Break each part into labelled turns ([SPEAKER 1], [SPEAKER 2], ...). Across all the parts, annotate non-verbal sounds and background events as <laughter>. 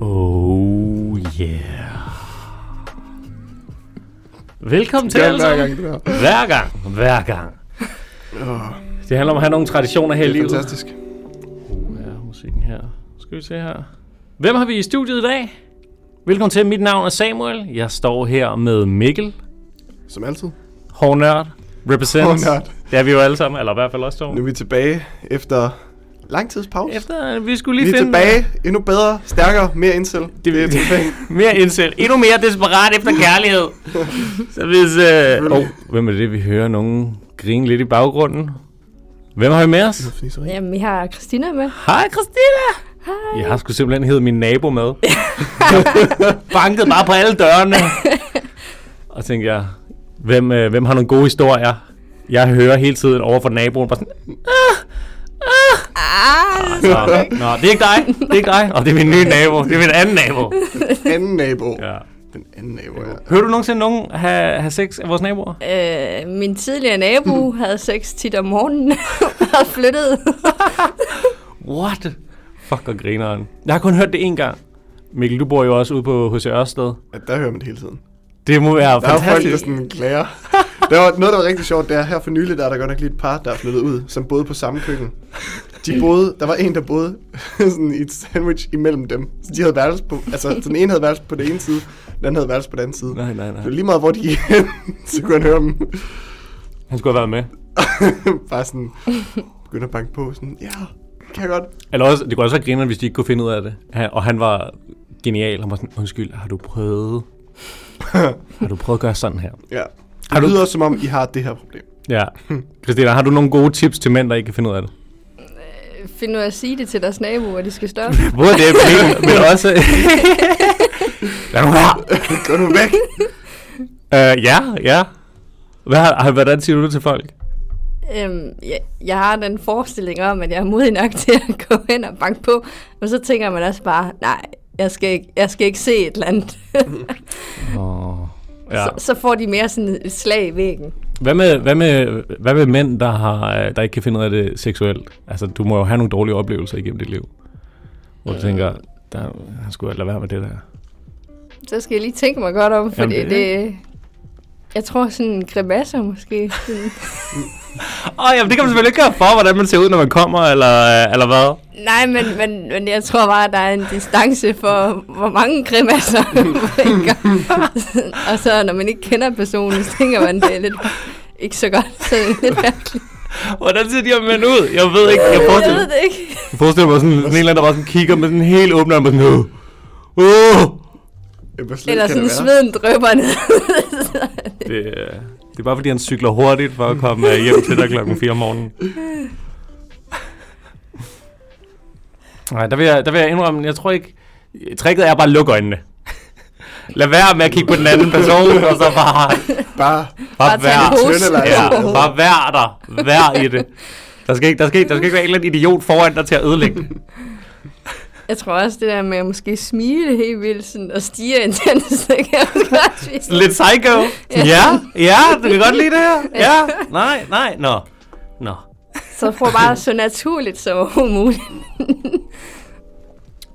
[SPEAKER 1] Oh, Yeah. Velkommen til
[SPEAKER 2] Ja,
[SPEAKER 1] alle
[SPEAKER 2] hver
[SPEAKER 1] sammen.
[SPEAKER 2] gang det der.
[SPEAKER 1] Hver gang. Hver gang. Det handler om at have nogle traditioner her i
[SPEAKER 2] Det er
[SPEAKER 1] livet.
[SPEAKER 2] fantastisk.
[SPEAKER 1] Uh, ja, musikken her. Skal vi se her. Hvem har vi i studiet i dag? Velkommen til. Mit navn er Samuel. Jeg står her med Mikkel.
[SPEAKER 2] Som altid.
[SPEAKER 1] Hårdnørd. Represents.
[SPEAKER 2] Hårdnørd.
[SPEAKER 1] Det er vi jo alle sammen, eller i hvert fald også to.
[SPEAKER 2] Nu er vi tilbage efter lang tids pause.
[SPEAKER 1] Efter, vi skulle lige
[SPEAKER 2] vi er
[SPEAKER 1] finde
[SPEAKER 2] tilbage. Endnu bedre, stærkere, mere incel. Det, det er
[SPEAKER 1] <laughs>
[SPEAKER 2] tilbage.
[SPEAKER 1] mere indsæt. Endnu mere desperat efter kærlighed. Så hvis... Øh...
[SPEAKER 2] Selvfølgelig.
[SPEAKER 1] Oh, hvem er det, vi hører nogen grine lidt i baggrunden? Hvem har vi med os?
[SPEAKER 3] Jamen, vi har Christina med.
[SPEAKER 1] Hej, Christina!
[SPEAKER 3] Hej.
[SPEAKER 1] Jeg har sgu simpelthen heddet min nabo <laughs> med. Banket bare på alle dørene. <laughs> Og tænkte jeg, hvem, øh, hvem har nogle gode historier? Jeg hører hele tiden over for naboen, bare sådan,
[SPEAKER 3] Ah,
[SPEAKER 1] nå, nå, det er ikke dig, det er ikke dig. Og det er min nye nabo, det er min anden <laughs> nabo.
[SPEAKER 2] Anden nabo. Ja.
[SPEAKER 1] Ja.
[SPEAKER 2] Den anden nabo, ja.
[SPEAKER 1] Hører du nogensinde nogen have, have sex af vores naboer?
[SPEAKER 3] øh, min tidligere nabo
[SPEAKER 1] Hmm.
[SPEAKER 3] havde sex tit om morgenen <laughs> og flyttede.
[SPEAKER 1] What? Fuck og grineren. Jeg har kun hørt det én gang. Mikkel, du bor jo også ude på H.C. Ørsted.
[SPEAKER 2] ja. Der hører man det hele tiden.
[SPEAKER 1] Det må være
[SPEAKER 2] Der er jo folk, der
[SPEAKER 1] fantastisk.
[SPEAKER 2] sådan klager. Der var noget, der var rigtig sjovt, det er her for nylig, der er der godt nok lige et par, der er flyttet ud, som boede på samme køkken. De boede, der var en, der boede <laughs> sådan i et sandwich imellem dem. Så de havde værelse på, altså så den ene havde værelse på den ene side, den anden havde værelse på den anden side.
[SPEAKER 1] Nej, nej, nej.
[SPEAKER 2] Så lige meget, hvor de gik hen, <laughs> så kunne han høre dem
[SPEAKER 1] Han skulle have været med.
[SPEAKER 2] bare sådan begynde at banke på, sådan, ja, kan jeg godt.
[SPEAKER 1] Eller også, det kunne også være grineren, hvis de ikke kunne finde ud af det. Han, og han var genial. Han var sådan, undskyld, har du prøvet... har du prøvet at gøre sådan her?
[SPEAKER 2] Ja.
[SPEAKER 1] Har
[SPEAKER 2] Det
[SPEAKER 1] du-
[SPEAKER 2] lyder, som om I har det her problem. <laughs>
[SPEAKER 1] Ja. Christina, har du nogle gode tips til mænd, der ikke kan finde ud af det?
[SPEAKER 3] Find ud af at sige det til deres nabo, at de skal stoppe.
[SPEAKER 1] Både det, <laughs> men, men også... Lad nu være!
[SPEAKER 2] Gå nu væk!
[SPEAKER 1] Øh, ja, ja. Hvad har, hvordan siger du det til folk?
[SPEAKER 3] øhm, jeg, jeg har den forestilling om, at jeg er modig nok til at gå hen og banke på. Men så tænker man også bare, nej, jeg skal ikke, jeg skal ikke se et eller andet.
[SPEAKER 1] Oh,
[SPEAKER 3] Ja. <laughs> Så, så får de mere sådan et slag i væggen.
[SPEAKER 1] Hvad med, hvad med, hvad med mænd, der, har, øh, der ikke kan finde ud af det seksuelt? Altså, du må jo have nogle dårlige oplevelser igennem dit liv. Hvor du tænker, der, han skulle lade være med det der.
[SPEAKER 3] Så skal jeg lige tænke mig godt om, fordi
[SPEAKER 1] Jamen,
[SPEAKER 3] Jamen,
[SPEAKER 1] det-
[SPEAKER 3] det... det... Jeg tror sådan en grimasse måske.
[SPEAKER 1] <laughs>
[SPEAKER 3] Sådan-
[SPEAKER 1] Åh, jamen, det kan man selvfølgelig ikke gøre for, hvordan man ser ud, når man kommer, eller, øh, eller hvad?
[SPEAKER 3] Nej, men, men, men jeg tror bare, at der er en distance for, hvor mange grimasser man gør. <laughs> Og så når man ikke kender personen, så tænker man, det er lidt ikke så godt. Så det er lidt mærkeligt.
[SPEAKER 1] Hvordan ser de her mænd ud? Jeg ved ikke. Jeg
[SPEAKER 3] Jeg
[SPEAKER 1] forestiller,
[SPEAKER 3] ved det ikke.
[SPEAKER 1] jeg forestiller mig sådan, sådan en eller anden, der bare sådan kigger med sådan helt åbne øjne, og sådan, åh, åh.
[SPEAKER 2] Jeg bare slet
[SPEAKER 3] Eller
[SPEAKER 2] kan
[SPEAKER 3] sådan
[SPEAKER 2] det være.
[SPEAKER 3] sveden drøber ned.
[SPEAKER 1] Det, øh, det er bare, fordi han cykler hurtigt for at komme øh, hjem til dig klokken 4 om morgenen. Nej, der vil, jeg, der vil jeg indrømme, jeg tror ikke... Tricket er bare at lukke øjnene. Lad være med at kigge på den anden person, og så bare,
[SPEAKER 2] Bare
[SPEAKER 1] bare
[SPEAKER 3] Bare tage en
[SPEAKER 1] være.
[SPEAKER 3] hos.
[SPEAKER 2] tøndelejse.
[SPEAKER 1] Ja, bare vær der. Vær i det. Der skal, ikke, der, skal ikke, der skal ikke være en eller anden idiot foran dig til at ødelægge det.
[SPEAKER 3] Jeg tror også, det der med at måske smile helt vildt sådan, og stige intenst, det kan jeg også godt svise.
[SPEAKER 1] Lidt psycho. Ja, ja, du kan godt lide det her. Ja, nej, nej, nå. Nå.
[SPEAKER 3] Så prøv bare så naturligt som overhovedet muligt.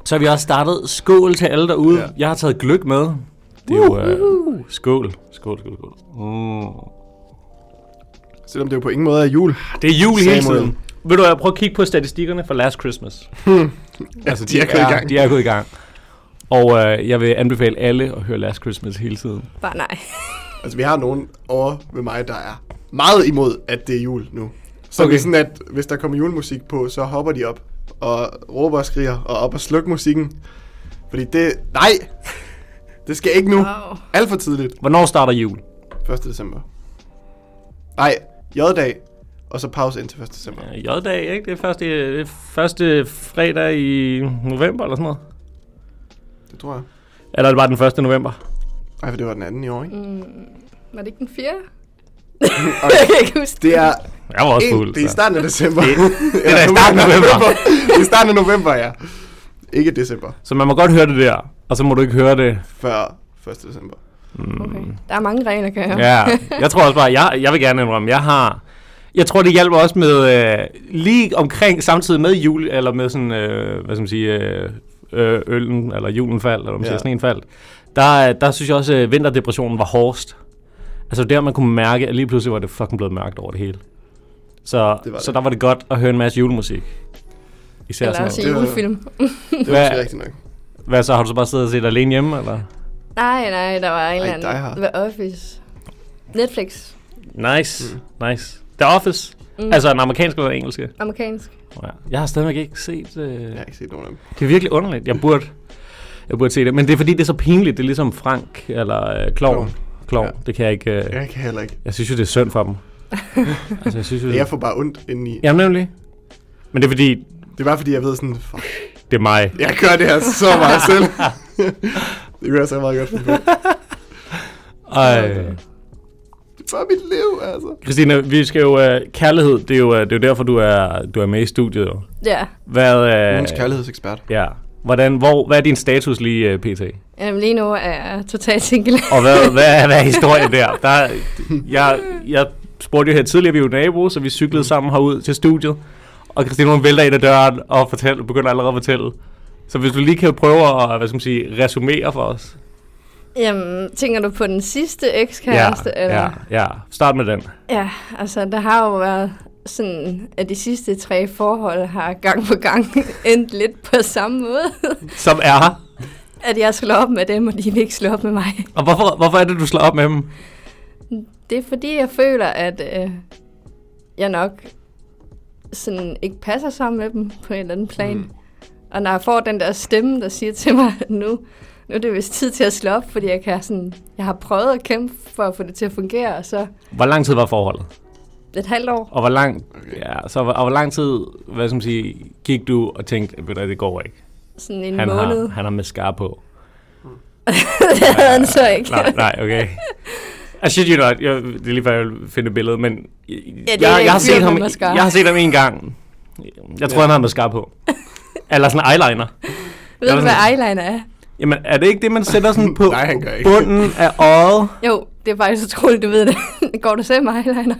[SPEAKER 1] Så har vi også startet skål til alle derude. Ja.
[SPEAKER 2] Ja.
[SPEAKER 1] Jeg har taget gløk med. Det er jo uh, skål. Skål, skål, skål. Mm.
[SPEAKER 2] Selvom det jo på ingen måde er jul.
[SPEAKER 1] Det er jul hele
[SPEAKER 2] Samuel.
[SPEAKER 1] tiden. Ved du, jeg prøver at kigge på statistikkerne for Last Christmas.
[SPEAKER 2] Altså, <laughs> de, er gået i gang.
[SPEAKER 1] De er gået i gang. Og øh, jeg vil anbefale alle at høre Last Christmas hele tiden.
[SPEAKER 3] Bare nej.
[SPEAKER 2] Altså, vi har nogen over ved mig, der er meget imod, at det er jul nu. Så
[SPEAKER 1] Okay.
[SPEAKER 2] okay. det er sådan, at hvis der kommer julemusik på, så hopper de op og råber og skriger og op og slukker musikken. Fordi det... Nej! Det skal ikke nu.
[SPEAKER 3] Wow.
[SPEAKER 2] Alt for tidligt.
[SPEAKER 1] Hvornår starter jul?
[SPEAKER 2] 1. december. Nej, J-dag. Og så pause indtil 1. december.
[SPEAKER 1] J-dag, ikke? Det er første, det er første fredag i november eller sådan noget.
[SPEAKER 2] Det tror jeg.
[SPEAKER 1] Eller er det bare den 1. november?
[SPEAKER 2] Ej, for det var den anden i år, ikke?
[SPEAKER 3] Mm. Var det ikke den fjerde?
[SPEAKER 2] Og
[SPEAKER 3] <laughs> Jeg kan ikke huske
[SPEAKER 2] det er
[SPEAKER 1] Jeg var <laughs> også
[SPEAKER 2] En,
[SPEAKER 1] fuld.
[SPEAKER 2] det er i
[SPEAKER 1] så.
[SPEAKER 2] starten af december.
[SPEAKER 1] Det-
[SPEAKER 2] <laughs> det
[SPEAKER 1] er da i starten af november.
[SPEAKER 2] <laughs> det er i starten af november, ja. Ikke december.
[SPEAKER 1] så man må godt høre det der, og så må du ikke høre det Mm.
[SPEAKER 2] Før 1. december.
[SPEAKER 3] Okay. Der er mange regler, kan jeg høre.
[SPEAKER 1] Ja, jeg tror også bare, jeg, jeg vil gerne indrømme, jeg har... Jeg tror, det hjælper også med øh, lige omkring samtidig med jul, eller med sådan, øh, hvad skal man sige, øh, øh, øllen, eller julen faldt, eller om
[SPEAKER 2] Ja.
[SPEAKER 1] ja. sneen faldt, der, øh, der synes jeg også, at vinterdepressionen var hårdest. Altså der, man kunne mærke, at lige pludselig var det fucking blevet mørkt over det hele. Så,
[SPEAKER 2] Det
[SPEAKER 1] det
[SPEAKER 2] var
[SPEAKER 1] så
[SPEAKER 2] det.
[SPEAKER 1] der var det godt at høre en masse julemusik. Især
[SPEAKER 3] Eller
[SPEAKER 1] sådan
[SPEAKER 3] også
[SPEAKER 1] noget.
[SPEAKER 2] Det er-
[SPEAKER 3] julefilm.
[SPEAKER 2] Det er
[SPEAKER 1] Hvad-
[SPEAKER 2] måske rigtigt nok.
[SPEAKER 1] Hvad så, har du så bare siddet og set alene hjemme, eller?
[SPEAKER 3] Nej, nej, der var en eller
[SPEAKER 2] Ej, Die
[SPEAKER 3] anden.
[SPEAKER 2] Hard.
[SPEAKER 3] The Office. Netflix.
[SPEAKER 1] Nice, mm. nice. The Office. Mm. Altså den amerikanske eller den engelske?
[SPEAKER 3] Amerikansk.
[SPEAKER 1] Ja. Jeg har stadigvæk ikke set... Øh...
[SPEAKER 2] Jeg
[SPEAKER 1] Ja.
[SPEAKER 2] har ikke set nogen af dem.
[SPEAKER 1] Det er virkelig underligt. Jeg burde, jeg burde se det. Men det er fordi, det er så pinligt. Det er ligesom Frank eller øh, Klovn.
[SPEAKER 2] Klovn.
[SPEAKER 1] Klovn.
[SPEAKER 2] Ja.
[SPEAKER 1] Ja. Det kan jeg ikke... Øh...
[SPEAKER 2] Jeg kan heller ikke.
[SPEAKER 1] Jeg synes jo, det er synd for <laughs> dem. altså, jeg synes jo...
[SPEAKER 2] Jeg
[SPEAKER 1] Det...
[SPEAKER 2] får bare ondt indeni. Ja.
[SPEAKER 1] Jamen nemlig. Men det er fordi,
[SPEAKER 2] Det er bare fordi, jeg ved sådan, fuck,
[SPEAKER 1] det er mig.
[SPEAKER 2] jeg gør det her så
[SPEAKER 1] <laughs>
[SPEAKER 2] meget selv. <laughs> det gør jeg så meget godt <laughs> for mig.
[SPEAKER 1] Ej.
[SPEAKER 2] Det er bare mit liv, altså.
[SPEAKER 1] Christina, vi skal jo... Øh, kærlighed, det er jo, øh, det er jo derfor, du er, du er med i studiet. jo.
[SPEAKER 3] Ja,
[SPEAKER 1] Hvad...
[SPEAKER 2] Mogens
[SPEAKER 1] Øh...
[SPEAKER 2] kærlighedsekspert.
[SPEAKER 1] Ja. Hvordan, hvor, hvad er din status lige øh, pt?
[SPEAKER 3] Jamen, lige nu er jeg totalt single.
[SPEAKER 1] Og hvad, hvad, er, hvad er historien der? der er- jeg, jeg spurgte jo her tidligere, vi er jo nabo, så vi cyklede sammen herud til studiet. Og Christina, hun vælter ind ad døren og fortæller, begynder allerede at fortælle. Så hvis du lige kan prøve at øh, hvad skal man sige, resumere for os.
[SPEAKER 3] <laughs> Jamen, tænker du på den sidste ekskæreste?
[SPEAKER 1] ja,
[SPEAKER 3] eller?
[SPEAKER 1] ja, ja. Start med den.
[SPEAKER 3] ja, altså, der har jo været sådan, at de sidste tre forhold har gang på gang <laughs> endt lidt på samme måde.
[SPEAKER 1] Som er her.
[SPEAKER 3] at jeg slår op med dem, og de vil ikke slå op med mig.
[SPEAKER 1] Og hvorfor, hvorfor er det, du slår op med dem?
[SPEAKER 3] Det er fordi, jeg føler, at øh, jeg nok sådan ikke passer sammen med dem på en eller anden plan. Mm. Og når jeg får den der stemme, der siger til mig, at nu, nu er det vist tid til at slå op, fordi jeg, kan sådan, jeg har prøvet at kæmpe for at få det til at fungere, og så
[SPEAKER 1] Hvor lang tid var forholdet?
[SPEAKER 3] et halvt år.
[SPEAKER 1] Og hvor lang,
[SPEAKER 2] Okay.
[SPEAKER 1] okay. ja, så, hvor- og hvor lang tid hvad skal man sige, gik du og tænkte, ved du, hvad, det går ikke.
[SPEAKER 3] Sådan en
[SPEAKER 1] Han
[SPEAKER 3] måned. <laughs>
[SPEAKER 1] har, han har mascara på.
[SPEAKER 3] det havde han så ikke.
[SPEAKER 1] Nej, nej, okay. I shit you not. Jeg, det er lige før, jeg vil finde et billede, men ja, jeg,
[SPEAKER 3] er
[SPEAKER 1] jeg,
[SPEAKER 3] en
[SPEAKER 1] har
[SPEAKER 3] fyr
[SPEAKER 1] set
[SPEAKER 3] med
[SPEAKER 1] ham,
[SPEAKER 3] mascara.
[SPEAKER 1] jeg har set ham en gang. Jeg tror,
[SPEAKER 2] Ja.
[SPEAKER 1] han har mascara på. Eller sådan en eyeliner.
[SPEAKER 3] Ved du,
[SPEAKER 1] Jeg-
[SPEAKER 3] hvad eyeliner er?
[SPEAKER 1] Jamen, er det ikke det, man sætter <laughs> sådan på
[SPEAKER 2] Nej, han gør ikke.
[SPEAKER 1] bunden af øjet?
[SPEAKER 3] Jo, det er faktisk utroligt, du ved det. <laughs> Går du selv med eyeliner?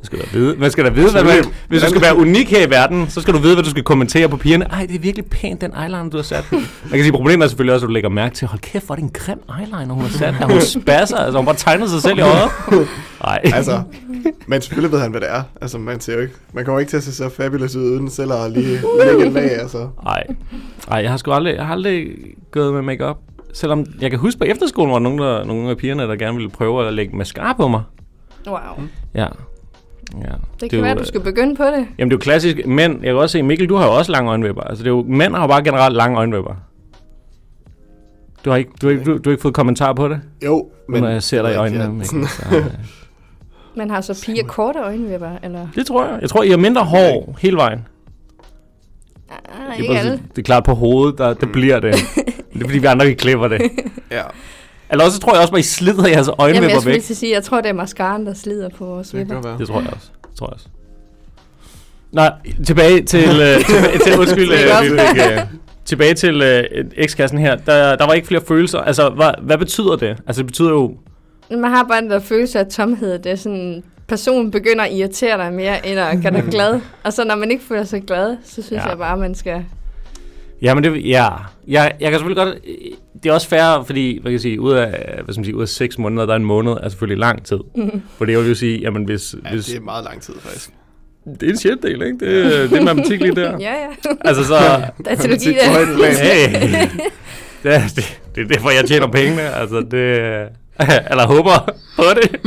[SPEAKER 1] Man skal da vide, man skal da vide hvad man, hvis du skal være unik her i verden, så skal du vide, hvad du skal kommentere på pigerne. Ej, det er virkelig pænt, den eyeliner, du har sat. Man kan sige, problemet er selvfølgelig også, at du lægger mærke til, hold kæft, hvor er det en grim eyeliner, hun har sat. Er <laughs> hun spasser? Altså, hun bare tegner sig selv i øjet.
[SPEAKER 2] <laughs>
[SPEAKER 1] <laughs> Nej.
[SPEAKER 2] Altså, men selvfølgelig ved han, hvad det er. Altså, man ser jo ikke, man kommer ikke til at se så fabulous ud, uden selv at lige lægge et lag, altså.
[SPEAKER 1] Nej. Nej, jeg har sgu aldrig, jeg har aldrig gået med makeup. Selvom jeg kan huske på efterskolen, var der nogen, der, nogle af pigerne, der gerne ville prøve at lægge mascara på mig.
[SPEAKER 3] Wow.
[SPEAKER 1] Ja. ja.
[SPEAKER 3] Det
[SPEAKER 1] er
[SPEAKER 3] kan
[SPEAKER 1] jo,
[SPEAKER 3] være, du
[SPEAKER 1] øh,
[SPEAKER 3] skal begynde på det.
[SPEAKER 1] Jamen det er jo klassisk. Mænd, jeg kan også se, Mikkel, du har jo også lange øjenvipper. Altså det er jo, mænd har jo bare generelt lange øjenvipper. Du har ikke, du har ikke, du, du har ikke fået kommentar på det,
[SPEAKER 2] Jo,
[SPEAKER 1] men, når jeg ser dig i
[SPEAKER 2] Ja,
[SPEAKER 1] øjnene.
[SPEAKER 2] sådan-
[SPEAKER 1] Mikkel, så, øh,
[SPEAKER 3] Man har så piger korte øjenvipper, eller?
[SPEAKER 1] det tror jeg. Jeg tror, I har
[SPEAKER 2] <laughs>
[SPEAKER 1] mindre hår hele vejen.
[SPEAKER 3] Ah,
[SPEAKER 1] Det er,
[SPEAKER 3] ikke
[SPEAKER 1] bare
[SPEAKER 3] alle.
[SPEAKER 1] sådan- det er klart på hovedet, der, der bliver
[SPEAKER 3] <laughs>
[SPEAKER 1] det. Men det er fordi, vi andre ikke klipper det.
[SPEAKER 2] Ja.
[SPEAKER 1] Eller også tror jeg også, at I slider jeres
[SPEAKER 3] Jamen, jeg
[SPEAKER 1] øjenvipper
[SPEAKER 3] skulle
[SPEAKER 1] væk.
[SPEAKER 3] lige til at sige, jeg tror, det er mascaraen, der slider på vores
[SPEAKER 2] Det kan
[SPEAKER 3] vipper.
[SPEAKER 2] godt være.
[SPEAKER 1] Det tror jeg også. Det tror jeg også. Nej, tilbage til, <laughs> øh, tilbage til undskyld,
[SPEAKER 3] Det er
[SPEAKER 1] øh,
[SPEAKER 3] godt.
[SPEAKER 1] Vibeke. tilbage til øh, ekskassen her. Der, der var ikke flere følelser. Altså, hvad, hvad betyder det? Altså, det betyder jo...
[SPEAKER 3] Men Man har bare den der følelse af tomhed. Det er sådan, personen begynder at irritere dig mere, end at gøre
[SPEAKER 1] <laughs>
[SPEAKER 3] dig glad. Og så når man ikke føler sig glad, så synes
[SPEAKER 1] Ja.
[SPEAKER 3] ja. jeg bare, man skal...
[SPEAKER 1] Jamen, det, ja. Jeg, jeg kan selvfølgelig godt... øh, Det er også fair, fordi, hvad kan jeg sige, ud af, hvad skal man sige, ud af seks måneder, der er en måned, er selvfølgelig lang tid. Mm. For det vil jo sige, jamen, hvis...
[SPEAKER 2] Ja,
[SPEAKER 1] hvis
[SPEAKER 2] det er meget lang tid, faktisk.
[SPEAKER 1] det er en sjældel, ikke? Det, er- det er matematik lige der.
[SPEAKER 3] <laughs> Ja, ja.
[SPEAKER 1] Altså, så...
[SPEAKER 3] Der er
[SPEAKER 1] <laughs>
[SPEAKER 3] teologi
[SPEAKER 2] På højt
[SPEAKER 3] der.
[SPEAKER 2] plan.
[SPEAKER 1] Hey. <laughs> Det, er- det, det er derfor, jeg tjener pengene. Altså, det, <laughs> eller håber på
[SPEAKER 2] <laughs>
[SPEAKER 1] det.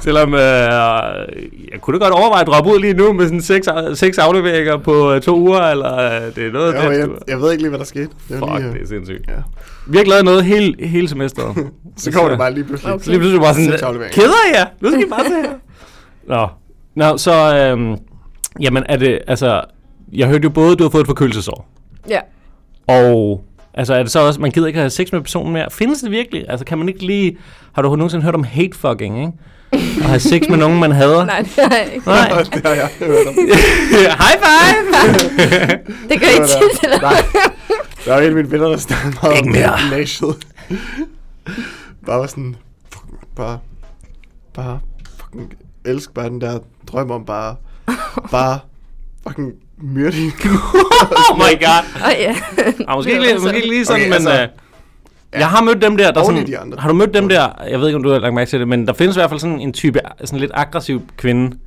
[SPEAKER 1] Selvom øh, jeg kunne da godt overveje at droppe ud lige nu med sådan seks, af- seks afleveringer på øh, to uger, eller øh, det er noget
[SPEAKER 2] Jo,
[SPEAKER 1] af den
[SPEAKER 2] jeg,
[SPEAKER 1] tur.
[SPEAKER 2] jeg ved ikke lige, hvad der skete. Det var
[SPEAKER 1] Fuck,
[SPEAKER 2] lige, øh,
[SPEAKER 1] det er sindssygt.
[SPEAKER 2] ja.
[SPEAKER 1] Vi har ikke lavet noget hele, hele
[SPEAKER 2] <laughs>
[SPEAKER 1] semesteret.
[SPEAKER 2] Så kommer det bare lige pludselig. <laughs>
[SPEAKER 3] Okay.
[SPEAKER 1] Så lige pludselig bare
[SPEAKER 2] Seks
[SPEAKER 1] sådan,
[SPEAKER 2] afleveringer.
[SPEAKER 1] keder jeg? Nu skal I bare
[SPEAKER 2] <laughs>
[SPEAKER 1] til her." Nå. Nå, så, øh, jamen er det, altså, jeg hørte jo både, du har fået et forkølelsesår.
[SPEAKER 3] Ja.
[SPEAKER 1] Og altså er det så også, man gider ikke have sex med personen mere. Findes det virkelig? Altså kan man ikke lige, har du nogensinde hørt om hate fucking, ikke? At have sex med nogen, man hader?
[SPEAKER 3] Nej, det har jeg ikke.
[SPEAKER 1] Nej.
[SPEAKER 2] det har jeg hørt om.
[SPEAKER 1] <laughs>
[SPEAKER 3] <laughs>
[SPEAKER 1] High five!
[SPEAKER 2] <laughs>
[SPEAKER 3] Det gør
[SPEAKER 2] Det
[SPEAKER 3] I
[SPEAKER 2] var
[SPEAKER 3] tit, eller?
[SPEAKER 2] Nej. Der var en af mine venner, der snakkede meget
[SPEAKER 1] Ikke mere.
[SPEAKER 2] gymnasiet. bare var sådan, fuck, man, bare, bare, fucking elsk bare den der drøm om bare, bare fucking myrde hende.
[SPEAKER 1] Oh my god.
[SPEAKER 3] Og ja. <laughs>
[SPEAKER 1] Ah, måske, ikke, lige- måske ikke lige sådan,
[SPEAKER 2] Okay,
[SPEAKER 1] okay, men...
[SPEAKER 2] altså,
[SPEAKER 1] Altså, jeg har mødt dem der, der
[SPEAKER 2] Oven i
[SPEAKER 1] sådan,
[SPEAKER 2] de andre.
[SPEAKER 1] Har du mødt dem der, jeg ved ikke, om du har lagt mærke til det, men der findes i hvert fald sådan en type, sådan lidt aggressiv kvinde,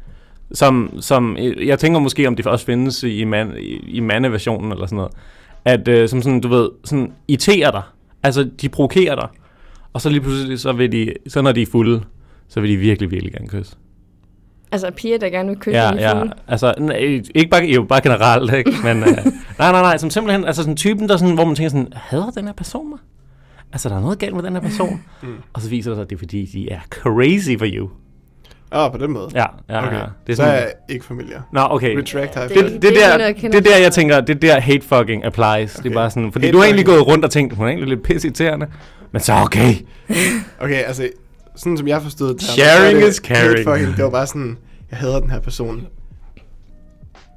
[SPEAKER 1] som, som øh, jeg tænker måske, om det også findes i, man, i, i mandeversionen eller sådan noget, at øh, som sådan, du ved, sådan irriterer dig. Altså, de provokerer dig. Og så lige pludselig, så, vil de, så når de er fulde, så vil de virkelig, virkelig gerne kysse.
[SPEAKER 3] Altså piger, der gerne vil kysse
[SPEAKER 1] Ja,
[SPEAKER 3] en
[SPEAKER 1] ja.
[SPEAKER 3] fugle.
[SPEAKER 1] Altså, n- øh, ikke bare, jo, bare generelt, <laughs> ikke? Men, øh, nej, nej, nej. Som simpelthen, altså sådan typen, der sådan, hvor man tænker sådan, hader den her person mig? Altså, der er noget galt med den her person. mm. Og så viser det sig, at det er fordi, de er crazy for you.
[SPEAKER 2] Ah, på den måde.
[SPEAKER 1] Ja, ja,
[SPEAKER 2] Okay.
[SPEAKER 1] ja.
[SPEAKER 2] Det er så er jeg ikke familiar.
[SPEAKER 1] Nå, okay.
[SPEAKER 2] Retract high
[SPEAKER 3] Det-
[SPEAKER 2] five.
[SPEAKER 1] Det,
[SPEAKER 3] er
[SPEAKER 1] det,
[SPEAKER 3] ikke
[SPEAKER 1] der,
[SPEAKER 3] noget, jeg kender
[SPEAKER 1] det er der,
[SPEAKER 3] så
[SPEAKER 1] jeg
[SPEAKER 3] meget.
[SPEAKER 1] tænker, det er der hate fucking applies. Okay. Det
[SPEAKER 2] Okay.
[SPEAKER 1] er bare sådan, fordi
[SPEAKER 2] Hate
[SPEAKER 1] du har egentlig
[SPEAKER 2] fucking.
[SPEAKER 1] gået rundt og tænkt, hun er egentlig lidt pisse irriterende. Men så okay.
[SPEAKER 2] Okay, altså, sådan som jeg forstod det.
[SPEAKER 1] Sharing
[SPEAKER 2] så er det
[SPEAKER 1] is caring.
[SPEAKER 2] lidt Fucking, det var bare sådan, jeg hader den her person.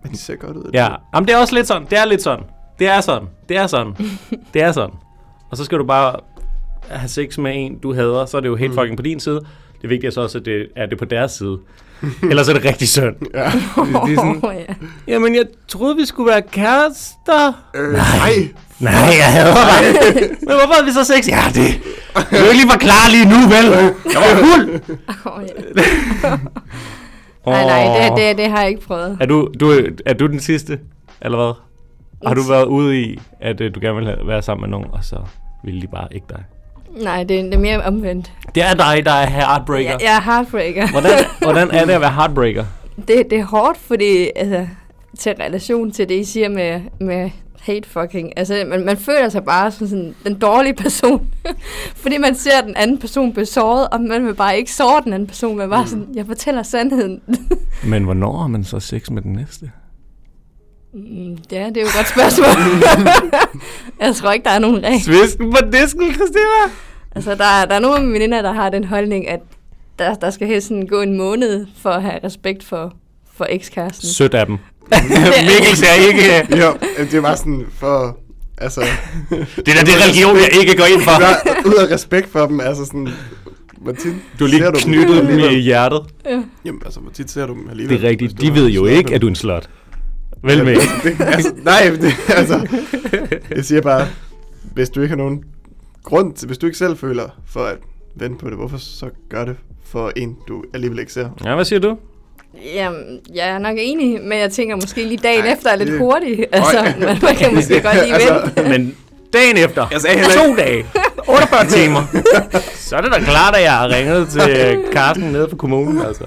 [SPEAKER 2] Men de ser godt ud.
[SPEAKER 1] Ja, Jamen, det er også lidt sådan. Det er lidt sådan. Det er sådan. Det er
[SPEAKER 3] <laughs>
[SPEAKER 1] sådan. det er sådan. Og så skal du bare have sex med en, du hader. Så er det jo helt mm. fucking på din side. Det vigtige er så også, at det er det på deres side. Ellers er det rigtig synd.
[SPEAKER 2] ja.
[SPEAKER 1] Det er sådan,
[SPEAKER 3] Åh, ja.
[SPEAKER 1] <laughs> Jamen, jeg troede, vi skulle være kærester.
[SPEAKER 2] Øh, nej.
[SPEAKER 1] Nej, jeg hader dig. <laughs> Men hvorfor har vi så sex? Ja, det kan du ikke lige forklare lige nu, vel? Jeg var fuld.
[SPEAKER 3] Åh, ja. Nej, nej, det, det, det har jeg ikke prøvet.
[SPEAKER 1] Er du, du, er du den sidste, eller hvad? Har du været ude i, at øh, du gerne vil have- være sammen med nogen, og så ville de bare ikke dig?
[SPEAKER 3] Nej, det, det er mere omvendt.
[SPEAKER 1] Det er dig, der er heartbreaker.
[SPEAKER 3] Jeg, jeg er heartbreaker.
[SPEAKER 1] Hvordan, hvordan er det at være heartbreaker?
[SPEAKER 3] det, det er hårdt, fordi altså, til relation til det, I siger med, med hate fucking. Altså, man, man føler sig bare som sådan den dårlige person. <laughs> fordi man ser den anden person blive såret, og man vil bare ikke såre den anden person. Man er
[SPEAKER 1] Mm.
[SPEAKER 3] bare sådan, jeg
[SPEAKER 1] <laughs>
[SPEAKER 3] fortæller sandheden.
[SPEAKER 1] Men hvornår har man så sex med den næste?
[SPEAKER 3] Mm, ja, det er jo et godt spørgsmål. <laughs> jeg tror ikke, der er nogen regel.
[SPEAKER 1] Svisken på disken, Christina!
[SPEAKER 3] Altså, der, er- der er nogle af mine veninder, der har den holdning, at der, der skal helst sådan gå en måned for at have respekt for, for ekskæresten.
[SPEAKER 1] Sødt af dem. <laughs>
[SPEAKER 3] <laughs>
[SPEAKER 1] Mikkel ser ikke... øh,
[SPEAKER 2] Jo, det var sådan for... Altså,
[SPEAKER 1] Det der det er religion, jeg ikke går ind for.
[SPEAKER 2] bare ud af respekt for dem, altså sådan... Hvor tit
[SPEAKER 1] Du er lige
[SPEAKER 2] ser dem
[SPEAKER 1] knyttet dem
[SPEAKER 2] alligevel?
[SPEAKER 1] i hjertet.
[SPEAKER 2] Jamen, altså, hvor tit ser du dem alligevel?
[SPEAKER 1] Det er rigtigt.
[SPEAKER 2] hvis du
[SPEAKER 1] De
[SPEAKER 2] har
[SPEAKER 1] ved jo
[SPEAKER 2] slået
[SPEAKER 1] ikke,
[SPEAKER 2] dem?
[SPEAKER 1] at du er en slot. Vel med.
[SPEAKER 2] <laughs> det, altså, nej, det, altså, jeg siger bare, hvis du ikke har nogen grund til, hvis du ikke selv føler for at vente på det, hvorfor så gør det for en, du alligevel ikke ser?
[SPEAKER 1] Ja, hvad siger du?
[SPEAKER 3] Jamen, jeg er nok enig, men jeg tænker måske lige dagen Ej, efter er lidt
[SPEAKER 2] det-
[SPEAKER 3] hurtigt. Altså,
[SPEAKER 2] Øj.
[SPEAKER 3] man, man kan måske godt
[SPEAKER 2] <laughs>
[SPEAKER 3] lige
[SPEAKER 2] Altså,
[SPEAKER 3] altså, vente.
[SPEAKER 1] Men dagen efter,
[SPEAKER 2] Jeg sagde heller
[SPEAKER 1] to dage, 48 timer, så er det da klart, at jeg har ringet til Carsten nede fra kommunen. Altså.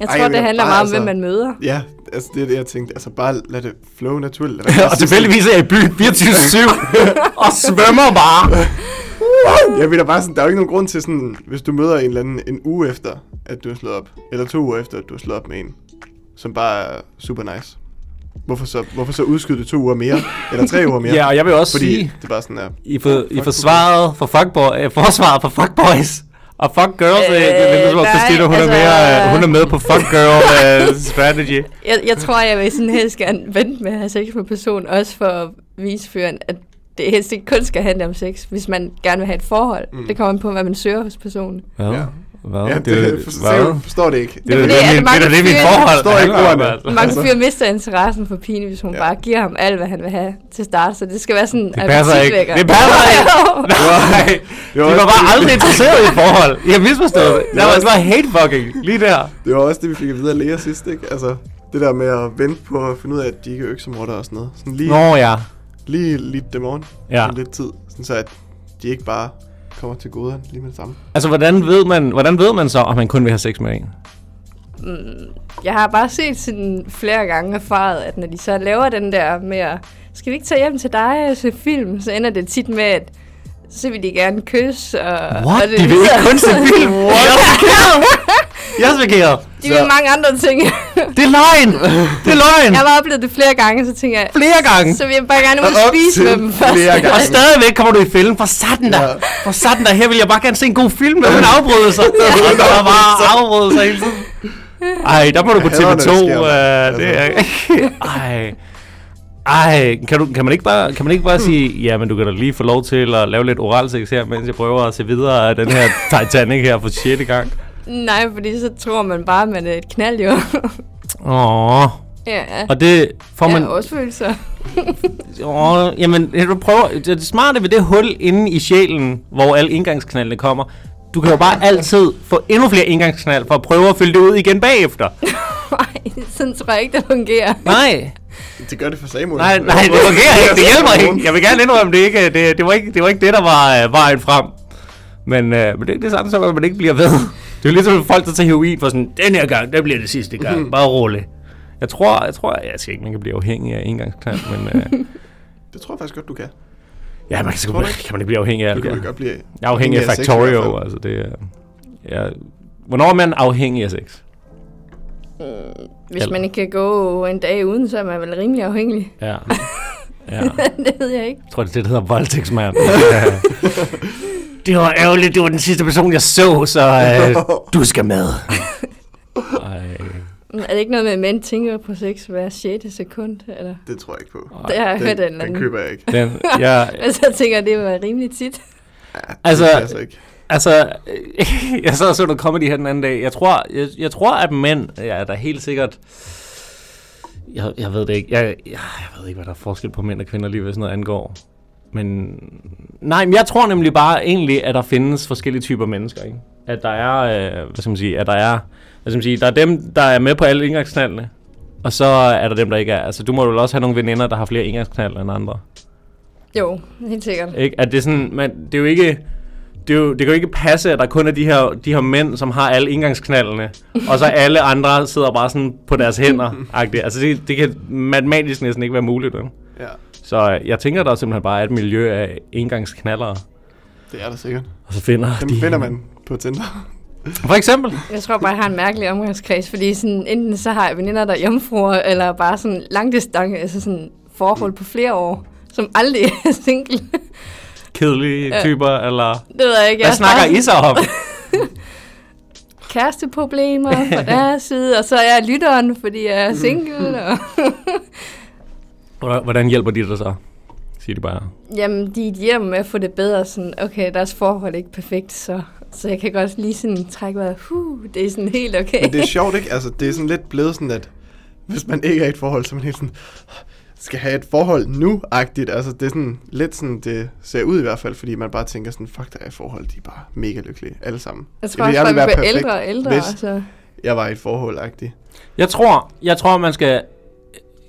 [SPEAKER 3] Jeg
[SPEAKER 2] Ej,
[SPEAKER 3] tror,
[SPEAKER 2] jeg
[SPEAKER 3] det
[SPEAKER 2] vil
[SPEAKER 3] handler
[SPEAKER 2] bare,
[SPEAKER 3] meget om, hvem
[SPEAKER 2] altså-
[SPEAKER 3] man møder.
[SPEAKER 2] Ja, altså det er det, jeg tænkte. Altså bare lad det flow naturligt. Lad være med
[SPEAKER 1] <laughs>
[SPEAKER 2] at
[SPEAKER 1] Og
[SPEAKER 2] sige
[SPEAKER 1] tilfældigvis er jeg i byen 24-7 og svømmer bare.
[SPEAKER 2] sådan- Jeg ved da bare sådan, der er jo ikke nogen grund til sådan, hvis du møder en eller anden en uge efter, at du har slået op, eller to uger efter, at du har slået op med en, som bare er super nice. Hvorfor så, hvorfor så udskyde det to uger mere, eller tre
[SPEAKER 1] <laughs>
[SPEAKER 2] uger mere?
[SPEAKER 1] Ja, og jeg vil også
[SPEAKER 2] Fordi
[SPEAKER 1] sige,
[SPEAKER 2] det er bare sådan der.
[SPEAKER 1] I, for, I forsvaret for fuckboy, øh, forsvaret for fuckboys og fuck girls. Øh, det er lidt som om
[SPEAKER 3] Øh,
[SPEAKER 1] Christina, hun, er
[SPEAKER 3] nej,
[SPEAKER 1] mere, øh,
[SPEAKER 3] altså-
[SPEAKER 1] hun er med på fuck girl øh, strategy.
[SPEAKER 3] Jeg, jeg tror, jeg vil sådan helst gerne vente med at have sex med en person, også for at vise fyren, at det helst ikke kun skal handle om sex, hvis man gerne vil have et forhold. Mm. Det kommer an på, hvad man søger hos personen.
[SPEAKER 1] Hvad?
[SPEAKER 2] Ja.
[SPEAKER 1] Hvad?
[SPEAKER 2] Ja,
[SPEAKER 1] er jo-
[SPEAKER 2] det,
[SPEAKER 1] hvad?
[SPEAKER 2] for, forstår det ikke.
[SPEAKER 1] Det er da
[SPEAKER 3] fordi,
[SPEAKER 1] det,
[SPEAKER 3] at
[SPEAKER 1] min- det,
[SPEAKER 3] mange
[SPEAKER 1] er da det, mit
[SPEAKER 3] fyre
[SPEAKER 1] forhold
[SPEAKER 2] forstår ikke
[SPEAKER 1] handler om,
[SPEAKER 2] ordene.
[SPEAKER 1] altså.
[SPEAKER 3] Mange fyre mister interessen for pigen, hvis hun
[SPEAKER 2] Ja.
[SPEAKER 3] ja. bare giver ham alt, hvad han vil have til start. Så det skal være sådan
[SPEAKER 1] Det passer ikke.
[SPEAKER 3] appetitvækker.
[SPEAKER 1] Det
[SPEAKER 3] <laughs>
[SPEAKER 1] passer ikke. Nej, de
[SPEAKER 2] var også
[SPEAKER 1] var bare
[SPEAKER 2] det.
[SPEAKER 1] aldrig interesseret i et forhold. I har misforstået det. Der
[SPEAKER 2] var
[SPEAKER 1] var
[SPEAKER 2] også-
[SPEAKER 1] bare hate fucking lige der.
[SPEAKER 2] <laughs> Det var også det, vi fik at vide af læger sidst, ikke? Altså, det der med at vente på at finde ud af, at de ikke er øksemorder og sådan noget. Sådan lige,
[SPEAKER 1] Nå ja.
[SPEAKER 2] lige lidt dem on.
[SPEAKER 1] Ja.
[SPEAKER 2] Sådan lidt tid, sådan så at de ikke bare kommer til goderen lige med det samme.
[SPEAKER 1] Altså, hvordan ved, man, hvordan ved man så, om man kun vil have sex med en?
[SPEAKER 3] Jeg har bare set sådan flere gange erfaret, at når de så laver den der med at, skal vi ikke tage hjem til dig og se film, så ender det tit med, at så vil de gerne kysse. Og,
[SPEAKER 1] What?
[SPEAKER 3] Og det, ligesom-
[SPEAKER 1] De vil ikke kun se
[SPEAKER 2] <laughs>
[SPEAKER 1] film.
[SPEAKER 3] <laughs>
[SPEAKER 1] Jeg er chokeret. Jeg er chokeret.
[SPEAKER 3] De vil mange andre ting.
[SPEAKER 1] Det er løgn. Det er løgn.
[SPEAKER 3] jeg har oplevet det flere gange, så tænker jeg,
[SPEAKER 1] Flere gange.
[SPEAKER 3] så vil jeg bare gerne ud
[SPEAKER 2] Og
[SPEAKER 3] og
[SPEAKER 2] op
[SPEAKER 3] spise
[SPEAKER 2] til
[SPEAKER 3] med dem først.
[SPEAKER 2] flere
[SPEAKER 3] <laughs>
[SPEAKER 2] gange.
[SPEAKER 1] Og stadigvæk kommer du i fælden. For satan der.
[SPEAKER 2] Ja.
[SPEAKER 1] For satan der. Her vil jeg bare gerne se en god film, men hun afbryder sig. Og der er bare afbrydelser hele tiden. Ej, der må du på
[SPEAKER 2] Jeg hader,
[SPEAKER 1] TV2.
[SPEAKER 2] når det sker, Altså.
[SPEAKER 1] øh,
[SPEAKER 2] mand.
[SPEAKER 1] det er... Ej. Ej, kan, du, kan, man ikke bare, kan man ikke bare sige, ja, men du kan da lige få lov til at lave lidt oralsex her, mens jeg prøver at se videre af den her Titanic her for 6. gang?
[SPEAKER 3] Nej, fordi så tror man bare, at man er et knald jo.
[SPEAKER 1] Åh.
[SPEAKER 3] <laughs> Ja,
[SPEAKER 1] Og det får man...
[SPEAKER 3] ja også følelser. <laughs>
[SPEAKER 1] Åh, jamen, jeg vil prøve, det det smarte ved det hul inde i sjælen, hvor alle indgangsknaldene kommer, du kan jo bare altid få endnu flere indgangsknald for at prøve at fylde det ud igen bagefter.
[SPEAKER 3] Nej, sådan tror jeg ikke, det fungerer.
[SPEAKER 1] Nej,
[SPEAKER 2] Det gør det for Samuel.
[SPEAKER 1] nej, nej, det fungerer ikke. Det
[SPEAKER 2] <laughs>
[SPEAKER 1] hjælper ikke. Jeg vil gerne indrømme det ikke. Det, det, var, ikke, det var ikke det, der var øh, vejen frem. Men, øh, men det er ikke det samme som, at man ikke bliver ved. Det er jo ligesom folk, der tager heroin for sådan, den her gang, det bliver det sidste
[SPEAKER 2] Mhm.
[SPEAKER 1] gang. Bare rolig. Jeg tror, jeg tror, jeg siger ikke, man kan blive afhængig af engangsknald, men
[SPEAKER 2] <laughs>
[SPEAKER 1] øh,
[SPEAKER 2] Det tror jeg faktisk godt, du kan.
[SPEAKER 1] ja, man kan, sgu,
[SPEAKER 2] Tror du ikke?
[SPEAKER 1] kan man ikke blive afhængig af
[SPEAKER 2] Du
[SPEAKER 1] alt det.
[SPEAKER 2] kan vel godt blive...
[SPEAKER 1] Jeg er afhængig af
[SPEAKER 2] afhængig af sex i hvert
[SPEAKER 1] Factorio,
[SPEAKER 2] fald.
[SPEAKER 1] altså det er... Ja. Hvornår er man afhængig af sex?
[SPEAKER 3] Mm, Hvis
[SPEAKER 1] Eller-
[SPEAKER 3] man ikke kan gå en dag uden, så er man vel rimelig afhængig.
[SPEAKER 1] Ja. <laughs> ja.
[SPEAKER 3] <laughs> det ved jeg ikke.
[SPEAKER 1] Jeg tror, det er det, der hedder <laughs> voldtægtsmand. Ja. det var ærgerligt, det var den sidste person, jeg så, så øh,
[SPEAKER 2] <laughs>
[SPEAKER 1] du skal med. Ej,
[SPEAKER 3] Er det ikke noget med, at mænd tænker på sex hver 6. sekund? Eller?
[SPEAKER 2] Det tror jeg ikke på.
[SPEAKER 3] Det har jeg
[SPEAKER 2] Den,
[SPEAKER 3] hørt af en eller
[SPEAKER 2] den
[SPEAKER 3] anden.
[SPEAKER 2] køber jeg
[SPEAKER 3] <laughs>
[SPEAKER 2] ikke.
[SPEAKER 1] den, jeg,
[SPEAKER 3] Men så tænker jeg, det var rimelig tit.
[SPEAKER 1] Altså-
[SPEAKER 2] det passer ikke.
[SPEAKER 1] Altså, <laughs> jeg sad og så noget comedy her den anden dag. Jeg tror, jeg, jeg tror at mænd jeg er da helt sikkert... Jeg, jeg ved det ikke. Jeg, jeg, jeg ved ikke, hvad der er forskel på mænd og kvinder lige, hvad sådan noget angår. Men nej, men jeg tror nemlig bare egentlig, at der findes forskellige typer mennesker. Ikke? At der er, øh, hvad skal man sige, at der er, hvad skal man sige, der er dem, der er med på alle indgangsknaldene. Og så er der dem, der ikke er. Altså, du må vel også have nogle veninder, der har flere indgangsknald end andre.
[SPEAKER 3] Jo, helt sikkert.
[SPEAKER 1] Ikke? At det er sådan, man, det er jo ikke... Det, er jo, det kan jo ikke passe, at der kun er de her, de her mænd, som har alle indgangsknaldene, og så alle andre sidder bare sådan på deres hænder. -agtigt. Altså det, det kan matematisk næsten ikke være muligt. Ikke?
[SPEAKER 2] Ja,
[SPEAKER 1] Så øh, jeg tænker, der er simpelthen bare et miljø af indgangsknallere.
[SPEAKER 2] det er der sikkert.
[SPEAKER 1] Og så finder
[SPEAKER 2] Dem
[SPEAKER 1] de...
[SPEAKER 2] finder man på
[SPEAKER 3] <laughs>
[SPEAKER 2] Tinder.
[SPEAKER 1] For eksempel.
[SPEAKER 3] Jeg tror bare, jeg har en mærkelig omgangskreds, fordi sådan, enten så har jeg veninder, der er jomfruer, eller bare sådan langdistance, altså sådan forhold på flere år, som aldrig <laughs> er single.
[SPEAKER 1] Kedelige
[SPEAKER 3] Ja.
[SPEAKER 1] typer, eller...
[SPEAKER 3] Det ved jeg ikke.
[SPEAKER 1] Hvad
[SPEAKER 3] jeg
[SPEAKER 1] snakker I så om?
[SPEAKER 3] Kæresteproblemer på deres side, og så er jeg lytteren, fordi jeg
[SPEAKER 2] Mm.
[SPEAKER 3] er single. Og
[SPEAKER 1] Hvordan- Hvordan hjælper de dig så? Siger de bare.
[SPEAKER 3] Jamen, de er hjem med at få det bedre. Sådan, okay, deres forhold er ikke perfekt, så, så jeg kan godt lige sådan trække vejret. Huh, det er sådan helt okay.
[SPEAKER 2] Men det er sjovt, ikke? Altså, det er sådan lidt blevet sådan, at hvis man ikke er i et forhold, så er man helt sådan, skal have et forhold nu-agtigt. Altså, det er sådan lidt sådan, det ser ud i hvert fald, fordi man bare tænker sådan, fuck, der er i forhold, de er bare mega lykkelige, alle sammen.
[SPEAKER 3] <laughs> jeg tror
[SPEAKER 2] ville
[SPEAKER 3] også, at
[SPEAKER 2] aldrig
[SPEAKER 3] vi
[SPEAKER 2] være
[SPEAKER 3] bliver ældre og ældre. altså.
[SPEAKER 2] hvis
[SPEAKER 3] Så.
[SPEAKER 2] jeg var i et forhold-agtigt.
[SPEAKER 1] Jeg tror, jeg tror, man skal...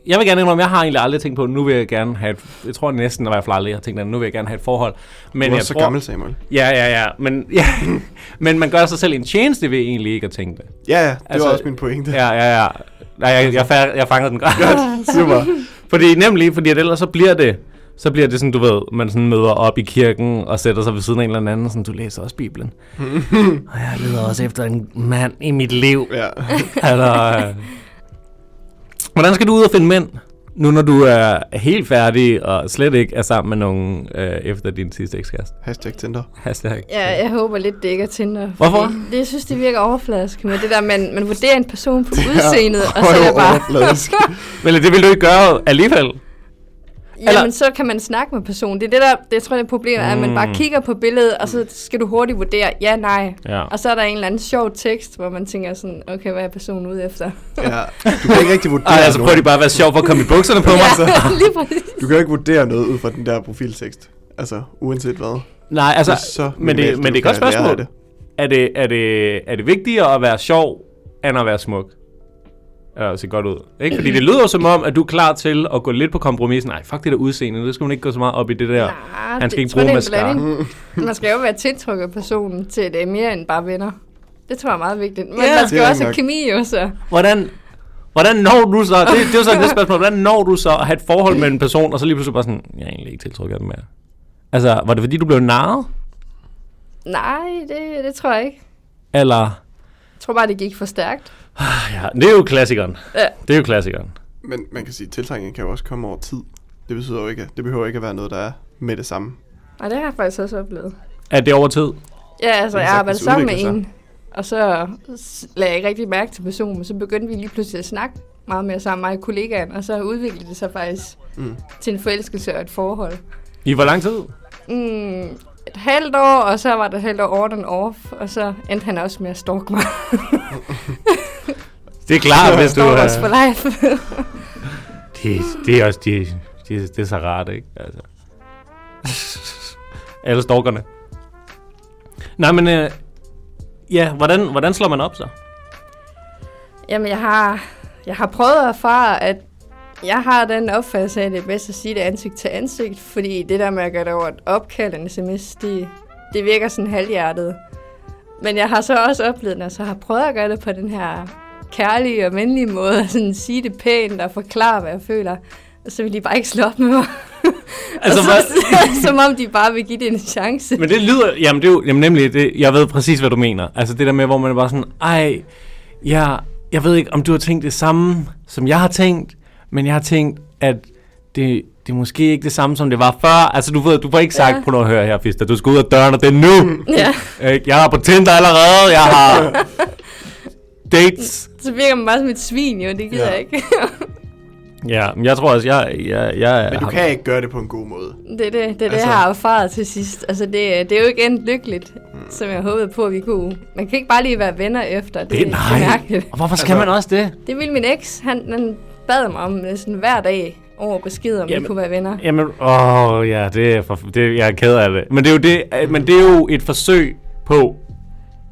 [SPEAKER 1] Jeg vil gerne indrømme, jeg har egentlig aldrig tænkt på, nu vil jeg gerne have et, Jeg tror næsten, at jeg aldrig har tænkt, at nu vil jeg gerne have et forhold. Men
[SPEAKER 2] Du er
[SPEAKER 1] jeg
[SPEAKER 2] så
[SPEAKER 1] tror,
[SPEAKER 2] gammel, Samuel.
[SPEAKER 1] Ja, ja, ja. Men, ja, men man gør sig selv en tjeneste ved egentlig ikke at tænke det.
[SPEAKER 2] Ja, ja, det altså,
[SPEAKER 1] Altså,
[SPEAKER 2] var også min pointe.
[SPEAKER 1] Ja, ja, ja. Nej, jeg, jeg, fa- jeg fangede den godt.
[SPEAKER 2] <laughs> Super.
[SPEAKER 1] <laughs> Fordi nemlig, fordi at ellers så bliver det, så bliver det sådan, du ved, man sådan møder op i kirken og sætter sig ved siden af en eller anden, sådan, du læser også
[SPEAKER 2] <laughs>
[SPEAKER 1] Bibelen. og jeg leder også efter en mand i mit liv.
[SPEAKER 3] <laughs>
[SPEAKER 2] Ja.
[SPEAKER 1] <laughs> Eller, øh, hvordan skal du ud og finde mænd, nu når du er helt færdig og slet ikke er sammen med nogen øh, efter din sidste ekskæreste?
[SPEAKER 2] Hashtag Tinder.
[SPEAKER 1] Hashtag.
[SPEAKER 3] Ja, jeg håber lidt, det ikke er Tinder.
[SPEAKER 1] Hvorfor?
[SPEAKER 3] fordi Det, jeg synes, det virker overfladisk med det der, man, man vurderer en
[SPEAKER 2] <laughs>
[SPEAKER 3] person på
[SPEAKER 2] er
[SPEAKER 3] udseendet, og så er jeg bare... <laughs>
[SPEAKER 2] røvoverfladisk.
[SPEAKER 1] Men det vil du ikke gøre alligevel. Eller-
[SPEAKER 3] Jamen, så kan man snakke med personen. Det er det, der, det jeg tror jeg, det problemet er, at man
[SPEAKER 2] Mm.
[SPEAKER 3] bare kigger på billedet, og så skal du hurtigt vurdere ja, nej.
[SPEAKER 1] Ja.
[SPEAKER 3] Og så er der en eller anden sjov tekst, hvor man tænker sådan, okay, hvad er personen ude efter?
[SPEAKER 2] ja. Du kan ikke rigtig vurdere
[SPEAKER 1] Ej, altså prøver
[SPEAKER 2] noget.
[SPEAKER 1] de bare at være sjov for at komme i bukserne på mig.
[SPEAKER 3] <laughs> Ja, lige præcis.
[SPEAKER 2] Du kan jo ikke vurdere noget ud fra den der profiltekst. Altså, uanset hvad.
[SPEAKER 1] Nej, altså,
[SPEAKER 2] Det er så
[SPEAKER 1] men
[SPEAKER 2] minimalt,
[SPEAKER 1] det, men det er et
[SPEAKER 2] du
[SPEAKER 1] godt
[SPEAKER 2] kan lære af
[SPEAKER 1] spørgsmål.
[SPEAKER 2] det.
[SPEAKER 1] Er det, er, det, er det vigtigere at være sjov, end at være smuk? Eller se godt ud. Ikke? Fordi det lyder jo som om, at du er klar til at gå lidt på kompromis. Nej, fuck det der udseende. Det skal man ikke gå så meget op i det der.
[SPEAKER 3] Nej,
[SPEAKER 1] Han skal
[SPEAKER 3] det-
[SPEAKER 1] ikke
[SPEAKER 3] tror,
[SPEAKER 1] bruge
[SPEAKER 3] det er
[SPEAKER 1] mascara.
[SPEAKER 3] en blanding. Man skal jo være tiltrukket af personen til, at det er mere end bare venner. Det tror jeg er meget vigtigt. Men
[SPEAKER 1] Ja.
[SPEAKER 3] man skal
[SPEAKER 2] Det
[SPEAKER 3] jo
[SPEAKER 2] er
[SPEAKER 3] også have
[SPEAKER 2] nok.
[SPEAKER 3] kemi jo så.
[SPEAKER 1] Hvordan, hvordan når du så... Det, det er jo så det spørgsmål. Hvordan når du så at have et forhold med en person, og så lige pludselig bare sådan, jeg er egentlig ikke tiltrukket af dem mere. Altså, var det fordi, du blev narret?
[SPEAKER 3] Nej, det, det tror jeg ikke.
[SPEAKER 1] Eller...
[SPEAKER 3] Jeg tror bare, det gik for stærkt.
[SPEAKER 1] Ja, det er jo klassikeren.
[SPEAKER 3] Ja.
[SPEAKER 1] Det er jo klassikeren.
[SPEAKER 2] Men man kan sige, at tiltrækningen kan jo også komme over tid. Det betyder jo ikke, at det behøver ikke at være noget, der er med det samme.
[SPEAKER 3] Og det har jeg faktisk også oplevet.
[SPEAKER 1] Er det over tid?
[SPEAKER 3] Ja, altså,
[SPEAKER 2] Det kan sagtens
[SPEAKER 3] jeg arbejdede sammen med
[SPEAKER 2] udvikle
[SPEAKER 3] en, og så s- lagde jeg ikke rigtig mærke til personen, men så begyndte vi lige pludselig at snakke meget mere sammen, mig og kollegaen, og så udviklede det sig faktisk
[SPEAKER 2] Mm.
[SPEAKER 3] mm. til en forelskelse og et forhold.
[SPEAKER 1] I hvor lang tid?
[SPEAKER 3] Mm, et halvt år, og så var det et halvt år on and off, og så endte han også med at stalke mig.
[SPEAKER 1] Det er klart, hvis du... øh,
[SPEAKER 3] Stalk us for life.
[SPEAKER 1] Det, det er også, de, de, det er så rart, ikke? Altså. <laughs> Alle storkerne. Nej, men øh, ja, hvordan, hvordan slår man op så?
[SPEAKER 3] <laughs> Jamen, jeg har, jeg har prøvet at erfare, at jeg har den opfattelse af, at det er bedst at sige det ansigt til ansigt, fordi det der med at gøre det over et opkald en sms, det, det virker sådan halvhjertet. Men jeg har så også oplevet, når jeg så har prøvet at gøre det på den her kærlige og venlige måde, at sådan sige det pænt og forklare, hvad jeg føler, og så vil de bare ikke slå op med mig.
[SPEAKER 1] Altså,
[SPEAKER 3] Altså, <laughs> så,
[SPEAKER 1] hvad-
[SPEAKER 3] som om de bare vil give det en chance.
[SPEAKER 1] <laughs> Men det lyder, jamen det er jo, jamen nemlig, det, jeg ved præcis, hvad du mener. Altså det der med, hvor man er bare sådan, ej, jeg, jeg ved ikke, om du har tænkt det samme, som jeg har tænkt, men jeg har tænkt, at det, det er måske ikke det samme, som det var før. Altså du ved, du får ikke sagt,
[SPEAKER 3] Ja.
[SPEAKER 1] ja. prøv nu at høre her, Fister, du skal ud af døren, og det er nu.
[SPEAKER 3] Ja,
[SPEAKER 1] Ikke? Jeg er på Tinder allerede, jeg har dates.
[SPEAKER 3] så virker man bare som et svin, jo, det gider
[SPEAKER 2] Ja.
[SPEAKER 3] ja. jeg ikke. <laughs>
[SPEAKER 1] Ja, men jeg tror også, jeg, jeg, jeg
[SPEAKER 2] Men du
[SPEAKER 1] har-
[SPEAKER 2] kan ikke gøre det på en god måde.
[SPEAKER 3] Det er det, det, er altså, det
[SPEAKER 2] Altså-
[SPEAKER 3] jeg har erfaret til sidst. Altså, det, det er jo ikke endt lykkeligt, mm. som jeg håbede på, at vi kunne. Man kan ikke bare lige være venner efter. Det,
[SPEAKER 1] det,
[SPEAKER 3] er
[SPEAKER 1] nej.
[SPEAKER 3] mærkeligt.
[SPEAKER 1] Og hvorfor skal
[SPEAKER 2] Altså-
[SPEAKER 1] man også det?
[SPEAKER 3] Det ville min eks, han, han bad mig om øh, sådan hver dag over besked, om Jamen.
[SPEAKER 1] Jamen.
[SPEAKER 3] vi kunne være venner.
[SPEAKER 1] Jamen, åh, ja, det er for, det, jeg er ked af det. Men det er jo, det, at- men det er jo et forsøg på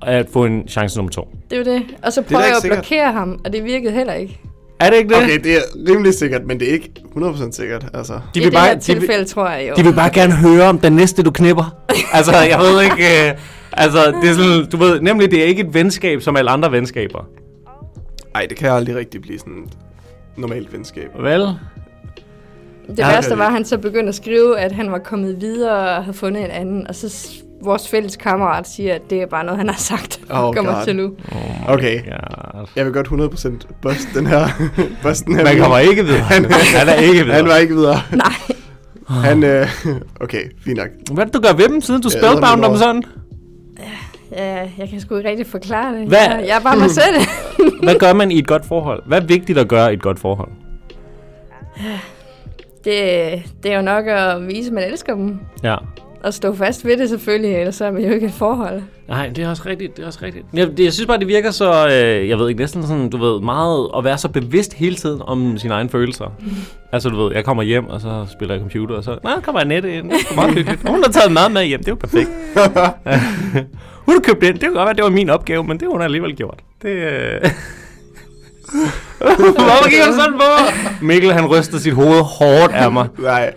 [SPEAKER 1] at få en chance nummer to.
[SPEAKER 3] Det er jo det. Og så
[SPEAKER 2] da
[SPEAKER 3] prøver jeg
[SPEAKER 2] ikke
[SPEAKER 3] at
[SPEAKER 2] sikkert.
[SPEAKER 3] blokere ham, og det virkede heller ikke.
[SPEAKER 1] Er det ikke det?
[SPEAKER 2] Okay, det er rimelig sikkert, men det er ikke 100% sikkert. Altså.
[SPEAKER 1] De
[SPEAKER 3] I
[SPEAKER 1] vil,
[SPEAKER 3] det
[SPEAKER 1] bare,
[SPEAKER 3] her
[SPEAKER 1] de, vil,
[SPEAKER 3] tilfælde, tror jeg jo.
[SPEAKER 1] de vil bare gerne høre om den næste, du knipper. Altså, jeg ved ikke... Øh, altså, det er sådan, du ved, nemlig det er ikke et venskab som alle andre venskaber.
[SPEAKER 2] Ej, det kan aldrig rigtig blive sådan et normalt venskab.
[SPEAKER 1] Vel?
[SPEAKER 3] Det
[SPEAKER 1] Ja,
[SPEAKER 3] værste
[SPEAKER 2] det-
[SPEAKER 3] var, at han så begyndte at skrive, at han var kommet videre og havde fundet en anden. Og så s- vores fælles kammerat siger, at det er bare noget, han har sagt.
[SPEAKER 2] Oh,
[SPEAKER 3] Kommer
[SPEAKER 2] God.
[SPEAKER 3] til nu.
[SPEAKER 2] Okay,
[SPEAKER 1] Ja.
[SPEAKER 2] jeg vil godt 100% bust den her. <laughs> bust den her
[SPEAKER 1] Man
[SPEAKER 2] meme.
[SPEAKER 1] kommer ikke videre. Han, han er ikke videre.
[SPEAKER 2] Han var ikke videre.
[SPEAKER 3] Nej.
[SPEAKER 2] Han, øh, okay, fint nok.
[SPEAKER 1] Hvad er det, du gør ved dem, siden du
[SPEAKER 2] Ja,
[SPEAKER 1] spellbound
[SPEAKER 2] det er
[SPEAKER 1] dem sådan?
[SPEAKER 3] Ja, jeg kan sgu ikke rigtig forklare det.
[SPEAKER 1] Hvad-
[SPEAKER 3] Jeg, jeg er bare
[SPEAKER 2] <laughs>
[SPEAKER 3] mig selv.
[SPEAKER 1] Hvad gør man i et godt forhold? Hvad er vigtigt at gøre i et godt forhold?
[SPEAKER 3] det, det er jo nok at vise, at man elsker dem.
[SPEAKER 1] Ja.
[SPEAKER 3] Og stå fast ved det selvfølgelig, ellers så er man jo ikke et forhold.
[SPEAKER 1] Nej, det er også rigtigt, det er også rigtigt. Jeg, det, jeg synes bare, det virker så, øh, jeg ved ikke, næsten sådan, du ved, meget at være så bevidst hele tiden om sine egne <laughs> følelser. altså, du ved, jeg kommer hjem, og så spiller jeg computer, og så, nej, kommer Annette <laughs> ind, det er meget hyggeligt. Hun har taget mad med hjem, det er jo perfekt. <laughs>
[SPEAKER 2] <laughs>
[SPEAKER 1] hun har købt ind, det kunne godt være, det var min opgave, men det har hun alligevel gjort. Det, øh... <laughs> Hvorfor gik hun sådan på? Mikkel, han ryster sit hoved hårdt af mig.
[SPEAKER 2] Nej,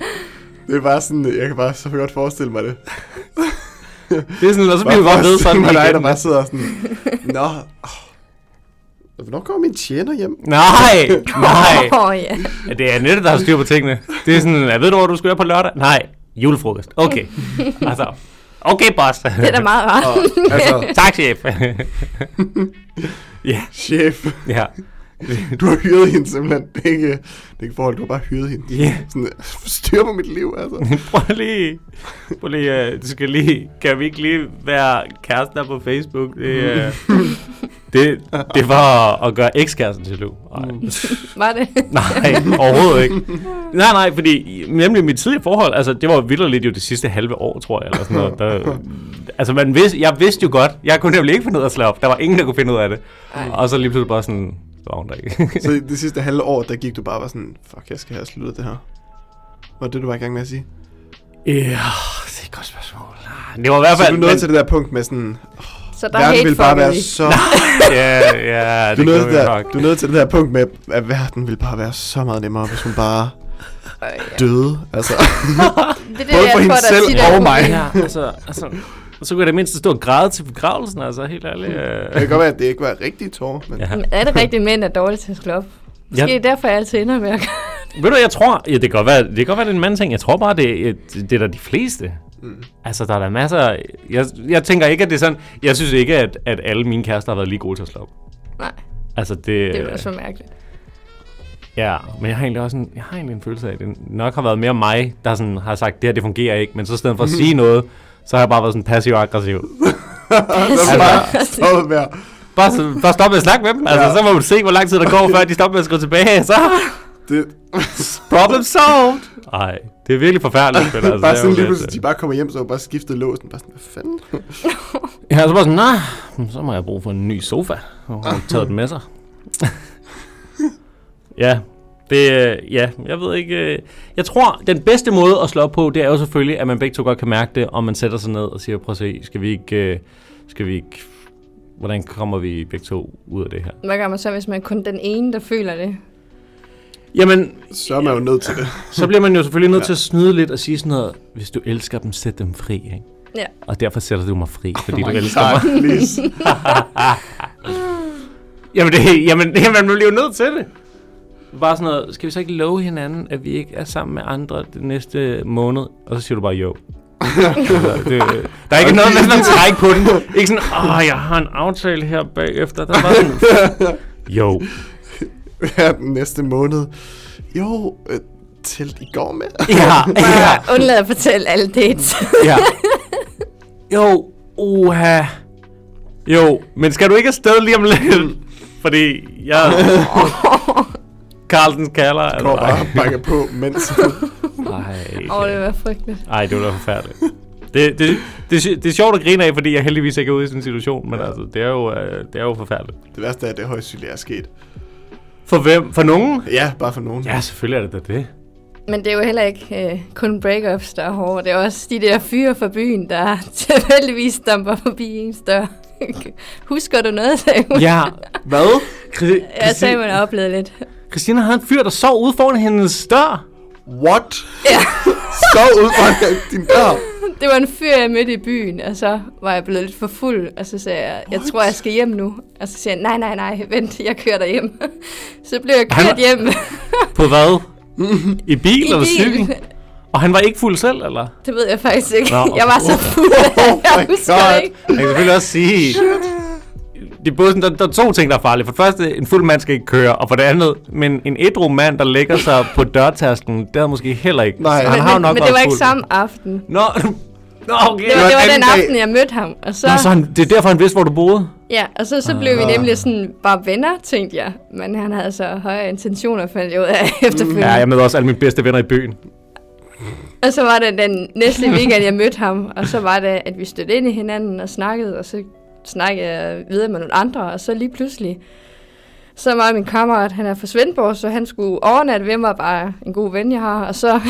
[SPEAKER 2] det er bare sådan, jeg kan bare så godt forestille mig det.
[SPEAKER 1] Det er sådan, og så bliver vi bare ved sådan
[SPEAKER 2] med dig, der
[SPEAKER 1] igen.
[SPEAKER 2] bare sidder sådan,
[SPEAKER 1] <laughs>
[SPEAKER 2] Nå, oh, hvornår kommer min tjener hjem?
[SPEAKER 1] Nej, nej. <laughs>
[SPEAKER 3] Åh, oh,
[SPEAKER 2] <laughs>
[SPEAKER 3] ja.
[SPEAKER 1] Ja, det er Annette, der har styr på tingene. Det er sådan, jeg ved du, hvor du skal være på lørdag? Nej, julefrokost.
[SPEAKER 3] <laughs>
[SPEAKER 1] Okay. Altså, okay, boss.
[SPEAKER 3] Det er da meget rart.
[SPEAKER 2] Og,
[SPEAKER 3] <laughs>
[SPEAKER 2] altså,
[SPEAKER 1] tak, chef. <laughs> <laughs> ja,
[SPEAKER 2] chef,
[SPEAKER 1] ja.
[SPEAKER 2] du har hyret hende simpelthen. Det er ikke, det er ikke forhold, du har bare hyret hende.
[SPEAKER 1] Ja.
[SPEAKER 2] Sådan, styr på mit liv, altså.
[SPEAKER 1] Prøv lige, prøv lige, øh, du skal lige, kan vi ikke lige være kærester på Facebook? Det,
[SPEAKER 3] Mm.
[SPEAKER 1] øh, det, det var at gøre ekskæresten til Lou.
[SPEAKER 3] Mm.
[SPEAKER 1] Ej.
[SPEAKER 3] Var det?
[SPEAKER 1] Nej, overhovedet ikke. Nej, nej, fordi nemlig mit tidlige forhold, altså det var vildt jo det sidste halve år, tror jeg, eller sådan noget. Der, altså man vidste, jeg vidste jo godt, jeg kunne nemlig ikke finde ud af at slå op. Der var ingen, der kunne finde ud af det. Ej. Og så lige pludselig bare sådan, så var hun der <laughs> ikke.
[SPEAKER 2] <laughs> Så i det sidste halve år, der gik du bare og var sådan, fuck, jeg skal have sluttet det her. Var det, du var i gang med at sige?
[SPEAKER 1] ja, det er et godt spørgsmål. Ah, Det var i hvert
[SPEAKER 2] Så
[SPEAKER 1] fald...
[SPEAKER 2] du nåede til det der punkt med sådan,
[SPEAKER 3] Så der er
[SPEAKER 2] verden
[SPEAKER 3] helt
[SPEAKER 2] ville bare være
[SPEAKER 3] fucking
[SPEAKER 2] så...
[SPEAKER 1] Ja, ja,
[SPEAKER 2] Du
[SPEAKER 1] det
[SPEAKER 2] nåede,
[SPEAKER 1] gjorde
[SPEAKER 2] til
[SPEAKER 1] vi
[SPEAKER 2] det der,
[SPEAKER 1] nok.
[SPEAKER 2] du nåede til det der punkt med, at verden ville bare være så meget nemmere, hvis hun bare døde.
[SPEAKER 1] <laughs>
[SPEAKER 2] Altså,
[SPEAKER 3] Det er det,
[SPEAKER 2] både
[SPEAKER 3] jeg
[SPEAKER 2] for hende
[SPEAKER 3] tror, der
[SPEAKER 2] selv
[SPEAKER 3] tit er
[SPEAKER 2] og mig.
[SPEAKER 3] problemet.
[SPEAKER 1] Ja, altså, altså, så kunne jeg da mindst stå og græde til begravelsen, altså helt ærligt.
[SPEAKER 2] det kan
[SPEAKER 1] Øh.
[SPEAKER 2] godt være, at det ikke var rigtig tårer, men...
[SPEAKER 1] Ja.
[SPEAKER 3] Men Er det rigtigt, at mænd er dårlige til at slå op? Måske
[SPEAKER 1] Jeg-
[SPEAKER 3] det er derfor, jeg altid ender med at gøre
[SPEAKER 1] Ved du, jeg tror, ja, det kan godt være, det kan godt være, det er en mandting. Jeg tror bare, det, er- det er der de fleste. Mm. Altså, der er der masser... Jeg, jeg tænker ikke, at det er sådan... Jeg synes ikke, at, at alle mine kærester har været lige gode til at slå op.
[SPEAKER 3] Nej,
[SPEAKER 1] Altså, det...
[SPEAKER 3] det er jo også for mærkeligt.
[SPEAKER 1] Ja, men jeg har egentlig også en, jeg har egentlig en følelse af, at det nok har været mere mig, der sådan har sagt, det her, det fungerer ikke. Men så i stedet for at sige noget, så har jeg bare været sådan passiv-aggressiv.
[SPEAKER 2] <laughs>
[SPEAKER 1] Altså,
[SPEAKER 2] Så bare stoppet med at-
[SPEAKER 1] Bare, så- bare stop med at snakke med dem. Altså,
[SPEAKER 2] Ja.
[SPEAKER 1] ja. så må man se, hvor lang tid der går, før de stopper med at skrive tilbage. Så
[SPEAKER 2] det,
[SPEAKER 1] problem solved. Nej, det er virkelig forfærdeligt. men
[SPEAKER 2] altså,
[SPEAKER 1] det
[SPEAKER 2] bare
[SPEAKER 1] er jo
[SPEAKER 2] sådan lige
[SPEAKER 1] lidt,
[SPEAKER 2] pludselig,
[SPEAKER 1] øh,
[SPEAKER 2] de bare kommer hjem, så har hun bare skiftet låsen. Bare sådan, hvad fanden?
[SPEAKER 1] Ja, så bare sådan, nej, nah, så må jeg bruge for en ny sofa. Og hun har taget den med sig. <laughs> ja, Det, øh, ja, jeg ved ikke. øh, Jeg tror, den bedste måde at slå op på, det er jo selvfølgelig, at man begge to godt kan mærke det, og man sætter sig ned og siger, prøv at se, skal vi ikke, øh, skal vi ikke, hvordan kommer vi begge to ud af det her?
[SPEAKER 3] Hvad gør man så, hvis man er kun den ene, der føler det?
[SPEAKER 1] Jamen,
[SPEAKER 2] Så er man jo nødt til det.
[SPEAKER 1] så bliver man jo selvfølgelig nødt
[SPEAKER 2] Ja.
[SPEAKER 1] til at snyde lidt og sige sådan noget, hvis du elsker dem, sæt dem fri, ikke?
[SPEAKER 3] Ja.
[SPEAKER 1] Og derfor sætter du mig fri,
[SPEAKER 2] <laughs>
[SPEAKER 1] fordi oh
[SPEAKER 2] Nej,
[SPEAKER 1] du elsker mig.
[SPEAKER 2] tak, please.
[SPEAKER 1] Jamen, det, jamen, jamen, man bliver jo nødt til det. Bare sådan noget, skal vi så ikke love hinanden, at vi ikke er sammen med andre den næste måned? Og så siger du bare jo. altså, det, der er <laughs> ikke noget med sådan at trække på den. Ikke sådan, åh, jeg har en aftale her bagefter. Der er bare sådan, <laughs> jo.
[SPEAKER 2] Ja, den næste måned. Jo, øh, til i går med.
[SPEAKER 1] Ja, ja,
[SPEAKER 3] Bare undlad at fortælle alle dates.
[SPEAKER 1] ja. Jo, uha. Jo, men skal du ikke afsted lige om lidt? Fordi jeg...
[SPEAKER 3] <laughs>
[SPEAKER 1] Carlsens kalder. eller-
[SPEAKER 2] Går bare og banker på, mens...
[SPEAKER 1] Ej, <laughs>
[SPEAKER 3] Åh, oh, det var frygteligt.
[SPEAKER 1] Ej, det var da forfærdeligt. Det, det, det, det er sjovt at grine af, fordi jeg heldigvis ikke er ude i sådan en situation, men ja. altså, det er, jo, øh, det er jo forfærdeligt.
[SPEAKER 2] Det værste er, at det højst synligt er sket.
[SPEAKER 1] For hvem? For nogen?
[SPEAKER 2] Ja, bare for nogen.
[SPEAKER 1] Ja, selvfølgelig er det da det.
[SPEAKER 3] Men det er jo heller ikke øh, kun breakups, der er hårde. Det er også de der fyre fra byen, der <laughs> tilfældigvis stamper forbi ens dør. <laughs> Husker du noget, sagde <laughs> hun?
[SPEAKER 1] Ja. Hvad? Christi-
[SPEAKER 3] Jeg sagde, man har oplevet lidt.
[SPEAKER 1] Christina havde en fyr, der sov ude foran hendes dør.
[SPEAKER 2] What? <laughs>
[SPEAKER 3] Ja.
[SPEAKER 2] Så ud fra din dør.
[SPEAKER 3] <laughs> Det var en fyr, jeg mødte i byen, og så var jeg blevet lidt for fuld, og så sagde jeg, jeg tror, jeg skal hjem nu. Og så siger jeg, nej, nej, nej, vent, jeg kører dig hjem. <laughs> Så blev jeg
[SPEAKER 1] Han-
[SPEAKER 3] kørt
[SPEAKER 1] <laughs>
[SPEAKER 3] hjem
[SPEAKER 1] På hvad? I bil
[SPEAKER 3] i
[SPEAKER 1] eller
[SPEAKER 3] bil.
[SPEAKER 1] cykel? Og han var ikke fuld selv, eller?
[SPEAKER 3] <laughs> Det ved jeg faktisk ikke.
[SPEAKER 1] Nå.
[SPEAKER 3] <laughs> Jeg var så fuld,
[SPEAKER 1] <laughs>
[SPEAKER 3] at
[SPEAKER 2] Oh
[SPEAKER 3] jeg
[SPEAKER 2] my
[SPEAKER 3] husker
[SPEAKER 2] God.
[SPEAKER 3] det ikke.
[SPEAKER 1] Jeg kan selvfølgelig også sige... Det er både sådan, der, der er to ting, der er farlige. For det første, en fuld mand skal ikke køre, og for det andet, men en ædru mand, der lægger sig på dørtasken, det er måske heller ikke.
[SPEAKER 2] Nej.
[SPEAKER 1] Så han
[SPEAKER 2] Men-
[SPEAKER 1] har jo
[SPEAKER 3] Men,
[SPEAKER 1] nok
[SPEAKER 3] men det
[SPEAKER 1] været
[SPEAKER 3] var ikke
[SPEAKER 1] fuld.
[SPEAKER 3] samme aften.
[SPEAKER 1] Nå, Nå okay.
[SPEAKER 3] Det var, det var den
[SPEAKER 2] dag.
[SPEAKER 3] aften, jeg mødte ham. Og så,
[SPEAKER 1] Nå, så han, det er derfor, han vidste, hvor du boede?
[SPEAKER 3] ja, og så, så blev vi nemlig sådan bare venner, tænkte jeg. Men han havde så høje intentioner, fandt jeg ud af <laughs> efterfølgende.
[SPEAKER 1] Ja, jeg møder også alle mine bedste venner i byen.
[SPEAKER 3] Og så var det den næste weekend, jeg mødte ham, og så var det, at vi stødte ind i hinanden og snakkede, og så snakkede jeg videre med nogle andre, og så lige pludselig, så var min kammerat, han er fra Svendborg, så han skulle overnatte ved mig, bare en god ven, jeg har, og så,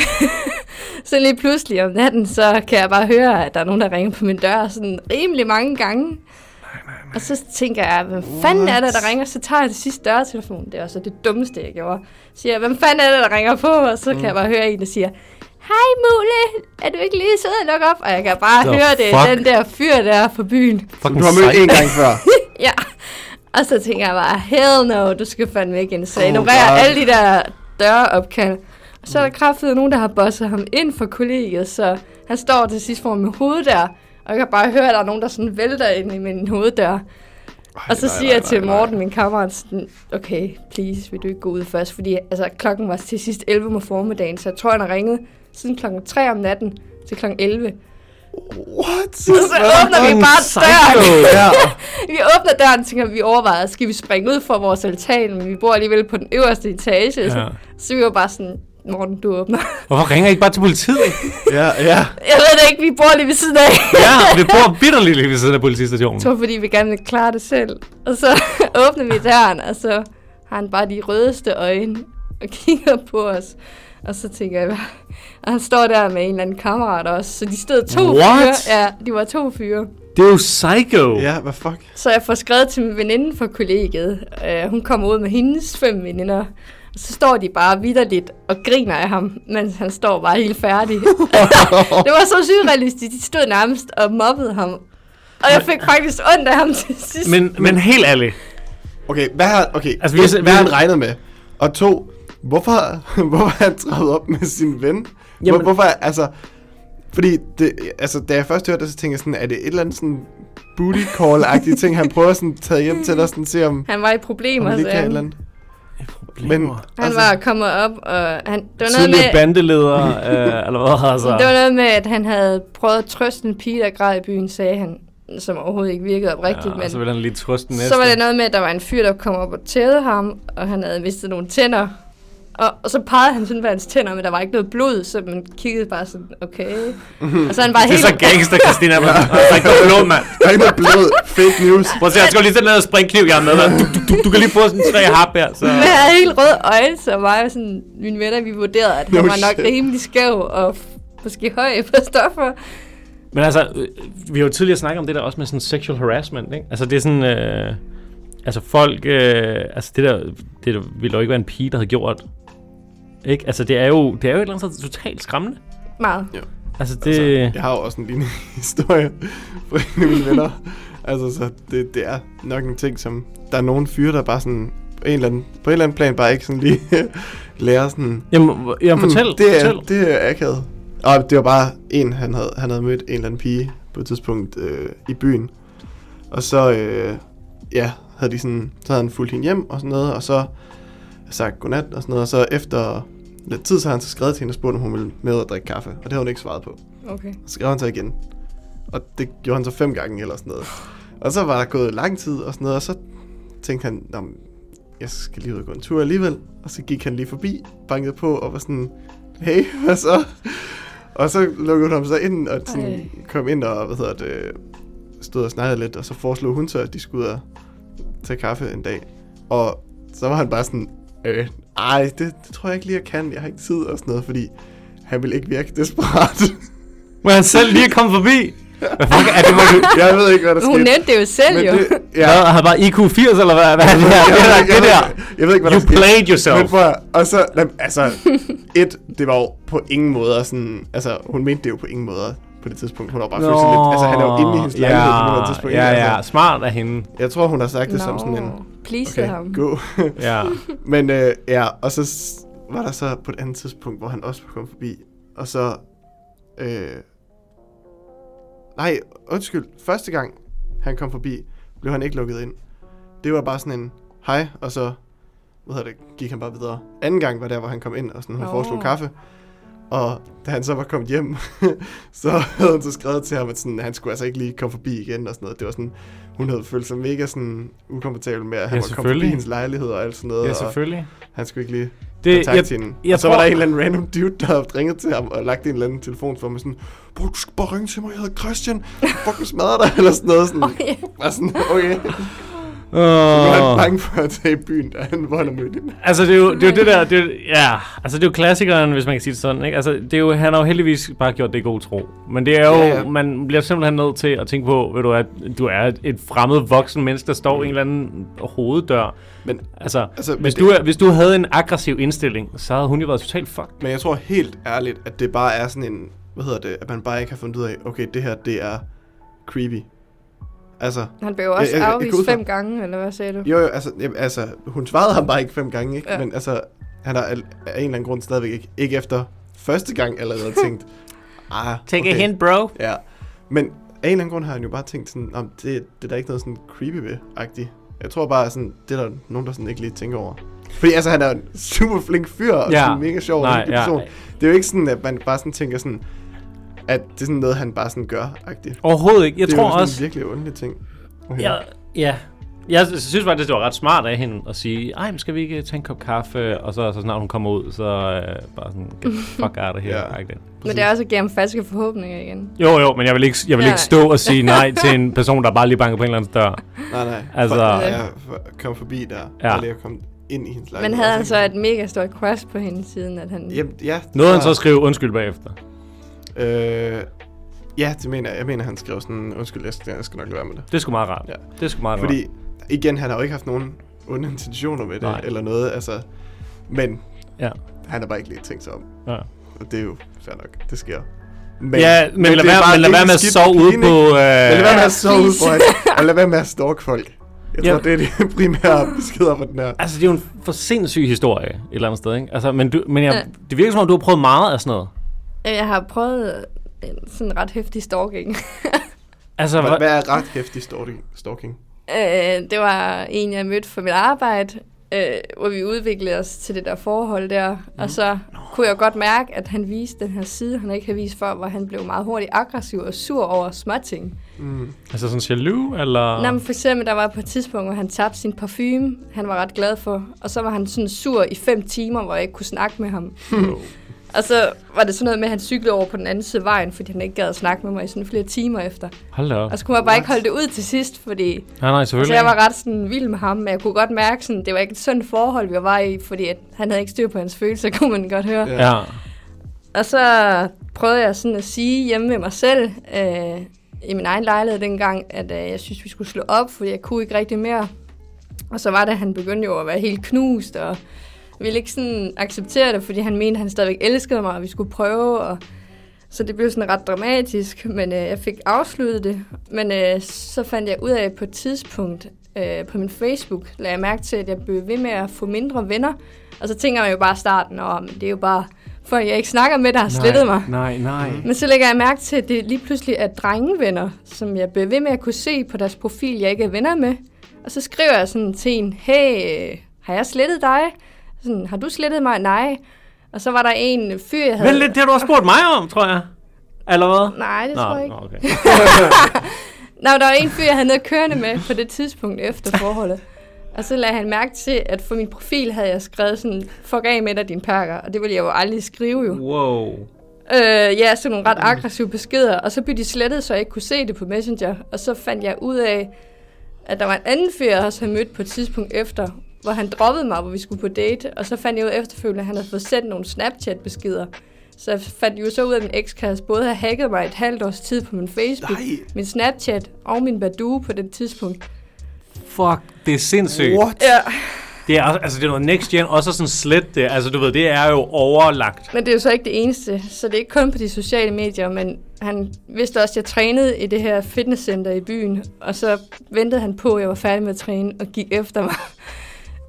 [SPEAKER 3] <laughs> så lige pludselig om natten, så kan jeg bare høre, at der er nogen, der ringer på min dør, sådan rimelig mange gange. Og så tænker jeg, hvem fanden er det, der ringer? Så tager jeg det sidste dørtelefon. Det var så det dummeste, jeg gjorde. Så siger jeg, hvem fanden er det, der ringer på? Og så kan jeg bare høre en, der siger, Hej Mule, er du ikke lige sød at lukke op? Og jeg kan bare
[SPEAKER 1] The
[SPEAKER 3] høre det,
[SPEAKER 1] fuck?
[SPEAKER 3] den der fyr der fra byen.
[SPEAKER 2] Så
[SPEAKER 1] Fucking
[SPEAKER 2] du har mødt
[SPEAKER 1] sej.
[SPEAKER 2] en gang <laughs> før.
[SPEAKER 3] Ja. Og så tænker jeg bare, hell no, du skal fandme ikke ind. Så jeg
[SPEAKER 2] Oh
[SPEAKER 3] ignorerer
[SPEAKER 2] God.
[SPEAKER 3] alle de der døreopkald. Og så er der kraftedet nogen, der har bosset ham ind for kollegiet, så han står til sidst foran min hoveddør. Og jeg kan bare høre, at der er nogen, der sådan vælter ind i min hoveddør. Og så
[SPEAKER 2] nej,
[SPEAKER 3] siger jeg
[SPEAKER 2] nej,
[SPEAKER 3] til
[SPEAKER 2] nej, nej.
[SPEAKER 3] Morten, min kammerat, sådan, okay, please, vil du ikke gå ud først? Fordi altså, klokken var til sidst 11 om formiddagen, så jeg tror, han har ringet siden klokken 3 om natten til klokken 11. <laughs>
[SPEAKER 2] What?
[SPEAKER 3] Og så åbner vi bare døren.
[SPEAKER 2] Ja.
[SPEAKER 3] Vi åbner døren, tænker vi overvejer, skal vi springe ud fra vores altan, men vi bor alligevel på den øverste etage. Ja.
[SPEAKER 1] Ja.
[SPEAKER 3] Så, så vi var bare sådan, Morten, du åbner.
[SPEAKER 1] <laughs> Hvorfor ringer I ikke bare til politiet?
[SPEAKER 2] ja, ja.
[SPEAKER 3] <laughs> Jeg ved det ikke, vi bor lige ved siden af.
[SPEAKER 1] ja, vi bor bitterligt lige ved siden af politistationen.
[SPEAKER 3] Jeg tror, fordi vi gerne vil klare det selv. Og så <laughs> åbner vi døren, og så har han bare de rødeste øjne og kigger på os. Og så tænker jeg bare, og han står der med en eller anden kammerat også, så de stod to
[SPEAKER 1] What?
[SPEAKER 3] fyre. Ja, de var to fyre.
[SPEAKER 1] Det er jo psycho.
[SPEAKER 2] Ja, hvad fuck?
[SPEAKER 3] Så jeg får skrevet til min veninde fra kollegiet. Uh, hun kommer ud med hendes fem veninder. Og så står de bare vidderligt og griner af ham, mens han står bare helt færdig.
[SPEAKER 1] <laughs>
[SPEAKER 3] <laughs> det var så surrealistisk. De stod nærmest og mobbede ham. Og jeg fik faktisk ondt af ham til sidst.
[SPEAKER 1] Men, men helt ærligt.
[SPEAKER 2] Okay, hvad har, okay,
[SPEAKER 1] Altså,
[SPEAKER 2] altså,
[SPEAKER 1] vi
[SPEAKER 2] vi
[SPEAKER 1] har
[SPEAKER 2] har,
[SPEAKER 1] se-
[SPEAKER 2] hvad
[SPEAKER 1] vi-
[SPEAKER 2] har han regnet med? Og to, hvorfor, <laughs> hvorfor har han trædet op med sin ven? Hvor,
[SPEAKER 1] Jamen-
[SPEAKER 2] hvorfor, altså... Fordi, det, altså, da jeg først hørte det, så tænkte jeg sådan, er det et eller andet sådan booty call-agtige ting, han prøver sådan at tage hjem til og sådan se, om,
[SPEAKER 3] Han var i problemer.
[SPEAKER 2] om han lige
[SPEAKER 3] så
[SPEAKER 2] kan et eller
[SPEAKER 3] han,
[SPEAKER 2] andet. Altså- Men,
[SPEAKER 3] han var kommet op, og han, det, var noget
[SPEAKER 1] Tidligere <laughs>
[SPEAKER 3] med,
[SPEAKER 1] bandeleder, øh, eller hvad altså.
[SPEAKER 3] det var noget med, at han havde prøvet at trøste en pige, der græd i byen, sagde han, som overhovedet ikke virkede oprigtigt.
[SPEAKER 1] Ja, og
[SPEAKER 3] men
[SPEAKER 1] så vil han lige trøste den næste.
[SPEAKER 3] Så var det noget med, at der var en fyr, der kom op og tævede ham, og han havde mistet nogle tænder. Og, og så pegede han sådan på hans tænder, men der var ikke noget blod, så man kiggede bare sådan,
[SPEAKER 1] <laughs>
[SPEAKER 3] okay. Og så er han bare
[SPEAKER 1] det er
[SPEAKER 3] helt...
[SPEAKER 1] så
[SPEAKER 3] <laughs>
[SPEAKER 1] gangster, Christina. Altså, Man. Ja. Der er ikke noget blod, mand.
[SPEAKER 2] Altså, der er ikke noget blod, fake news.
[SPEAKER 1] Prøv at se, jeg skal jo lige sætte ned og springe kniv, jeg har med. mand. Du, du, du, du kan lige få sådan tre hap her. Så.
[SPEAKER 3] Men jeg havde helt røde øjne, så mig og sådan, mine venner, vi vurderede, at han
[SPEAKER 2] No
[SPEAKER 3] var nok
[SPEAKER 2] shit.
[SPEAKER 3] rimelig skæv og f- måske høj på stoffer.
[SPEAKER 1] Men altså, øh, vi har jo tidligere snakket om det der også med sådan sexual harassment, ikke? Altså det er sådan, øh, altså folk, øh, altså det der, det der ville jo ikke være en pige, der havde gjort. Ikke? Altså det er jo, det er jo et eller andet sted totalt skræmmende.
[SPEAKER 3] Meget.
[SPEAKER 1] Altså det,
[SPEAKER 2] Altså,
[SPEAKER 1] altså, ja.
[SPEAKER 2] jeg har jo også en lignende <laughs> historie fra en af mine venner. Altså, så det, det er nok en ting, som... Der er nogle fyre, der bare sådan... På en eller anden, på en eller anden plan bare ikke sådan lige <laughs> lærer sådan...
[SPEAKER 1] jamen, hvor- jamen fortæl,
[SPEAKER 2] "Hmm, det er,
[SPEAKER 1] fortæl. Det.
[SPEAKER 2] Det er akavet. Og det var bare en, han havde, han havde mødt en eller anden pige på et tidspunkt øh, i byen. Og så, øh, ja, havde de sådan, så havde han fulgt hende hjem og sådan noget, og så sagt godnat og sådan noget, og så efter lidt tid, så havde han så skrevet til hende og spurgt, om hun ville med at drikke kaffe, og det havde hun ikke svaret på.
[SPEAKER 3] Okay.
[SPEAKER 2] Så skrev han så igen. Og det gjorde han så fem gange eller sådan noget. Og så var der gået lang tid og sådan noget, og så tænkte han, Nå, men jeg skal lige ud og gå en tur alligevel. Og så gik han lige forbi, bankede på og var sådan, hey, hvad så? Og så lukkede hun ham så ind og sådan,
[SPEAKER 3] Ej.
[SPEAKER 2] kom ind og hvad hedder det, stod og snakkede lidt, og så foreslog hun så, at de skulle ud og tage kaffe en dag. Og så var han bare sådan, øh, ej, det, det tror jeg ikke lige, jeg kan. Jeg har ikke tid og sådan noget, fordi han ville ikke virke desperat.
[SPEAKER 1] Må han selv lige komme forbi? Hvad fuck er det, hvor du...
[SPEAKER 2] Jeg ved ikke, hvad der
[SPEAKER 3] Hun
[SPEAKER 2] skete.
[SPEAKER 3] nævnte det jo selv jo.
[SPEAKER 2] det,
[SPEAKER 1] Ja. <laughs>
[SPEAKER 2] ja.
[SPEAKER 1] Hvad, har bare IQ 80, eller hvad, hvad er det her?
[SPEAKER 2] Jeg
[SPEAKER 1] Det
[SPEAKER 2] ved
[SPEAKER 1] der,
[SPEAKER 2] ikke-
[SPEAKER 1] det
[SPEAKER 2] jeg ved
[SPEAKER 1] der.
[SPEAKER 2] ikke- Jeg ved ikke, hvad
[SPEAKER 1] You
[SPEAKER 2] der skete.
[SPEAKER 1] played yourself.
[SPEAKER 2] Men prøv, at- og så, jamen, altså, et, det var jo på ingen måder sådan, altså, hun mente det jo på ingen måder på det tidspunkt. Hun var bare følt lidt, altså, han er jo inde i hendes
[SPEAKER 1] Nå,
[SPEAKER 2] lejlighed på
[SPEAKER 1] ja,
[SPEAKER 2] det tidspunkt.
[SPEAKER 1] Ja,
[SPEAKER 2] ikke?
[SPEAKER 1] ja,
[SPEAKER 2] Altså,
[SPEAKER 1] smart af hende.
[SPEAKER 2] jeg tror, hun har sagt det
[SPEAKER 3] Nå,
[SPEAKER 2] som sådan en,
[SPEAKER 3] please
[SPEAKER 2] okay,
[SPEAKER 3] ham.
[SPEAKER 2] gå. <laughs>
[SPEAKER 1] Ja.
[SPEAKER 2] Men øh, ja, og så s- var der så på et andet tidspunkt, hvor han også kom forbi, og så... Øh, nej, undskyld. Første gang, han kom forbi, blev han ikke lukket ind. Det var bare sådan en hej, og så hvad hedder det, gik han bare videre. Anden gang var der, hvor han kom ind, og sådan, hun
[SPEAKER 3] Nå.
[SPEAKER 2] oh. foreslog kaffe. Og da han så var kommet hjem, <laughs> så havde hun så skrevet til ham, at sådan, han skulle altså ikke lige komme forbi igen og sådan noget. Det var sådan, hun havde følt sig mega sådan ukomfortabel med, at han
[SPEAKER 1] Ja,
[SPEAKER 2] ja, var kommet forbi
[SPEAKER 1] selvfølgelig.
[SPEAKER 2] hendes lejlighed og alt sådan noget.
[SPEAKER 1] Ja,
[SPEAKER 2] og-
[SPEAKER 1] selvfølgelig.
[SPEAKER 2] han skulle ikke lige
[SPEAKER 1] Det-
[SPEAKER 2] det, kontakte
[SPEAKER 1] jeg-
[SPEAKER 2] jeg, hende.
[SPEAKER 1] jeg
[SPEAKER 2] Jeg så
[SPEAKER 1] tror-
[SPEAKER 2] var der en eller anden random dude, der havde ringet til ham og lagt en eller anden telefon for mig sådan, Bro, du skal bare ringe til mig, jeg hedder Christian. Fucking smadrer dig, <laughs> eller sådan noget. Sådan,
[SPEAKER 3] Okay.
[SPEAKER 2] Bare sådan, <laughs> okay. Nu er han
[SPEAKER 1] Åh.
[SPEAKER 2] bange for at tage i byen, da han, hvor han har mødt hende.
[SPEAKER 1] Altså, det er jo det, er jo det der, det er, jo- ja, altså det er jo klassikeren, hvis man kan sige det sådan, ikke? Altså, det er jo, han har jo heldigvis bare gjort det i god tro. Men det er jo, ja,
[SPEAKER 2] Ja,
[SPEAKER 1] ja.
[SPEAKER 2] ja.
[SPEAKER 1] man bliver simpelthen nødt til at tænke på, ved du, at du er et- et fremmed voksen menneske, der står i en eller anden hoveddør.
[SPEAKER 2] Men,
[SPEAKER 1] Altså, altså
[SPEAKER 2] Altså, men
[SPEAKER 1] hvis,
[SPEAKER 2] det-
[SPEAKER 1] du, er- hvis du havde en aggressiv indstilling, så havde hun jo været totalt fucked.
[SPEAKER 2] men jeg tror helt ærligt, at det bare er sådan en, hvad hedder det, at man bare ikke har fundet ud af, okay, det her, det er creepy. Altså,
[SPEAKER 3] Han blev jo også
[SPEAKER 2] Jeg- jeg- jeg går
[SPEAKER 3] afvist
[SPEAKER 2] ud fra-
[SPEAKER 3] fem gange, eller hvad sagde du?
[SPEAKER 2] jo jo, altså, jamen, altså hun svarede ham bare ikke fem gange, ikke?
[SPEAKER 3] Ja.
[SPEAKER 2] Ja. Men altså, han har al- af en eller anden grund stadigvæk ikke, ikke efter første gang allerede tænkt, ah, okay.
[SPEAKER 1] bro.
[SPEAKER 2] Ja, men af en eller anden grund har han jo bare tænkt sådan, om det, det er der ikke noget sådan creepy ved -agtigt. Jeg tror bare, sådan, det er der nogen, der sådan ikke lige tænker over. Fordi altså, han er en super flink fyr, og
[SPEAKER 1] Ja.
[SPEAKER 2] ja. sådan en mega sjov og
[SPEAKER 1] Nej,
[SPEAKER 2] hyggelig
[SPEAKER 1] ja.
[SPEAKER 2] person. Det er jo ikke sådan, at man bare sådan tænker sådan, at det er sådan noget, han bare sådan gør -agtigt.
[SPEAKER 1] Overhovedet ikke. Jeg
[SPEAKER 2] det er
[SPEAKER 1] tror
[SPEAKER 2] jo ligesom sådan
[SPEAKER 1] også...
[SPEAKER 2] en virkelig ondelig ting. Okay.
[SPEAKER 1] Ja, ja. Jeg sy- synes faktisk, det var ret smart af hende at sige, ej, men skal vi ikke tage en kop kaffe? Og så, så snart hun kommer ud, så øh, bare sådan, get <laughs> the fuck out of
[SPEAKER 2] Ja.
[SPEAKER 1] here. agtigt.
[SPEAKER 3] Men det er også at give ham falske forhåbninger igen.
[SPEAKER 1] Jo, jo, men jeg vil ikke, jeg vil
[SPEAKER 3] Ja.
[SPEAKER 1] ikke stå og sige
[SPEAKER 3] <laughs>
[SPEAKER 1] nej til en person, der bare lige banker på en eller anden dør.
[SPEAKER 2] Nej, nej.
[SPEAKER 1] Altså-
[SPEAKER 2] For, ja, for, kom forbi der,
[SPEAKER 1] Ja.
[SPEAKER 2] ja. og lige at komme ind i hendes lejlighed.
[SPEAKER 3] Men havde han så et mega stort crush på hende siden, at han...
[SPEAKER 2] Jamen, ja.
[SPEAKER 1] Nåede han så at skrive undskyld bagefter?
[SPEAKER 2] Øh, ja, det mener jeg. Jeg mener, han skrev sådan, undskyld, jeg skal, jeg skal nok lade være med det.
[SPEAKER 1] Det er sgu meget rart.
[SPEAKER 2] Ja.
[SPEAKER 1] Det er sgu meget rart.
[SPEAKER 2] Fordi, igen, han har jo ikke haft nogen onde intentioner med det,
[SPEAKER 1] Nej.
[SPEAKER 2] Nej. eller noget, altså. Men
[SPEAKER 1] Ja.
[SPEAKER 2] han har bare ikke lige tænkt sig om,
[SPEAKER 1] Ja.
[SPEAKER 2] og det er jo fair nok, det sker. Men,
[SPEAKER 1] ja, men, men lad, være, men lad være med at sove ude på...
[SPEAKER 2] Øh, lad være med
[SPEAKER 1] Øh,
[SPEAKER 2] at sove ude
[SPEAKER 3] please.
[SPEAKER 2] foran, og lad være med at stalk folk. Jeg
[SPEAKER 1] Ja.
[SPEAKER 2] tror, det er det <laughs> primære beskeder på den her.
[SPEAKER 1] altså, det er jo en for sindssyg historie et eller andet sted, ikke? Altså, men, du, men jeg,
[SPEAKER 3] Ja.
[SPEAKER 1] det virker som om, du har prøvet meget af sådan noget.
[SPEAKER 3] Jeg har prøvet en sådan ret hæftig stalking. <laughs>
[SPEAKER 1] Altså,
[SPEAKER 2] Hvad,
[SPEAKER 1] hvor-
[SPEAKER 2] hvad er ret hæftig stalking? stalking?
[SPEAKER 3] Øh, det var en, jeg mødte for mit arbejde, øh, hvor vi udviklede os til det der forhold der. Mm. Og så kunne jeg godt mærke, at han viste den her side, han ikke havde vist før, hvor han blev meget hurtigt aggressiv og sur over småting.
[SPEAKER 1] altså sådan jaloux, eller...
[SPEAKER 3] Nå, men for eksempel, der var på et tidspunkt, hvor han tabte sin parfume, han var ret glad for, og så var han sådan sur i fem timer, hvor jeg ikke kunne snakke med ham. Og så var det sådan noget med, at han cyklede over på den anden side af vejen, fordi han ikke gad at snakke med mig i sådan flere timer efter.
[SPEAKER 1] Hold da op.
[SPEAKER 3] Og så kunne jeg bare ikke holde det ud til sidst, fordi
[SPEAKER 1] Nej, nej,
[SPEAKER 3] så
[SPEAKER 1] selvfølgelig.
[SPEAKER 3] altså- jeg var ret sådan vild med ham, men jeg kunne godt mærke, sådan, det var ikke et sundt forhold, vi var i, fordi at han havde ikke styr på hans følelser, <laughs> kunne man godt høre.
[SPEAKER 2] Ja.
[SPEAKER 1] Ja.
[SPEAKER 3] Og så prøvede jeg sådan at sige hjemme med mig selv, øh, i min egen lejlighed dengang, at øh, jeg synes, vi skulle slå op, fordi jeg kunne ikke rigtig mere. Og så var det, at han begyndte jo at være helt knust, og ville ikke sådan acceptere det, fordi han mente, at han stadigvæk elskede mig, og vi skulle prøve. Og så det blev sådan ret dramatisk, men øh, jeg fik afsluttet det. Men øh, så fandt jeg ud af på et tidspunkt øh, på min Facebook, lagde jeg mærke til, at jeg blev ved med at få mindre venner. Og så tænker man jo bare i starten, at det er jo bare folk, jeg ikke snakker med, der har slettet mig.
[SPEAKER 1] Nej, nej.
[SPEAKER 3] Men så lægger jeg mærke til, at det lige pludselig er drengevenner, som jeg bliver ved med at kunne se på deres profil, jeg ikke er venner med. Og så skriver jeg sådan til en, hey, øh, har jeg slettet dig? Sådan, har du slettet mig? Nej. Og så var der en fyr,
[SPEAKER 2] Mm.
[SPEAKER 3] jeg havde...
[SPEAKER 1] Vel, det har du også spurgt mig om, tror jeg. Eller hvad?
[SPEAKER 3] Nej, det tror jeg ikke.
[SPEAKER 1] nå, okay.
[SPEAKER 3] Nå, der var en fyr, jeg havde noget kørende med på det tidspunkt
[SPEAKER 1] <laughs>
[SPEAKER 3] efter forholdet. Og så lagde han mærke til, at for min profil havde jeg skrevet sådan, fuck af med dig, din pakker. Og det ville jeg jo aldrig skrive jo.
[SPEAKER 1] Wow.
[SPEAKER 3] Øh, ja, sådan nogle ret aggressive beskeder, og så blev de slettet, så jeg ikke kunne se det på Messenger. Og så fandt jeg ud af, at der var en anden fyr, jeg også havde mødt på et tidspunkt efter, hvor han droppede mig, hvor vi skulle på date, og så fandt jeg ud efterfølgende, at han havde fået sendt nogle Snapchat-beskeder. Så jeg fandt jo så ud af, at min ekskæreste både havde hacket mig et halvt års tid på min Facebook,
[SPEAKER 2] Nej.
[SPEAKER 3] min Snapchat og min Badoo på det tidspunkt.
[SPEAKER 1] Fuck, det er sindssygt. What?
[SPEAKER 3] Ja,
[SPEAKER 1] Det er, også- altså, det er noget next gen, og så sådan slet det. Altså, du ved, det er jo overlagt.
[SPEAKER 3] men det er jo så ikke det eneste, så det er ikke kun på de sociale medier, men han vidste også, at jeg trænede i det her fitnesscenter i byen, og så ventede han på, at jeg var færdig med at træne, og gik efter mig. <laughs>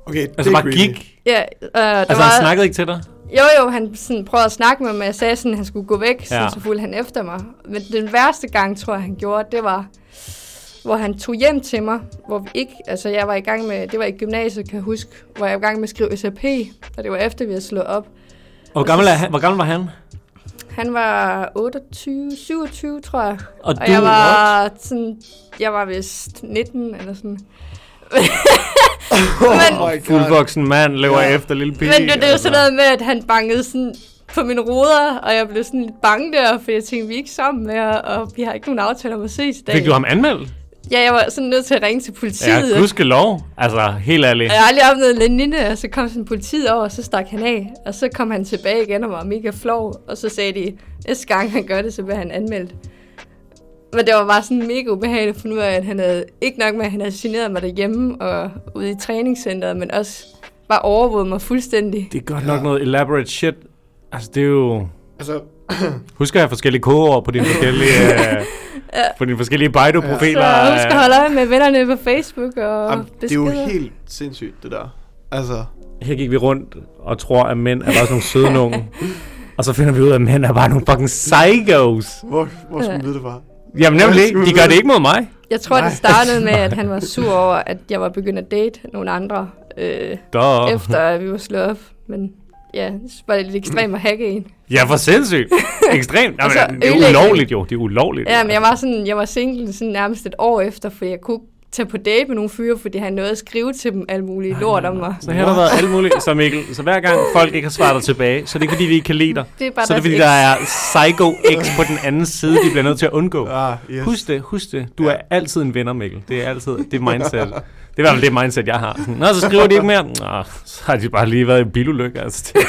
[SPEAKER 2] Okay, det
[SPEAKER 1] Altså,
[SPEAKER 2] er
[SPEAKER 1] bare
[SPEAKER 2] creepy.
[SPEAKER 1] gik.
[SPEAKER 3] Ja, øh, der
[SPEAKER 1] Altså,
[SPEAKER 3] var,
[SPEAKER 1] han snakkede ikke til dig?
[SPEAKER 3] Jo, jo, han sådan prøvede at snakke med mig, men jeg sagde sådan, at han skulle gå væk, ja.
[SPEAKER 1] Ja.
[SPEAKER 3] så, så fulgte han efter mig. Men den værste gang, tror jeg, han gjorde, det var, hvor han tog hjem til mig, hvor vi ikke, altså jeg var i gang med, det var i gymnasiet, kan jeg huske, hvor jeg var i gang med at skrive SAP, og det var efter, vi havde slået op.
[SPEAKER 1] Hvor gammel, er han, hvor gammel var han?
[SPEAKER 3] Han var 28, 27, tror jeg.
[SPEAKER 1] Og,
[SPEAKER 3] Og jeg var sådan, jeg var vist 19 eller sådan. men,
[SPEAKER 2] <laughs> Oh my god.
[SPEAKER 1] Fuldvoksen mand lever
[SPEAKER 2] Ja.
[SPEAKER 1] ja. efter lille pige.
[SPEAKER 3] Men det, det er jo
[SPEAKER 1] altså.
[SPEAKER 3] sådan noget med, at han bankede sådan på mine ruder, og jeg blev sådan lidt bange der, for jeg tænkte, vi er ikke sammen mere, og vi har ikke nogen aftale om at ses i dag.
[SPEAKER 1] Altså, Fik du ham anmeldt?
[SPEAKER 3] Ja, jeg var sådan nødt til at ringe til politiet.
[SPEAKER 1] Ja, gudskelov. Altså, helt ærligt.
[SPEAKER 3] og jeg har aldrig oplevet Lenine, og så kom sådan politiet over, og så stak han af. Og så kom han tilbage igen og var mega flov, og så sagde de, næste gang han gør det, så bliver han anmeldt. Men det var bare sådan mega ubehageligt at finde ud af, at han havde, ikke nok med, at han havde generet mig derhjemme og ude i træningscenteret, men også bare overvåget mig fuldstændig.
[SPEAKER 1] Det er godt nok noget elaborate shit. Altså, det er jo...
[SPEAKER 2] Altså,
[SPEAKER 1] Husker jeg forskellige kodeord
[SPEAKER 3] <laughs>
[SPEAKER 1] på dine forskellige... øh, på dine forskellige Baidu-profiler?
[SPEAKER 3] Så husk at
[SPEAKER 1] øh,
[SPEAKER 3] holde øje med vennerne på Facebook og
[SPEAKER 2] am,
[SPEAKER 3] beskeder.
[SPEAKER 2] det er jo helt sindssygt, det der. Altså,
[SPEAKER 1] Her gik vi rundt og tror, at mænd er bare sådan nogle søde nogen. Og så finder vi ud af, at mænd er bare nogle fucking psychos.
[SPEAKER 2] hvor, hvor skulle
[SPEAKER 3] Ja.
[SPEAKER 2] man vide det fra?
[SPEAKER 1] Jamen nemlig, ikke. de gør det ikke mod mig.
[SPEAKER 3] Jeg tror, det startede
[SPEAKER 2] <laughs>
[SPEAKER 3] med, at han var sur over, at jeg var begyndt at date nogle andre, øh,
[SPEAKER 1] Duh.
[SPEAKER 3] efter at vi var slået op. Men ja, så var det lidt ekstremt at hacke en.
[SPEAKER 1] Ja, for sindssygt. Ekstremt. Jamen,
[SPEAKER 3] <laughs> Altså,
[SPEAKER 1] det er
[SPEAKER 3] ødelæggende.
[SPEAKER 1] ulovligt jo. Det er ulovligt.
[SPEAKER 3] Ja, men jeg var, sådan, jeg var single sådan nærmest et år efter, for jeg kunne ikke tage på date med nogle fyre, fordi han nåede at skrive til dem alle mulige lort om mig.
[SPEAKER 1] Så her har der været alt muligt. Så Mikkel, så hver gang folk ikke har svaret dig tilbage, så er det ikke fordi, vi ikke kan lide dig.
[SPEAKER 3] Det er bare
[SPEAKER 1] så er det
[SPEAKER 3] deres
[SPEAKER 1] fordi, der er
[SPEAKER 3] ex.
[SPEAKER 1] psycho X på den anden side, de bliver nødt til at undgå.
[SPEAKER 2] Ah, yes.
[SPEAKER 1] Husk det, husk det. Du er altid en vinder, Mikkel. Det er
[SPEAKER 2] <laughs>
[SPEAKER 1] altid det mindset. Det er i hvert fald det mindset, jeg har. Sådan, Nå, så skriver de ikke mere. Nå, så har de bare lige været i en bilulykke. Altså, det,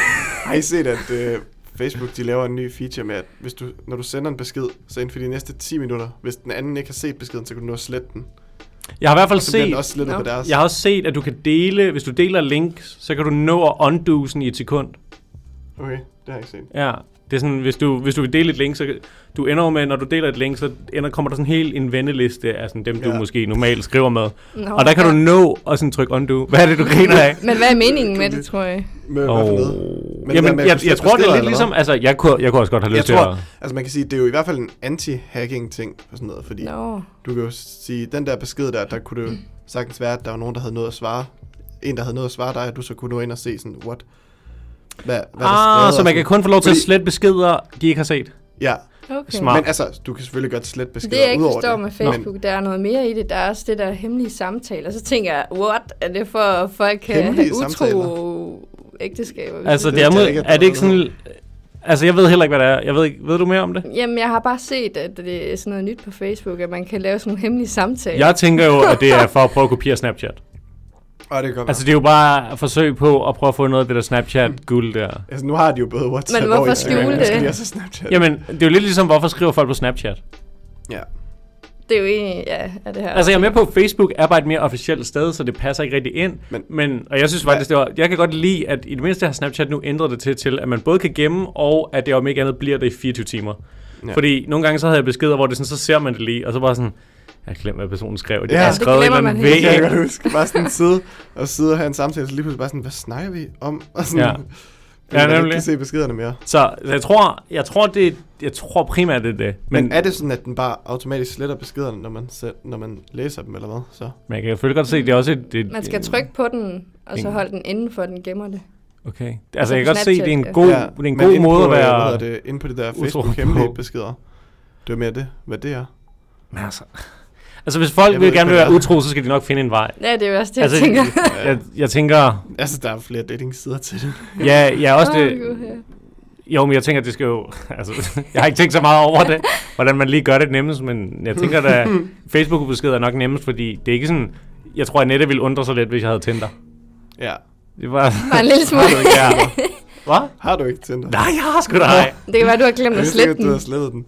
[SPEAKER 2] Har I set, at øh, Facebook de laver en ny feature med, at hvis du, når du sender en besked, så inden for de næste 10 minutter, hvis den anden ikke har set beskeden, så kan du nå at slette den.
[SPEAKER 1] jeg har i hvert fald
[SPEAKER 2] Så bliver den
[SPEAKER 1] set,
[SPEAKER 2] også slettet
[SPEAKER 3] Nå.
[SPEAKER 2] på deres.
[SPEAKER 1] jeg har også set, at du kan dele, hvis du deler links, så kan du nå at undo sådan i et sekund.
[SPEAKER 2] Okay, det har jeg ikke set.
[SPEAKER 1] Ja, det er sådan, hvis du, hvis du vil dele et link, så du ender jo med, når du deler et link, så ender, kommer der sådan helt en vendeliste af sådan dem, ja.
[SPEAKER 2] Ja.
[SPEAKER 1] du måske normalt skriver med.
[SPEAKER 3] Nå,
[SPEAKER 1] og der kan
[SPEAKER 3] ja.
[SPEAKER 1] du nå og sådan trykke undo. Hvad er
[SPEAKER 2] <laughs>
[SPEAKER 1] det, du griner af?
[SPEAKER 3] Men hvad er meningen med det, tror jeg?
[SPEAKER 2] Med,
[SPEAKER 1] Og...
[SPEAKER 2] oh. Men hvad
[SPEAKER 1] Jamen,
[SPEAKER 2] med,
[SPEAKER 1] jeg,
[SPEAKER 2] hvis
[SPEAKER 1] jeg,
[SPEAKER 2] du
[SPEAKER 1] tror, det er
[SPEAKER 2] bestiller,
[SPEAKER 1] lidt
[SPEAKER 2] eller
[SPEAKER 1] ligesom...
[SPEAKER 2] hvad?
[SPEAKER 1] Altså, jeg kunne, jeg kunne også godt have
[SPEAKER 2] Jeg
[SPEAKER 1] lyst til
[SPEAKER 2] tror,
[SPEAKER 1] at...
[SPEAKER 2] altså man kan sige, det er jo i hvert fald en anti-hacking ting og sådan noget, fordi
[SPEAKER 3] Nå.
[SPEAKER 2] du kan jo sige, den der besked der, der kunne det jo sagtens være, at der var nogen, der havde noget at svare. En, der havde noget at svare dig, at du så kunne nå ind og se sådan, what? Hvad, hvad er der skrevet
[SPEAKER 1] Ah,
[SPEAKER 2] og
[SPEAKER 1] så man
[SPEAKER 2] sådan-
[SPEAKER 1] kan kun få lov til at
[SPEAKER 2] Fordi-
[SPEAKER 1] slette beskeder, de ikke har set.
[SPEAKER 2] Ja,
[SPEAKER 3] Okay.
[SPEAKER 1] Smart.
[SPEAKER 2] men altså, du kan selvfølgelig godt slet beskeder
[SPEAKER 3] Det jeg ikke
[SPEAKER 2] udover
[SPEAKER 3] forstår
[SPEAKER 2] det,
[SPEAKER 3] med
[SPEAKER 2] men-
[SPEAKER 3] Facebook, der er noget mere i det. Der er også det der hemmelige samtaler. Så tænker jeg, what? Er det for, at folk kan
[SPEAKER 2] Hemmelige
[SPEAKER 3] have utro
[SPEAKER 2] samtaler?
[SPEAKER 3] ægteskaber? hvis
[SPEAKER 1] Altså,
[SPEAKER 2] Det
[SPEAKER 1] det er,
[SPEAKER 2] ved jeg
[SPEAKER 1] mod,
[SPEAKER 2] ikke, at der
[SPEAKER 1] er det
[SPEAKER 2] er
[SPEAKER 1] ikke sådan... Altså, jeg ved heller ikke, hvad det er. Jeg ved, ikke, ved du mere om det?
[SPEAKER 3] Jamen, jeg har bare set, at det er sådan noget nyt på Facebook, at man kan lave sådan nogle hemmelige samtaler.
[SPEAKER 1] Jeg tænker jo, at det er for at
[SPEAKER 2] <laughs>
[SPEAKER 1] prøve at kopiere Snapchat.
[SPEAKER 2] Ej, det kan godt
[SPEAKER 1] Altså, det er jo bare et forsøg på at prøve at få noget af det der Snapchat-guld der.
[SPEAKER 2] være. altså, nu har de jo både WhatsApp
[SPEAKER 3] Men hvorfor
[SPEAKER 2] og Instagram.
[SPEAKER 1] skjule
[SPEAKER 2] Jeg skal
[SPEAKER 3] det?
[SPEAKER 2] lige også Snapchat.
[SPEAKER 1] Jamen, det er jo lidt ligesom, hvorfor skriver folk på Snapchat?
[SPEAKER 2] Ja.
[SPEAKER 3] Det er jo egentlig, ja, er det her.
[SPEAKER 1] Altså, jeg er med på, at Facebook er bare et mere officielt sted, så det passer ikke rigtig ind. Men,
[SPEAKER 2] Men-
[SPEAKER 1] men og jeg synes faktisk, det var, jeg kan godt lide, at i det mindste har Snapchat nu ændret det til, til at man både kan gemme, og at det om ikke andet bliver det i 24 timer. Ja.
[SPEAKER 2] Ja.
[SPEAKER 1] Fordi nogle gange så havde jeg beskeder, hvor det sådan, så ser man det lige, og så bare sådan, jeg glemmer, hvad personen skrev. De
[SPEAKER 2] Ja.
[SPEAKER 1] ja, har
[SPEAKER 2] Det
[SPEAKER 1] skrevet en
[SPEAKER 3] glemmer
[SPEAKER 1] eller anden
[SPEAKER 3] man
[SPEAKER 2] Det
[SPEAKER 3] helt.
[SPEAKER 2] kan jeg
[SPEAKER 1] væg.
[SPEAKER 2] godt huske. Bare sådan sidde og sidde og have en samtale, så lige pludselig bare sådan, hvad snakker vi om? <laughs> Og sådan,
[SPEAKER 1] Ja. Ja,
[SPEAKER 2] Jeg kan
[SPEAKER 1] nemlig.
[SPEAKER 2] ikke se beskederne mere.
[SPEAKER 1] Så, så jeg tror, jeg tror, det, jeg tror primært, det er det.
[SPEAKER 2] Men,
[SPEAKER 1] Men,
[SPEAKER 2] men er det sådan, at den bare automatisk sletter beskederne, når man, sæt, når man læser dem, eller hvad? Så.
[SPEAKER 1] men jeg kan selvfølgelig godt se, det er også et... et
[SPEAKER 3] Man skal trykke på den, og så
[SPEAKER 1] Ingen.
[SPEAKER 3] holde den indenfor, den gemmer det.
[SPEAKER 1] Okay. Altså, jeg
[SPEAKER 3] på
[SPEAKER 1] kan godt se, det er en
[SPEAKER 3] Snapchat,
[SPEAKER 1] god, ja. det er en
[SPEAKER 2] men
[SPEAKER 1] god
[SPEAKER 2] inde
[SPEAKER 1] måde
[SPEAKER 2] på,
[SPEAKER 1] at
[SPEAKER 2] øh, Hvad
[SPEAKER 1] være...
[SPEAKER 2] hedder det, inde på det der
[SPEAKER 1] utro
[SPEAKER 2] Facebook
[SPEAKER 1] på.
[SPEAKER 2] hemmelige beskeder. Det var mere det, hvad det er.
[SPEAKER 1] Men altså, altså, hvis folk
[SPEAKER 2] Jeg
[SPEAKER 1] vil
[SPEAKER 2] ved
[SPEAKER 1] gerne
[SPEAKER 2] ikke, hvad
[SPEAKER 1] være
[SPEAKER 2] det er.
[SPEAKER 1] utro, så skal de nok finde en vej.
[SPEAKER 3] Ja, det er jo også det,
[SPEAKER 1] Altså,
[SPEAKER 3] altså, jeg tænker.
[SPEAKER 1] Jeg, jeg tænker,
[SPEAKER 2] Altså, der er flere datingsider til det.
[SPEAKER 1] ja, jeg er også
[SPEAKER 3] Åh,
[SPEAKER 1] det,
[SPEAKER 3] Gud, ja.
[SPEAKER 1] jo, men jeg tænker, det skal jo, altså, <laughs> jeg har ikke tænkt så meget over det, hvordan man lige gør det nemmest, men jeg tænker da, Facebook-beskeder er nok nemmest, fordi det er ikke sådan, jeg tror, at Nette ville undre sig lidt, hvis jeg havde Tinder.
[SPEAKER 2] Ja.
[SPEAKER 1] Det var,
[SPEAKER 3] Bare en lille smule.
[SPEAKER 1] <laughs> ja. Hvad?
[SPEAKER 2] Har du ikke Tinder?
[SPEAKER 1] Nej, jeg har sgu da ej.
[SPEAKER 3] Det kan være, du har glemt
[SPEAKER 2] Jeg
[SPEAKER 3] at
[SPEAKER 2] vidste ikke,
[SPEAKER 3] slette
[SPEAKER 2] at
[SPEAKER 3] den.
[SPEAKER 2] du har slettet den.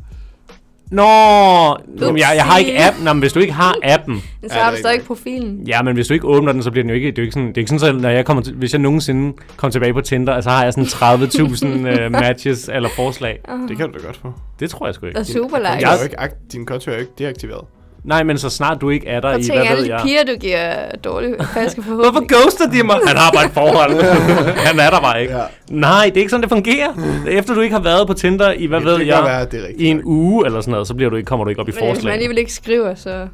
[SPEAKER 1] Nå, jamen, jeg, jeg har ikke appen. Nå, men hvis du ikke har appen,
[SPEAKER 3] Men
[SPEAKER 2] Ja, det
[SPEAKER 3] så har
[SPEAKER 2] er
[SPEAKER 3] du
[SPEAKER 2] rigtigt.
[SPEAKER 3] stadig profilen.
[SPEAKER 1] Ja, men hvis du ikke åbner den, så bliver den jo ikke... Det er jo ikke sådan, det er ikke sådan at når jeg kommer til, hvis jeg nogensinde kommer tilbage på Tinder, så har jeg sådan 30.000 uh, matches eller forslag.
[SPEAKER 2] Det kan du da godt få.
[SPEAKER 1] Det tror jeg sgu ikke.
[SPEAKER 3] Og super
[SPEAKER 2] Din,
[SPEAKER 3] like.
[SPEAKER 2] konto er
[SPEAKER 1] Jeg-
[SPEAKER 2] jo ikke akt- din konto er jo ikke deaktiveret.
[SPEAKER 1] Nej, men så snart du ikke er der
[SPEAKER 3] Og
[SPEAKER 1] i,
[SPEAKER 3] tænk
[SPEAKER 1] hvad ved
[SPEAKER 3] alle de
[SPEAKER 1] jeg...
[SPEAKER 3] piger, du giver
[SPEAKER 1] <laughs>
[SPEAKER 3] dårlige falske
[SPEAKER 1] Hvorfor
[SPEAKER 3] forhåbninger.
[SPEAKER 1] ghoster de mig? Han har bare et forhold. <laughs> Han er der bare ikke.
[SPEAKER 2] Ja.
[SPEAKER 1] Nej, det er ikke sådan, det fungerer. Efter du ikke har været på Tinder i, hvad
[SPEAKER 2] Ja,
[SPEAKER 1] ved
[SPEAKER 2] det kan
[SPEAKER 1] jeg,
[SPEAKER 2] være, det er rigtigt
[SPEAKER 1] i en
[SPEAKER 2] nok.
[SPEAKER 1] uge eller sådan noget, så bliver du ikke, kommer du ikke op i
[SPEAKER 3] Men hvis man
[SPEAKER 1] forslag.
[SPEAKER 3] alligevel ikke skriver, så...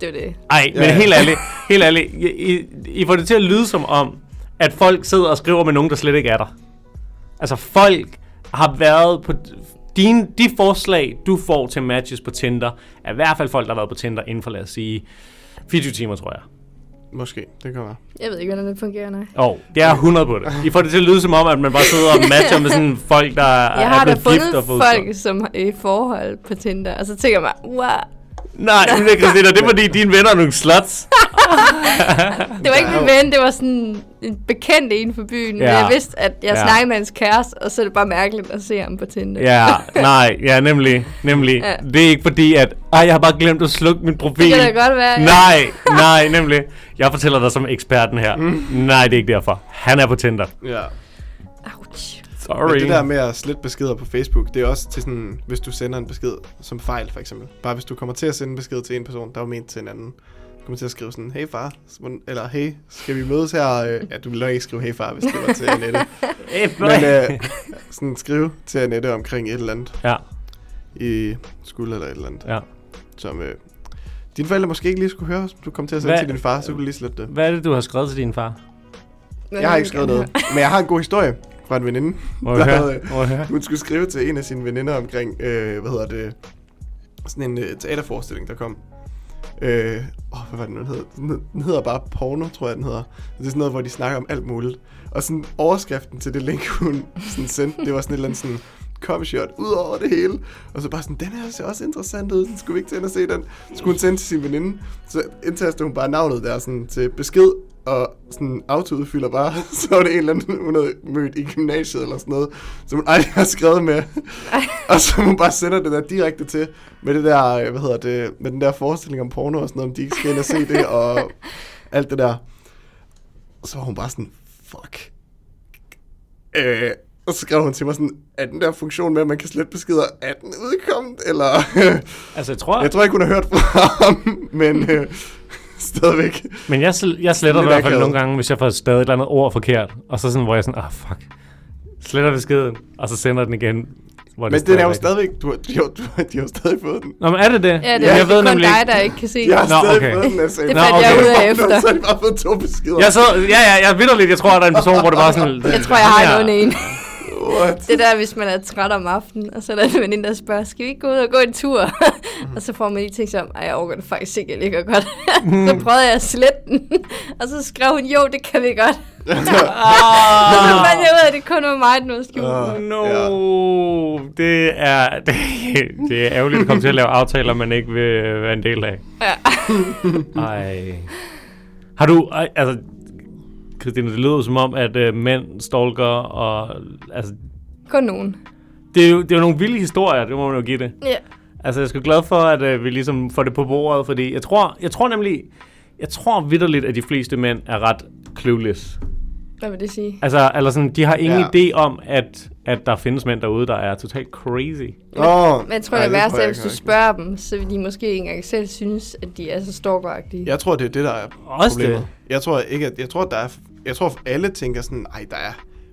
[SPEAKER 3] Det er jo det.
[SPEAKER 1] Ej, men
[SPEAKER 2] Ja, ja.
[SPEAKER 1] helt ærligt, helt ærligt, I, I, I får det til at lyde som om, at folk sidder og skriver med nogen, der slet ikke er der. Altså folk har været på... Dine, de forslag, du får til matches på Tinder, er i hvert fald folk, der har været på Tinder inden for, lad os sige, 24 timer, tror jeg.
[SPEAKER 2] Måske, det kan være.
[SPEAKER 3] Jeg ved ikke, hvordan det fungerer, nej.
[SPEAKER 1] Og det er 100 på det. I får det til at lyde som om, at man bare sidder og matcher med sådan folk, der
[SPEAKER 3] Jeg
[SPEAKER 1] er
[SPEAKER 3] har da
[SPEAKER 1] blevet gift
[SPEAKER 3] fundet
[SPEAKER 1] og fået
[SPEAKER 3] folk, som er i forhold på Tinder, og så tænker jeg mig, wow, <laughs>
[SPEAKER 1] Nej, men det, Christina, det er fordi, dine venner er nogle sluts.
[SPEAKER 3] det var ikke
[SPEAKER 2] Der er
[SPEAKER 3] min
[SPEAKER 2] jo-
[SPEAKER 3] ven, det var sådan en bekendt en for byen, ja. men
[SPEAKER 1] Ja.
[SPEAKER 3] jeg vidste, at jeg
[SPEAKER 1] Ja.
[SPEAKER 3] ja. snakkede med hans kæreste, og så er det bare mærkeligt at se ham på Tinder. <laughs>
[SPEAKER 1] Ja, nej, ja, nemlig, nemlig. Ja.
[SPEAKER 3] Ja.
[SPEAKER 1] Det er ikke fordi, at, ej, jeg har bare glemt at slukke min profil.
[SPEAKER 3] Det kan da godt være, ja. <laughs>
[SPEAKER 1] Nej, nej, nemlig. Jeg fortæller dig som eksperten her. Mm. Nej, det er ikke derfor. Han er på Tinder.
[SPEAKER 2] Ja.
[SPEAKER 3] Ouch.
[SPEAKER 1] Sorry.
[SPEAKER 2] Men det der med at slette beskeder på Facebook, det er også til sådan, hvis du sender en besked som fejl, for eksempel. Bare hvis du kommer til at sende en besked til en person, der var ment til en anden. Du kommer til at skrive sådan, hey far, Hvordan- eller hey, skal vi mødes her? Øh, Ja, du ville nok ikke skrive hey far, hvis det var til Annette.
[SPEAKER 1] Eh, <laughs>
[SPEAKER 2] Men
[SPEAKER 1] nej.
[SPEAKER 2] øh, sådan skrive til Annette omkring et eller andet
[SPEAKER 1] Ja,
[SPEAKER 2] i skuld eller et eller andet,
[SPEAKER 1] ja.
[SPEAKER 2] som øh, dine forældre måske ikke lige skulle høre, som du kom til at sende
[SPEAKER 1] Hvad-
[SPEAKER 2] til din far, så kunne du lige slette det.
[SPEAKER 1] Hvad er det, du har skrevet til din far?
[SPEAKER 3] Men
[SPEAKER 2] Jeg har
[SPEAKER 3] vil
[SPEAKER 2] ikke skrevet
[SPEAKER 3] gerne
[SPEAKER 2] noget, men jeg har en god historie fra en veninde.
[SPEAKER 1] Må jeg høre?
[SPEAKER 2] der havde- øh,
[SPEAKER 1] Må jeg høre?
[SPEAKER 2] Hun skulle skrive til en af sine veninder omkring, øh, hvad hedder det, sådan en øh, teaterforestilling, der kom. Øh, åh, hvad var den, den hedder? Den hed- Den hedder bare porno, tror jeg, den hedder. Det er sådan noget, hvor de snakker om alt muligt. Og sådan overskriften til det link, hun sådan sendte, det var sådan et eller andet sådan cover shot ud over det hele. Og så bare sådan, den her ser også interessant ud, den skulle vi ikke til ind og se den. Så skulle hun sende til sin veninde, så indtaster hun bare navnet der sådan til besked, og sådan autoudfylder bare, <laughs> så var det en eller anden, hun havde mødt i gymnasiet eller sådan noget, som hun aldrig har skrevet med. og så hun bare sender det der direkte til, med det der, øh, hvad hedder det, med den der forestilling om porno og sådan noget, om de ikke skal ind og se det, og alt det der. Og så var hun bare sådan, fuck. Øh, og så skrev hun til mig sådan, er den der funktion med, at man kan slette beskeder, er den udkommet, eller... <laughs>
[SPEAKER 1] Altså, jeg tror,
[SPEAKER 2] jeg tror ikke, hun har hørt fra ham, men øh, stadigvæk.
[SPEAKER 1] men jeg, sl- jeg sletter det i
[SPEAKER 2] Lidt
[SPEAKER 1] hvert fald
[SPEAKER 2] akavet.
[SPEAKER 1] nogle gange, hvis jeg får stadig et eller andet ord forkert. Og så sådan, hvor jeg sådan, ah, fuck. Sletter beskeden, og så sender den igen. Hvor
[SPEAKER 2] Men den er jo
[SPEAKER 1] rigtigt.
[SPEAKER 2] stadigvæk, du, har- de, har, du, har- de har jo stadig fået den.
[SPEAKER 1] Nå, men er det det?
[SPEAKER 3] Ja, det
[SPEAKER 2] Ja,
[SPEAKER 3] er
[SPEAKER 1] jeg ved
[SPEAKER 3] kun
[SPEAKER 1] nemlig
[SPEAKER 3] dig,
[SPEAKER 1] ikke.
[SPEAKER 3] der ikke kan se
[SPEAKER 2] De har
[SPEAKER 3] det.
[SPEAKER 1] Nå,
[SPEAKER 2] stadig
[SPEAKER 1] okay.
[SPEAKER 2] fået den, altså.
[SPEAKER 3] Det
[SPEAKER 1] Nå,
[SPEAKER 3] fandt jeg
[SPEAKER 1] okay.
[SPEAKER 3] ud af
[SPEAKER 2] Nå,
[SPEAKER 3] efter.
[SPEAKER 2] Så har de bare fået to beskeder.
[SPEAKER 1] Jeg så, ja, ja, jeg vidderligt, jeg tror, at der er en person, hvor det bare sådan...
[SPEAKER 3] <laughs> Jeg tror, jeg har
[SPEAKER 1] Ham her-
[SPEAKER 3] kun en. <laughs>
[SPEAKER 2] What? <laughs>
[SPEAKER 3] Det der, hvis man er træt om aftenen, og så er der en veninde, der spørger, skal vi ikke gå ud og gå en tur? <laughs> og så får man lige tænkt sig om, ej, jeg overgår det <laughs> faktisk ikke, jeg ligger godt. så prøvede jeg at slette den, og så skrev hun, jo, det kan vi godt. Og så fandt jeg ud af, at det kun var mig, den var skjult.
[SPEAKER 2] Åh.
[SPEAKER 3] Uh.
[SPEAKER 1] No, det er, <laughs> det, det er ærgerligt at komme til at lave aftaler, man ikke vil øh, være en del af.
[SPEAKER 3] Ja.
[SPEAKER 1] Ej. Har du, ej, altså, Christine, det lyder som om, at øh, mænd stalker, og altså,
[SPEAKER 3] Kun nogen.
[SPEAKER 1] det er, jo, det er jo nogle vilde historier, det må man jo give det.
[SPEAKER 3] Ja.
[SPEAKER 1] Altså, jeg er sgu glad for, at øh, vi ligesom får det på bordet, fordi jeg tror, jeg tror nemlig, jeg tror vidderligt, at de fleste mænd er ret clueless.
[SPEAKER 3] Hvad vil det sige?
[SPEAKER 1] Altså, eller sådan, de har ingen
[SPEAKER 2] Ja.
[SPEAKER 1] idé om, at, at der findes mænd derude, der er totalt crazy.
[SPEAKER 2] Åh,
[SPEAKER 3] Men jeg tror,
[SPEAKER 2] nej,
[SPEAKER 3] det er værst,
[SPEAKER 2] tror
[SPEAKER 3] at
[SPEAKER 2] jeg
[SPEAKER 3] hvis
[SPEAKER 2] ikke
[SPEAKER 3] du
[SPEAKER 2] rigtig.
[SPEAKER 3] spørger dem, så vil de måske ikke engang selv synes, at de er så stalkeragtige.
[SPEAKER 2] Jeg tror, det er det, der er
[SPEAKER 1] Også
[SPEAKER 2] problemet.
[SPEAKER 1] det.
[SPEAKER 2] Jeg tror ikke, at, jeg tror, at der er, jeg tror, at alle tænker sådan, nej, der er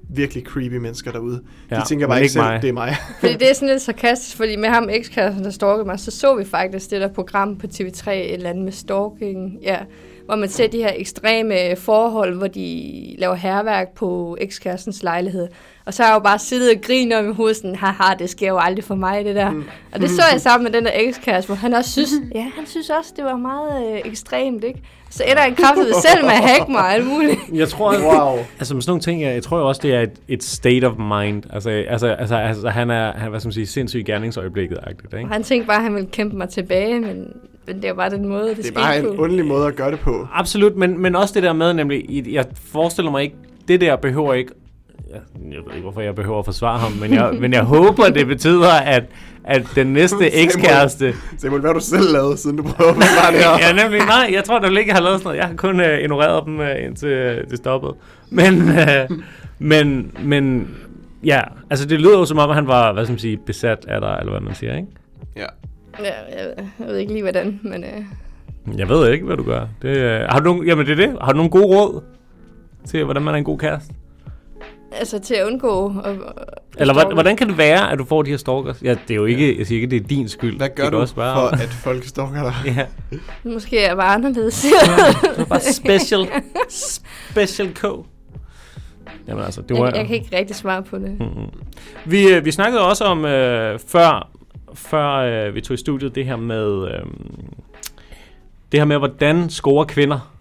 [SPEAKER 2] virkelig creepy mennesker derude.
[SPEAKER 1] Ja,
[SPEAKER 2] de tænker
[SPEAKER 1] men
[SPEAKER 2] bare
[SPEAKER 1] ikke
[SPEAKER 2] ikke selv,
[SPEAKER 1] mig.
[SPEAKER 2] det er
[SPEAKER 3] <laughs>
[SPEAKER 2] mig.
[SPEAKER 3] Fordi det er sådan lidt sarkastisk, fordi med ham ekskæresten, der stalkede mig, så så vi faktisk det der program på TV3, et eller andet med stalking, ja, hvor man ser de her ekstreme forhold, hvor de laver herværk på ekskærestens lejlighed. Og så har jeg jo bare siddet og grinet om i hovedet, sådan, haha, det sker jo aldrig for mig, det der. Mm. Og det så
[SPEAKER 2] <laughs>
[SPEAKER 3] jeg sammen med den der ekskæreste, hvor han også synes, ja, han synes også, det var meget øh, ekstremt, ikke? Så ender han kraftigt selv med at hacke mig og alt
[SPEAKER 2] <laughs>
[SPEAKER 3] muligt.
[SPEAKER 1] Jeg tror,
[SPEAKER 2] Wow.
[SPEAKER 1] Altså med sådan nogle ting, jeg, jeg tror jo også, det er et, et state of mind. Altså, altså, altså, altså han er, han, hvad skal man sige, sindssyg i gerningsøjeblikket-agtigt, ikke?
[SPEAKER 3] Og han tænkte bare, at han ville kæmpe mig tilbage, men, men det var bare den måde, det,
[SPEAKER 2] Det er
[SPEAKER 3] skete
[SPEAKER 2] bare en
[SPEAKER 3] på.
[SPEAKER 2] ondelig måde at gøre det på.
[SPEAKER 1] Absolut, men, men også det der med, nemlig, i- jeg forestiller mig ikke, det der behøver ikke, jeg, jeg ved ikke, hvorfor jeg behøver at forsvare ham, men jeg, men jeg håber, det betyder, at, at den næste ekskæreste,
[SPEAKER 2] Samuel, hvad har du selv lavet, siden du prøver at forklare det her?
[SPEAKER 1] Ja, nemlig nej. Jeg tror nemlig ikke, jeg har lavet sådan noget. Jeg har kun øh, ignoreret dem, øh, indtil øh, det stoppede. Men, øh, men, men ja, altså det lyder jo som om, at han var, hvad skal man sige, besat af dig, eller hvad man siger, ikke?
[SPEAKER 2] <laughs> ja.
[SPEAKER 3] Ja, jeg, ved- jeg ved ikke lige hvordan, men øh,
[SPEAKER 1] Jeg ved ikke, hvad du gør. Det, øh, har du nogen, jamen det er det. Har du nogle gode råd til, hvordan man er en god kæreste?
[SPEAKER 3] altså til at undgå... Og, og,
[SPEAKER 1] Eller hvordan, hvordan kan det være, at du får de her stalkers? Ja, det er jo ikke, jeg siger ikke, det er din skyld.
[SPEAKER 2] Hvad
[SPEAKER 1] Det
[SPEAKER 2] gør
[SPEAKER 1] kan
[SPEAKER 2] du
[SPEAKER 1] også bare,
[SPEAKER 2] for, at folk stalker dig?
[SPEAKER 1] <laughs> Ja,
[SPEAKER 3] Måske er jeg bare anderledes. <laughs>
[SPEAKER 1] det var bare special, special K. Jamen altså, det var... Hmm.
[SPEAKER 3] jeg, jeg kan ikke rigtig svare på det.
[SPEAKER 1] Vi, øh, vi snakkede også om øh, før, før øh, vi tog i studiet det her med øh, det her med hvordan scorer kvinder.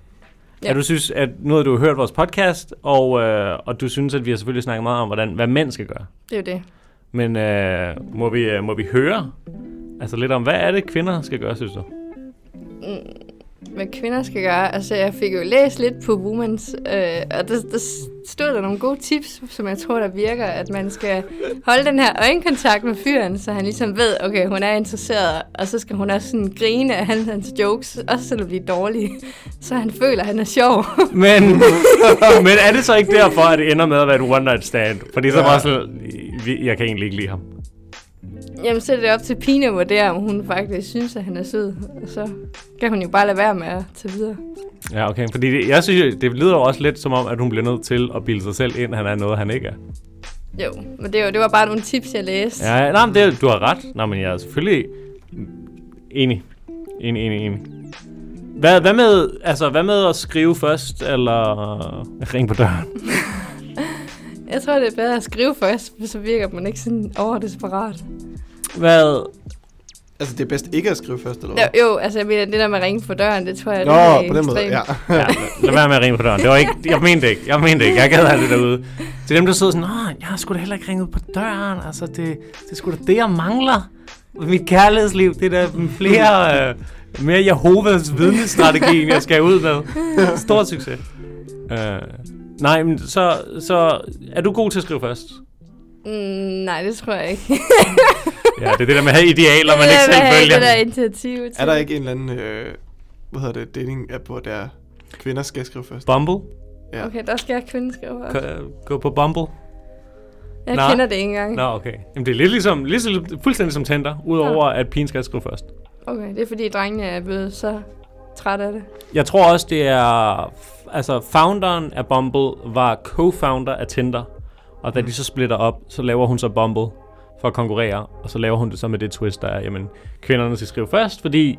[SPEAKER 1] Ja.
[SPEAKER 3] Ja.
[SPEAKER 1] At du synes at nu har du hørt vores podcast og øh, og du synes at vi har selvfølgelig snakket meget om hvordan hvad mænd skal gøre.
[SPEAKER 3] Det er jo det.
[SPEAKER 1] Men øh, må vi øh, må vi høre altså lidt om hvad er det kvinder skal gøre synes du?
[SPEAKER 3] Mm, Hvad kvinder skal gøre. Altså, jeg fik jo læst lidt på Womans, øh, og der, der stod der nogle gode tips, som jeg tror, der virker, at man skal holde den her øjenkontakt med fyren, så han ligesom ved, okay, hun er interesseret, og så skal hun også sådan grine af hans, hans jokes, også selvom de er dårlige, så han føler, at han er sjov.
[SPEAKER 1] Men, <laughs> men er det så ikke derfor at det ender med at være et one night stand? Fordi så
[SPEAKER 2] Ja.
[SPEAKER 1] ja. bare sådan, vi- jeg kan egentlig ikke lide ham.
[SPEAKER 3] Jamen, så er det op til Pina at vurdere, om hun faktisk synes, at han er sød. Og så kan hun jo bare lade være med at tage videre.
[SPEAKER 1] Ja, okay. Fordi det, jeg synes, jo, det lyder jo også lidt som om, at hun bliver nødt til at bilde sig selv ind, at han er noget, han ikke er.
[SPEAKER 3] Jo, men det var, det var bare nogle tips, jeg læste.
[SPEAKER 1] Ja, ja, nej, men det, du har ret. Nej, men jeg er selvfølgelig enig. Enig, enig, enig. Hvad, hvad, med, altså, hvad med at skrive først, eller ringe på døren?
[SPEAKER 3] Jeg tror, det er bedre at skrive først, for så virker man ikke sådan overdesperat.
[SPEAKER 1] Hvad?
[SPEAKER 2] Altså, det er bedst ikke at skrive først, eller hvad?
[SPEAKER 3] Jo, jo, altså jeg mener, det der med at ringe på døren, det tror jeg, øh, det
[SPEAKER 2] Nå, på den måde, ja.
[SPEAKER 3] <laughs>
[SPEAKER 1] Ja, lad være med at ringe på døren. Det var ikke, jeg mente det ikke. Jeg mente det ikke. Jeg gad aldrig derude. Til dem, der sidder sådan, Nå, jeg har sgu da heller ikke ringet på døren. Altså, det, det er sgu da det, jeg mangler. Mit kærlighedsliv, det er da flere, øh, mere Jehovas vidnesstrategi, end jeg skal ud med. Stor succes. Øh, nej, men så, så er du god til at skrive først?
[SPEAKER 3] Mm, nej, det tror jeg ikke.
[SPEAKER 1] Ja, det er det der med at have idealer,
[SPEAKER 3] <laughs>
[SPEAKER 1] man
[SPEAKER 3] Det
[SPEAKER 1] ikke
[SPEAKER 3] der
[SPEAKER 1] selv
[SPEAKER 3] med
[SPEAKER 1] følger.
[SPEAKER 3] Det der initiativ til.
[SPEAKER 2] Er der ikke en eller anden, øh, hvad hedder det, dating-app, hvor der kvinder skal skrive først?
[SPEAKER 1] Bumble?
[SPEAKER 2] Ja.
[SPEAKER 3] Okay, der skal jeg kvinde skrive først.
[SPEAKER 1] Gå- Gå på Bumble?
[SPEAKER 3] Jeg
[SPEAKER 1] Nå.
[SPEAKER 3] kender det ikke engang.
[SPEAKER 1] Nå, okay. Jamen, det er lidt ligesom, lidt, ligesom- fuldstændig som Tinder, udover at pigen skal skrive først.
[SPEAKER 3] Okay, det er fordi drengene er blevet så træt af det.
[SPEAKER 1] Jeg tror også, det er... Altså, founderen af Bumble var co-founder af Tinder. Og da de så splitter op, så laver hun så Bumble for at konkurrere. Og så laver hun det så med det twist, der er, jamen, kvinderne skal skrive først, fordi...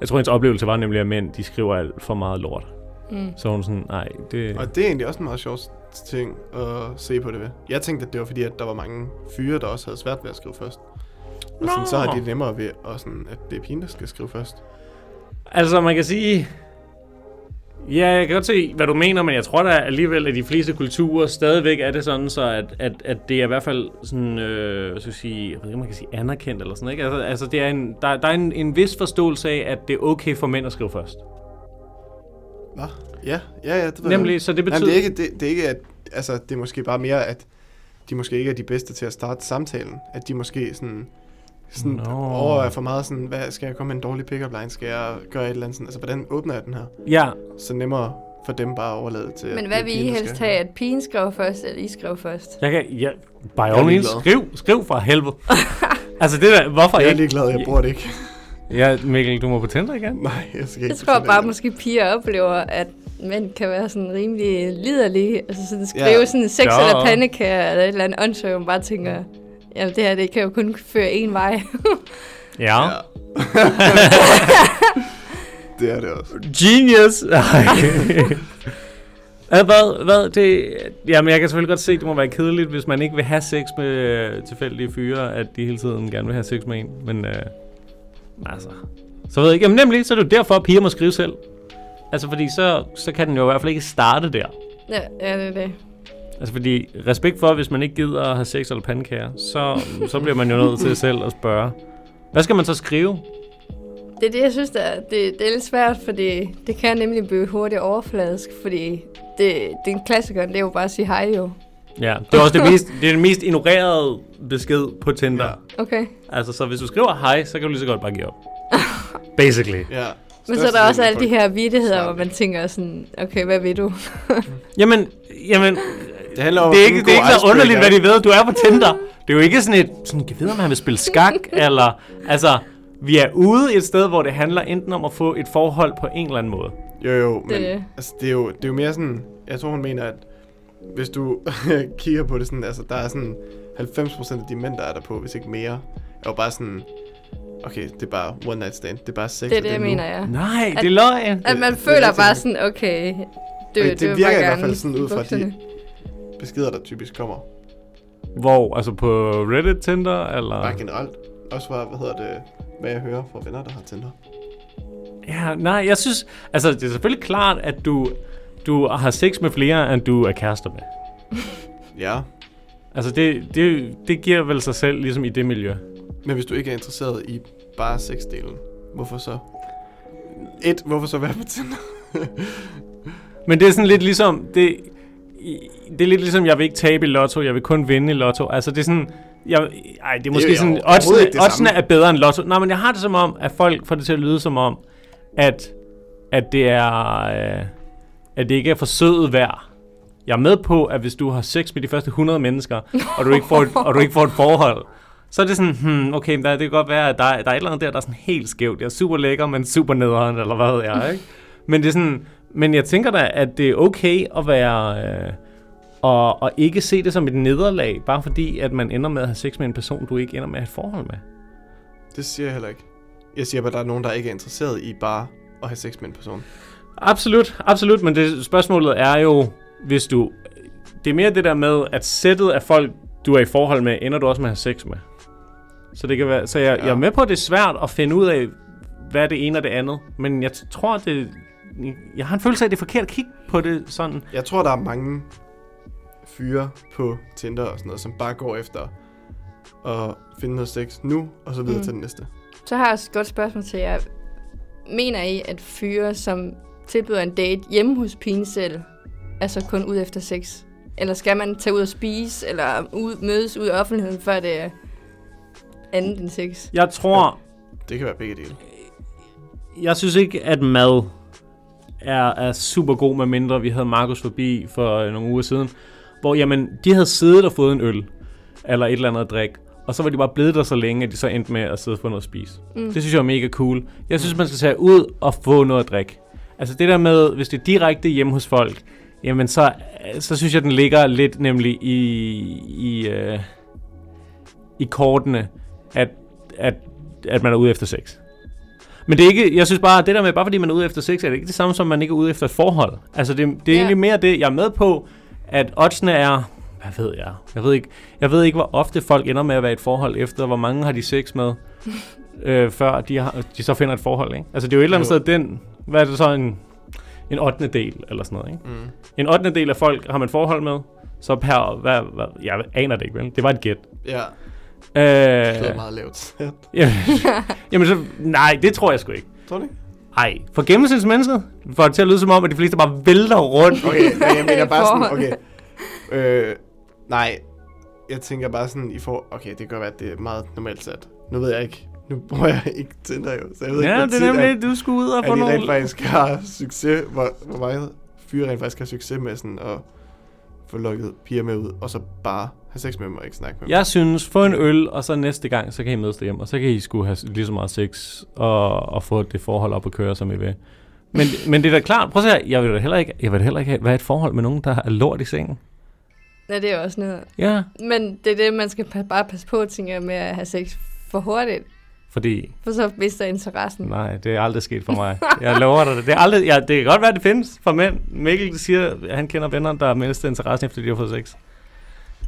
[SPEAKER 1] Jeg tror, hendes oplevelse var nemlig, at mænd, de skriver alt for meget lort. Mm. Så hun sådan, nej, det...
[SPEAKER 2] Og det er egentlig også en meget sjov ting at se på det ved. Jeg tænkte, at det var fordi, at der var mange fyre, der også havde svært ved at skrive først. Og sådan, så har de det nemmere ved, og sådan, at det er pigen, der skal skrive først.
[SPEAKER 1] Altså, man kan sige... Ja, jeg kan godt se, hvad du mener, men jeg tror da alligevel, at de fleste kulturer stadigvæk er det sådan, så at, at, at det er i hvert fald sådan, øh, hvad skal jeg sige, jeg ved ikke, om man kan sige anerkendt eller sådan, ikke? Altså, altså det er en, der, der er en, en vis forståelse af, at det er okay for mænd at skrive først.
[SPEAKER 2] Nå, ja, ja, ja. Det ved
[SPEAKER 1] Nemlig,
[SPEAKER 2] jeg.
[SPEAKER 1] så det
[SPEAKER 2] Jamen, det er
[SPEAKER 1] betyder-
[SPEAKER 2] ikke, det, det er ikke at, altså, det er måske bare mere, at de måske ikke er de bedste til at starte samtalen. At de måske sådan, sådan
[SPEAKER 1] Nå.
[SPEAKER 2] no. overvejer for meget sådan, hvad, skal jeg komme med en dårlig pick-up line? Skal jeg gøre et eller andet sådan? Altså, hvordan åbner jeg den her?
[SPEAKER 1] Ja,
[SPEAKER 2] Så nemmere for dem bare at overlade til,
[SPEAKER 3] Men
[SPEAKER 2] at
[SPEAKER 3] hvad
[SPEAKER 2] det er
[SPEAKER 3] vil
[SPEAKER 2] pigen,
[SPEAKER 3] I
[SPEAKER 2] der
[SPEAKER 3] helst
[SPEAKER 2] skal.
[SPEAKER 3] have, at pigen skriver først, eller I skriver først?
[SPEAKER 1] jeg kan, ja, by
[SPEAKER 2] er
[SPEAKER 1] all means,
[SPEAKER 2] ligeglad.
[SPEAKER 1] skriv, skriv for <laughs> helvede. altså det der, hvorfor
[SPEAKER 2] Jeg er
[SPEAKER 1] ikke?
[SPEAKER 2] ligeglad, jeg bruger det ikke. <laughs>
[SPEAKER 1] Ja, Mikkel, du må på Tinder igen.
[SPEAKER 2] Nej, jeg skal ikke.
[SPEAKER 3] Jeg
[SPEAKER 2] på
[SPEAKER 3] tror
[SPEAKER 2] Tinder
[SPEAKER 3] bare,
[SPEAKER 2] igen.
[SPEAKER 3] måske piger oplever, at mænd kan være sådan rimelig liderlige. Altså sådan skrive
[SPEAKER 2] Ja.
[SPEAKER 3] ja. sådan sex
[SPEAKER 1] Ja.
[SPEAKER 3] ja. eller pandekager eller et eller andet åndssøg, og man bare tænker, jamen det her, det kan jo kun føre en vej.
[SPEAKER 1] Ja.
[SPEAKER 2] Ja. <laughs> det er det også.
[SPEAKER 1] Genius! <laughs> Ej. Ja, hvad, hvad, det, jamen jeg kan selvfølgelig godt se, det må være kedeligt, hvis man ikke vil have sex med øh, tilfældige fyre, at de hele tiden gerne vil have sex med en. Men øh, altså, så ved jeg ikke. Jamen nemlig, så er det jo derfor, at piger må skrive selv. Altså fordi så, så kan den jo i hvert fald ikke starte der.
[SPEAKER 3] ja, ja, det er det.
[SPEAKER 1] Altså fordi, respekt for, hvis man ikke gider at have sex eller pandekager, så, så bliver man jo nødt til selv at spørge. Hvad skal man så skrive?
[SPEAKER 3] Det er det, jeg synes, der, er- det, det er lidt svært, fordi det kan nemlig blive hurtigt overfladisk, fordi det, det er en klassiker, det er jo bare at sige hej jo.
[SPEAKER 1] Ja, det er også det mest, det er den mest ignorerede besked på Tinder.
[SPEAKER 2] Ja.
[SPEAKER 1] Ja.
[SPEAKER 3] Okay.
[SPEAKER 1] Altså, så hvis du skriver hej, så kan du lige så godt bare give op. Basically.
[SPEAKER 2] Ja.
[SPEAKER 3] Men så er der også alle de her vittigheder,
[SPEAKER 2] Svar
[SPEAKER 3] hvor man tænker sådan, okay, hvad vil du?
[SPEAKER 1] Jamen, jamen
[SPEAKER 2] Det handler om
[SPEAKER 1] det er
[SPEAKER 2] at
[SPEAKER 1] ikke,
[SPEAKER 2] finde
[SPEAKER 1] det er
[SPEAKER 2] en
[SPEAKER 1] ikke
[SPEAKER 2] god
[SPEAKER 1] så underligt, hvad
[SPEAKER 2] icebreaker.
[SPEAKER 1] de ved, du er på Tinder. Det er jo ikke sådan et, sådan, jeg ved, om han vil spille skak, eller, altså, vi er ude et sted, hvor det handler enten om at få et forhold på en eller anden måde.
[SPEAKER 2] Jo, jo, men det.
[SPEAKER 3] Det-
[SPEAKER 2] Altså, det, er jo, det er jo mere sådan... Jeg tror, hun mener, at hvis du <laughs> kigger på det sådan... Altså, der er sådan 90% af de mænd, der er der på, hvis ikke mere, er jo bare sådan... Okay, det er bare one night stand. Det er bare sex.
[SPEAKER 3] Det er
[SPEAKER 2] og
[SPEAKER 3] det, jeg
[SPEAKER 2] nu.
[SPEAKER 3] mener, ja.
[SPEAKER 1] Nej,
[SPEAKER 3] At-
[SPEAKER 1] det er løgn.
[SPEAKER 3] At man
[SPEAKER 2] det er
[SPEAKER 3] føler
[SPEAKER 2] rigtigt.
[SPEAKER 3] bare sådan, okay, det,
[SPEAKER 2] Okay, det
[SPEAKER 3] vil
[SPEAKER 2] virker
[SPEAKER 3] bare
[SPEAKER 2] i hvert
[SPEAKER 3] gerne
[SPEAKER 2] fald sådan ud fra de-
[SPEAKER 3] bukserne.
[SPEAKER 2] Beskeder, der typisk kommer.
[SPEAKER 1] Hvor, altså på Reddit, Tinder, eller?
[SPEAKER 2] Bare generelt. Også fra, hvad hedder det... Hvad jeg hører fra venner, der har Tinder.
[SPEAKER 1] Ja, nej, jeg synes, altså, det er selvfølgelig klart, at du, du har sex med flere, end du er kærester med.
[SPEAKER 2] Ja.
[SPEAKER 1] Altså, det, det, det giver vel sig selv, ligesom i det miljø.
[SPEAKER 2] Men hvis du ikke er interesseret i bare sexdelen, hvorfor så? Et, hvorfor så være på Tinder?
[SPEAKER 1] Men det er sådan lidt ligesom, det, i- det er lidt ligesom, jeg vil ikke tabe i lotto, jeg vil kun vinde i lotto. Altså det er sådan, jeg, ej, det er måske
[SPEAKER 2] Det er
[SPEAKER 1] det
[SPEAKER 2] jo
[SPEAKER 1] er sådan,
[SPEAKER 2] overhovedet ikke det
[SPEAKER 1] oddsene, oddsene
[SPEAKER 2] samme.
[SPEAKER 1] er bedre end lotto. Nej, men jeg har det som om, at folk får det til at lyde som om, at, at det er, øh, at det ikke er forsøget værd. Jeg er med på, at hvis du har sex med de første 100 mennesker, og du ikke får et, og du ikke får et forhold, så er det sådan, hmm, okay, men der, det kan godt være, at der, er- der er et eller andet der, der er sådan helt skævt. Jeg er super lækker, men super nederen, eller hvad ved jeg, ikke? Men det er sådan, men jeg tænker da, at det er okay at være... Øh, og, og ikke se det som et nederlag, bare fordi, at man ender med at have sex med en person, du ikke ender med at have et forhold med.
[SPEAKER 2] Det siger jeg heller ikke. Jeg siger bare, at der er nogen, der ikke er interesseret i bare at have sex med en person.
[SPEAKER 1] Absolut, absolut, men det, spørgsmålet er jo, hvis du... Det er mere det der med, at sættet af folk, du er i forhold med, ender du også med at have sex med. Så, det kan være, så jeg, ja. jeg er med på, at det er svært at finde ud af, hvad er det ene og det andet. Men jeg t- tror, at det... Jeg har en følelse af, at det er forkert at kigge på det sådan.
[SPEAKER 2] Jeg tror, der er mange fyre på Tinder og sådan noget, som bare går efter at finde noget sex nu, og så videre mm.
[SPEAKER 3] Mm.
[SPEAKER 2] til den næste.
[SPEAKER 3] Så har jeg også et godt spørgsmål til jer. Mener I, at fyre, som tilbyder en date hjemme hos pigen selv, er så kun ud efter sex? Eller skal man tage ud og spise, eller ud, mødes ud i offentligheden, før det er andet end sex?
[SPEAKER 1] Jeg tror,
[SPEAKER 2] Det kan være begge dele.
[SPEAKER 1] Jeg synes ikke, at mad er, er super god, med mindre vi havde Markus forbi for øh, nogle uger siden, hvor jamen, de havde siddet og fået en øl, eller et eller andet at drikke, og så var de bare blevet der så længe, at de så endte med at sidde og få noget at spise. Mm. Det synes jeg er mega cool. Jeg synes, man skal tage ud og få noget at drikke. Altså det der med, hvis det er direkte hjemme hos folk, jamen så, så synes jeg, den ligger lidt nemlig i, i, øh, i kortene, at, at, at man er ude efter sex. Men det er ikke, jeg synes bare, at det der med, bare fordi man er ude efter sex, er det ikke det samme som, at man ikke er ude efter et forhold. Altså, det, det er
[SPEAKER 3] Ja.
[SPEAKER 1] egentlig mere det, jeg er med på, at oddsene er, hvad ved jeg, jeg ved ikke, jeg ved ikke, hvor ofte folk ender med at være i et forhold efter, hvor mange har de sex <laughs> med, øh, før de, har, de så finder et forhold, ikke? Altså, det er jo et eller andet
[SPEAKER 2] Jo.
[SPEAKER 1] sted den, hvad er det så, en, en 8. del eller sådan noget. Ikke? Mm. En 8. del af folk har man forhold med, så per, hvad, hvad, jeg aner det ikke, vel? Det var et gæt.
[SPEAKER 2] Ja, det
[SPEAKER 1] Øh,
[SPEAKER 2] er meget lavt.
[SPEAKER 1] jamen, jamen <laughs> så, nej, det tror jeg sgu ikke.
[SPEAKER 2] Tror du ikke?
[SPEAKER 1] Ej, for gennemsnitsmennesket får det til at lyde som om, at de fleste bare vælter rundt.
[SPEAKER 2] Okay, men jeg mener bare sådan,
[SPEAKER 3] Forhold.
[SPEAKER 2] okay. Øh, nej, jeg tænker bare sådan, I får, okay, det kan godt være, at det er meget normalt sat. Nu ved jeg ikke, nu bruger jeg <laughs> ikke Tinder jo, så jeg ved
[SPEAKER 1] Ja,
[SPEAKER 2] ikke,
[SPEAKER 1] det er nemlig, du skulle ud og
[SPEAKER 2] at,
[SPEAKER 1] få
[SPEAKER 2] at I rent
[SPEAKER 1] nogle...
[SPEAKER 2] faktisk har succes, hvor, hvor meget fyre rent faktisk har succes med sådan at få lukket piger med ud, og så bare have sex med dem og ikke snakke med dem.
[SPEAKER 1] Jeg synes, få en øl, og så næste gang, så kan I mødes derhjemme, og så kan I skulle have lige så meget sex, og, og få det forhold op at køre, som I vil. Men, men det er da klart, prøv at se her, jeg vil da heller ikke, jeg vil da heller ikke have- være i et forhold med nogen, der er lort i sengen.
[SPEAKER 3] Ja, det er også noget.
[SPEAKER 1] Ja,
[SPEAKER 3] Men det er det, man skal pa- bare passe på, tænker jeg, med at have sex for hurtigt.
[SPEAKER 1] fordi,
[SPEAKER 3] For så mister interessen.
[SPEAKER 1] nej, det er aldrig sket for mig. Jeg lover dig det. Det, er aldrig, ja, det kan godt være, det findes for mænd. Mikkel siger, at han kender venner, der har mistet interessen, efter de har fået sex.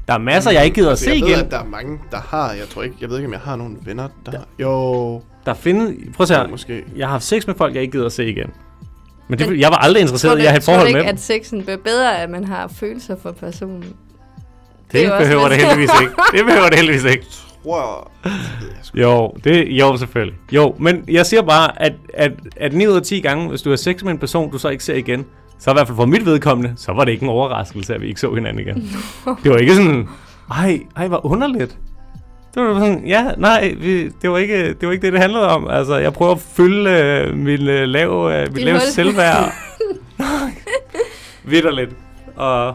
[SPEAKER 1] Der er masser, jeg ikke gider at
[SPEAKER 2] Altså,
[SPEAKER 1] se
[SPEAKER 2] jeg
[SPEAKER 1] igen.
[SPEAKER 2] ved, at der er mange, der har, jeg tror ikke, jeg ved ikke, om jeg har nogen venner, der har. Jo,
[SPEAKER 1] Der findes... Prøv at se
[SPEAKER 2] jo,
[SPEAKER 1] her.
[SPEAKER 2] måske.
[SPEAKER 1] Jeg har haft sex med folk, jeg ikke gider at se igen. Men det,
[SPEAKER 3] Men-
[SPEAKER 1] jeg var aldrig
[SPEAKER 3] Tror
[SPEAKER 1] interesseret
[SPEAKER 3] du-
[SPEAKER 1] i at have et
[SPEAKER 3] tror du
[SPEAKER 1] forhold
[SPEAKER 3] ikke,
[SPEAKER 1] med dem.
[SPEAKER 3] at sexen bliver bedre, at man har følelser for personen? det er
[SPEAKER 1] Det
[SPEAKER 3] jo også
[SPEAKER 1] behøver det
[SPEAKER 3] lidt-
[SPEAKER 1] heldigvis ikke. Det behøver det heldigvis ikke.
[SPEAKER 2] Wow. Det ved jeg sgu
[SPEAKER 1] <laughs> Jo, det, jo selvfølgelig. Jo, men jeg siger bare, at, at, at 9 ud af 10 gange, hvis du har sex med en person, du så ikke ser igen, så i hvert fald for mit vedkommende, så var det ikke en overraskelse, at vi ikke så hinanden <laughs> igen. Det var ikke sådan, ej, ej, hvor underligt. Det var sådan, ja, nej, vi, det, var ikke, det var ikke det, det handlede om. Altså, jeg prøver at fylde øh, min, øh, lav, øh, mit
[SPEAKER 3] Dit
[SPEAKER 1] lave
[SPEAKER 3] hul.
[SPEAKER 1] selvværd. Vitterligt. Og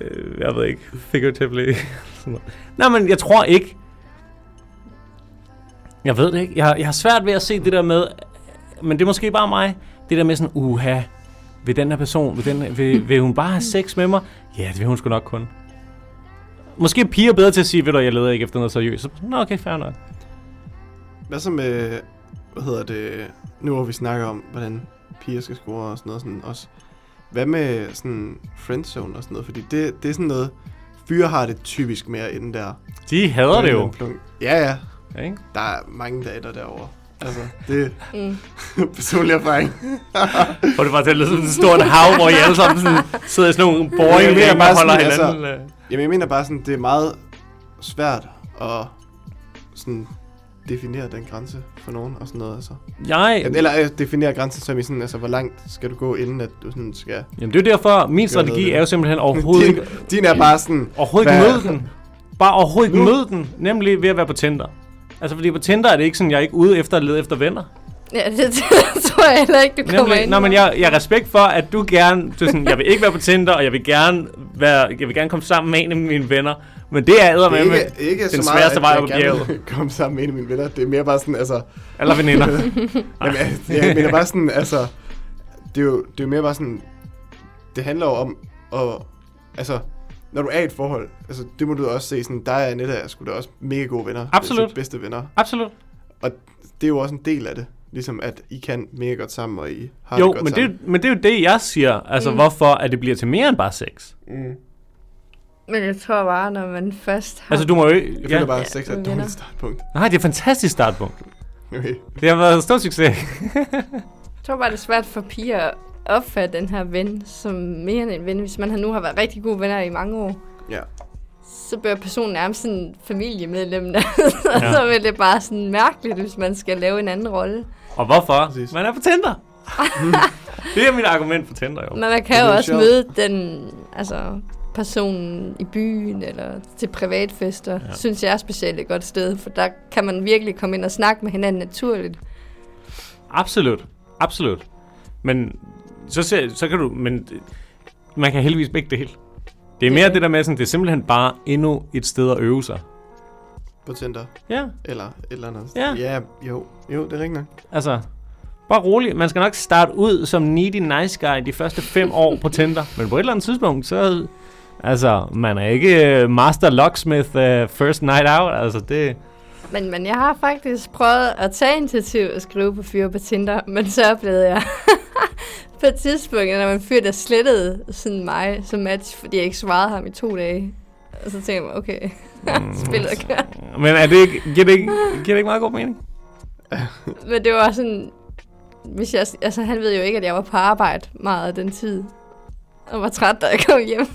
[SPEAKER 1] øh, jeg ved ikke, figuratively. Sådan noget. Nej, men jeg tror ikke. Jeg ved det ikke. Jeg, har- jeg har svært ved at se det der med, men det er måske bare mig, det der med sådan, uha, vil den her person, vil, den, her- vil, vil hun bare have sex med mig? Ja, det vil hun sgu nok kun. Måske er piger bedre til at sige, ved du, jeg leder ikke efter noget seriøst. Så, Nå, okay, fair nok.
[SPEAKER 2] Hvad så med, hvad hedder det, nu hvor vi snakker om, hvordan piger skal score og sådan noget sådan også. Hvad med sådan friendzone og sådan noget? Fordi det, det er sådan noget, fyre har det typisk mere inden der.
[SPEAKER 1] De hader det jo.
[SPEAKER 2] Plunk. Ja, ja.
[SPEAKER 1] Ikke?
[SPEAKER 2] Der er mange dater derovre. Altså, det
[SPEAKER 3] Mm.
[SPEAKER 2] er <laughs> personlig erfaring.
[SPEAKER 1] Og det var til at lyde som en stor en hav, hvor I alle sammen sådan, sidder i sådan nogle boring,
[SPEAKER 2] Jeg mener
[SPEAKER 1] og
[SPEAKER 2] bare
[SPEAKER 1] holder
[SPEAKER 2] sådan, altså.
[SPEAKER 1] hinanden. øh.
[SPEAKER 2] Jamen, jeg mener bare sådan, det er meget svært at sådan definere den grænse for nogen og sådan noget, altså.
[SPEAKER 1] Jeg,
[SPEAKER 2] Eller øh, definere grænsen som i sådan, altså, hvor langt skal du gå, inden at du sådan skal...
[SPEAKER 1] jamen det er jo derfor, min
[SPEAKER 2] Gør noget
[SPEAKER 1] strategi
[SPEAKER 2] ved
[SPEAKER 1] er jo
[SPEAKER 2] det.
[SPEAKER 1] simpelthen overhovedet
[SPEAKER 2] Din,
[SPEAKER 1] ikke,
[SPEAKER 2] din er bare sådan...
[SPEAKER 1] overhovedet ikke møde den. Bare overhovedet ikke
[SPEAKER 2] Nu.
[SPEAKER 1] møde den, nemlig ved at være på Tinder. Altså fordi på Tinder er det ikke sådan, jeg er ikke ude efter at lede efter venner.
[SPEAKER 3] Ja, det, <laughs> tror jeg heller ikke, du kommer
[SPEAKER 1] Nemlig,
[SPEAKER 3] ind
[SPEAKER 1] nå, men
[SPEAKER 3] på.
[SPEAKER 1] jeg, jeg har respekt for, at du gerne, du er sådan, jeg vil ikke være på Tinder, og jeg vil gerne, være, jeg vil gerne komme sammen med en af mine venner. Men det er
[SPEAKER 2] Det
[SPEAKER 1] eddermame
[SPEAKER 2] er ikke, ikke
[SPEAKER 1] den
[SPEAKER 2] så meget,
[SPEAKER 1] sværeste
[SPEAKER 2] at
[SPEAKER 1] vej
[SPEAKER 2] jeg
[SPEAKER 1] op ad
[SPEAKER 2] gerne
[SPEAKER 1] bjerget.
[SPEAKER 2] komme sammen med en af mine venner. Det er mere bare sådan, altså...
[SPEAKER 1] Eller veninder.
[SPEAKER 2] <laughs>
[SPEAKER 1] Ah.
[SPEAKER 2] Jamen, jeg- jeg mener bare sådan, altså... Det er jo det er jo mere bare sådan... Det handler jo om at... Altså, når du er i et forhold, altså, det må du også se, sådan, dig og Annette er sgu da også mega gode venner. Det er
[SPEAKER 1] Absolut.
[SPEAKER 2] typ bedste venner.
[SPEAKER 1] Absolut.
[SPEAKER 2] Og det er jo også en del af det. Ligesom at I kan mega godt sammen, og I har
[SPEAKER 1] Jo,
[SPEAKER 2] det godt
[SPEAKER 1] men
[SPEAKER 2] sammen.
[SPEAKER 1] det, men det er jo det, jeg siger. Altså, mm. hvorfor at det bliver til mere end bare sex.
[SPEAKER 2] Mm.
[SPEAKER 3] Men jeg tror bare, når man først har...
[SPEAKER 1] Altså, du må jo...
[SPEAKER 2] Jeg
[SPEAKER 1] Ja.
[SPEAKER 2] føler bare, at
[SPEAKER 3] Ja,
[SPEAKER 2] sex er
[SPEAKER 3] med
[SPEAKER 2] et
[SPEAKER 3] venner.
[SPEAKER 2] dårligt startpunkt.
[SPEAKER 1] Nej, det er et fantastisk startpunkt.
[SPEAKER 2] Okay.
[SPEAKER 1] Det har været en stor succes.
[SPEAKER 3] Jeg tror bare, det er svært for piger at opfatte den her ven som mere end en ven. Hvis man har- nu har været rigtig gode venner i mange år,
[SPEAKER 2] Ja.
[SPEAKER 3] så bliver personen nærmest sådan en familiemedlem. <laughs> Ja. så vil det bare sådan mærkeligt, hvis man skal lave en anden rolle.
[SPEAKER 1] Og hvorfor?
[SPEAKER 2] Præcis.
[SPEAKER 1] Man er på <laughs> Tinder. det er mit argument for Tinder, jo.
[SPEAKER 3] Men man
[SPEAKER 2] Det
[SPEAKER 3] kan
[SPEAKER 2] er
[SPEAKER 3] jo
[SPEAKER 2] jo
[SPEAKER 3] også
[SPEAKER 2] sjovt.
[SPEAKER 3] møde den, altså personen i byen eller til privatfester, ja. synes jeg er specielt et godt sted, for der kan man virkelig komme ind og snakke med hinanden naturligt.
[SPEAKER 1] Absolut. Absolut. Men så, ser, så kan du... Men det- man kan heldigvis begge dele. Det er mere
[SPEAKER 3] det.
[SPEAKER 1] det der med, sådan, det er simpelthen bare endnu et sted at øve sig.
[SPEAKER 2] På Tinder.
[SPEAKER 1] Ja,
[SPEAKER 2] Eller et eller andet.
[SPEAKER 1] Ja.
[SPEAKER 2] ja jo. Jo, det er rigtigt nok.
[SPEAKER 1] altså... Bare rolig. Man skal nok starte ud som needy nice guy de første fem år på Tinder. Men på et eller andet tidspunkt, så... Altså, man er ikke øh, master locksmith uh, first night out. Altså, det...
[SPEAKER 3] Men, men jeg har faktisk prøvet at tage initiativ og skrive på fyre på Tinder, men så oplevede jeg <laughs> på et tidspunkt, når man fyr, der slettede sådan mig som match, fordi jeg ikke svarede ham i to dage. Og så tænkte jeg mig, okay, <laughs>
[SPEAKER 1] Mm.
[SPEAKER 3] <laughs> spillet er kørt.
[SPEAKER 1] Men er det ikke, giver, det ikke, giver det ikke meget god mening?
[SPEAKER 3] Men det var sådan... hvis jeg, altså, han ved jo ikke, at jeg var på arbejde meget af den tid. Og var træt, da jeg kom hjem.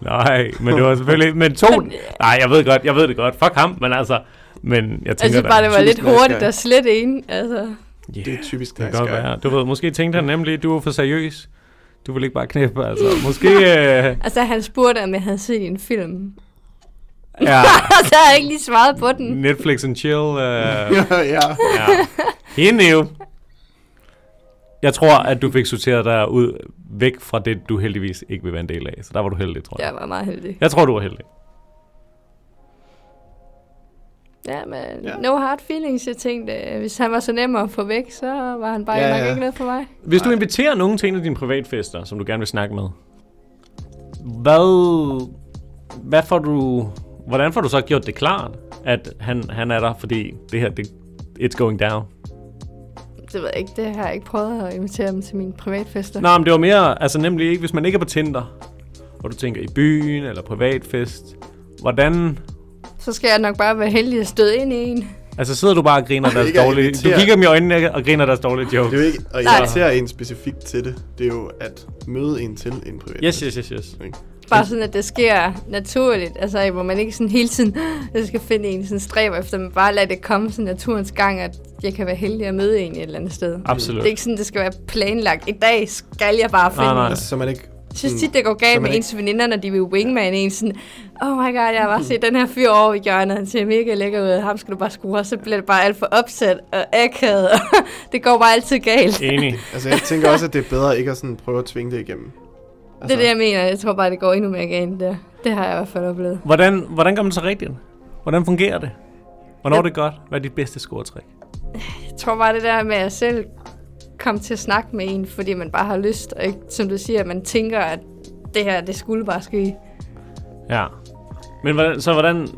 [SPEAKER 1] Nej, men det var selvfølgelig... Men to... Nej, jeg ved godt, jeg ved det godt. Fuck ham, men altså... Men jeg
[SPEAKER 3] Jeg
[SPEAKER 1] tænker
[SPEAKER 3] synes bare, det var lidt
[SPEAKER 2] Typisk dansker.
[SPEAKER 3] hurtigt og slet en. Altså,
[SPEAKER 1] Yeah,
[SPEAKER 2] Det er typisk
[SPEAKER 1] det kan
[SPEAKER 2] nice
[SPEAKER 1] godt
[SPEAKER 2] guy.
[SPEAKER 1] være. Du ved, måske tænkte han nemlig, du er for seriøs. Du vil ikke bare knæppe, altså.
[SPEAKER 3] <laughs>
[SPEAKER 1] Måske... Øh,
[SPEAKER 3] altså han spurgte, om jeg havde set en film.
[SPEAKER 1] ja,
[SPEAKER 3] <laughs> så har jeg ikke lige svaret på den.
[SPEAKER 1] Netflix and chill. Øh,
[SPEAKER 2] <laughs> ja, ja.
[SPEAKER 1] ja. Hende jo. Jeg tror, at du fik sorteret dig ud væk fra det, du heldigvis ikke vil være en del af. Så der var du heldig, tror jeg.
[SPEAKER 3] Jeg var meget heldig.
[SPEAKER 1] Jeg tror, du var heldig.
[SPEAKER 3] Ja, men
[SPEAKER 2] Ja.
[SPEAKER 3] ja. no hard feelings. Jeg tænkte, øh, hvis han var så nem at få væk, så var han bare
[SPEAKER 2] Ja,
[SPEAKER 3] ja, nok
[SPEAKER 2] ja.
[SPEAKER 3] ikke noget for mig.
[SPEAKER 1] Hvis du inviterer nogen til en af dine privatfester, som du gerne vil snakke med, hvad, hvad får du, hvordan får du så gjort det klart, at han, han er der, fordi det her, det, it's going down?
[SPEAKER 3] Det ved jeg ikke. Det har jeg ikke prøvet at invitere dem til mine privatfester.
[SPEAKER 1] Nej, men det var mere, altså nemlig ikke, hvis man ikke er på Tinder, og du tænker i byen eller privatfest, hvordan,
[SPEAKER 3] Så skal jeg nok bare være heldig at støde ind i en.
[SPEAKER 1] altså sidder du bare og griner
[SPEAKER 2] Det er
[SPEAKER 1] deres
[SPEAKER 2] ikke at
[SPEAKER 1] dårlige, du
[SPEAKER 2] invitere.
[SPEAKER 1] kigger dem i øjnene og griner deres dårlige
[SPEAKER 2] Det er
[SPEAKER 1] jokes.
[SPEAKER 2] jo ikke at
[SPEAKER 3] Nej.
[SPEAKER 2] invitere en specifikt til det. Det er jo at møde en til en privat.
[SPEAKER 1] Yes, yes, yes, yes.
[SPEAKER 3] Bare sådan, at det sker naturligt. Altså, hvor man ikke sådan hele tiden jeg skal finde en sådan stræber efter, men bare lade det komme sådan naturens gang, at jeg kan være heldig at møde en et eller andet sted.
[SPEAKER 1] Absolut.
[SPEAKER 3] Det er ikke sådan, det skal være planlagt. I dag skal jeg bare finde
[SPEAKER 1] nej.
[SPEAKER 3] en.
[SPEAKER 2] Altså, så man ikke...
[SPEAKER 3] Jeg synes tit, det går galt
[SPEAKER 2] man
[SPEAKER 3] med
[SPEAKER 2] ikke- Mm.
[SPEAKER 3] ens veninder, når de vil wingman en sådan, oh my god, jeg har bare set den her fyr over i hjørnet, han ser mega lækker ud, ham skal du bare skrue, og så bliver det bare alt for opsat og akavet, og <laughs> det går bare altid galt.
[SPEAKER 1] Enig.
[SPEAKER 2] Altså, jeg tænker også, at det er bedre ikke at sådan prøve at tvinge det igennem.
[SPEAKER 3] Det er
[SPEAKER 2] altså.
[SPEAKER 3] det, jeg mener. Jeg tror bare, det går endnu mere galt der. Det har jeg i hvert fald oplevet.
[SPEAKER 1] Hvordan, hvordan gør man så rigtigt? Hvordan fungerer det? Hvornår er det godt? Hvad er dit bedste scoretræk?
[SPEAKER 3] Jeg tror bare, det der med at selv komme til at snakke med en, fordi man bare har lyst, og ikke, som du siger, man tænker, at det her, det skulle bare ske.
[SPEAKER 1] Ja. Men hvordan, så hvordan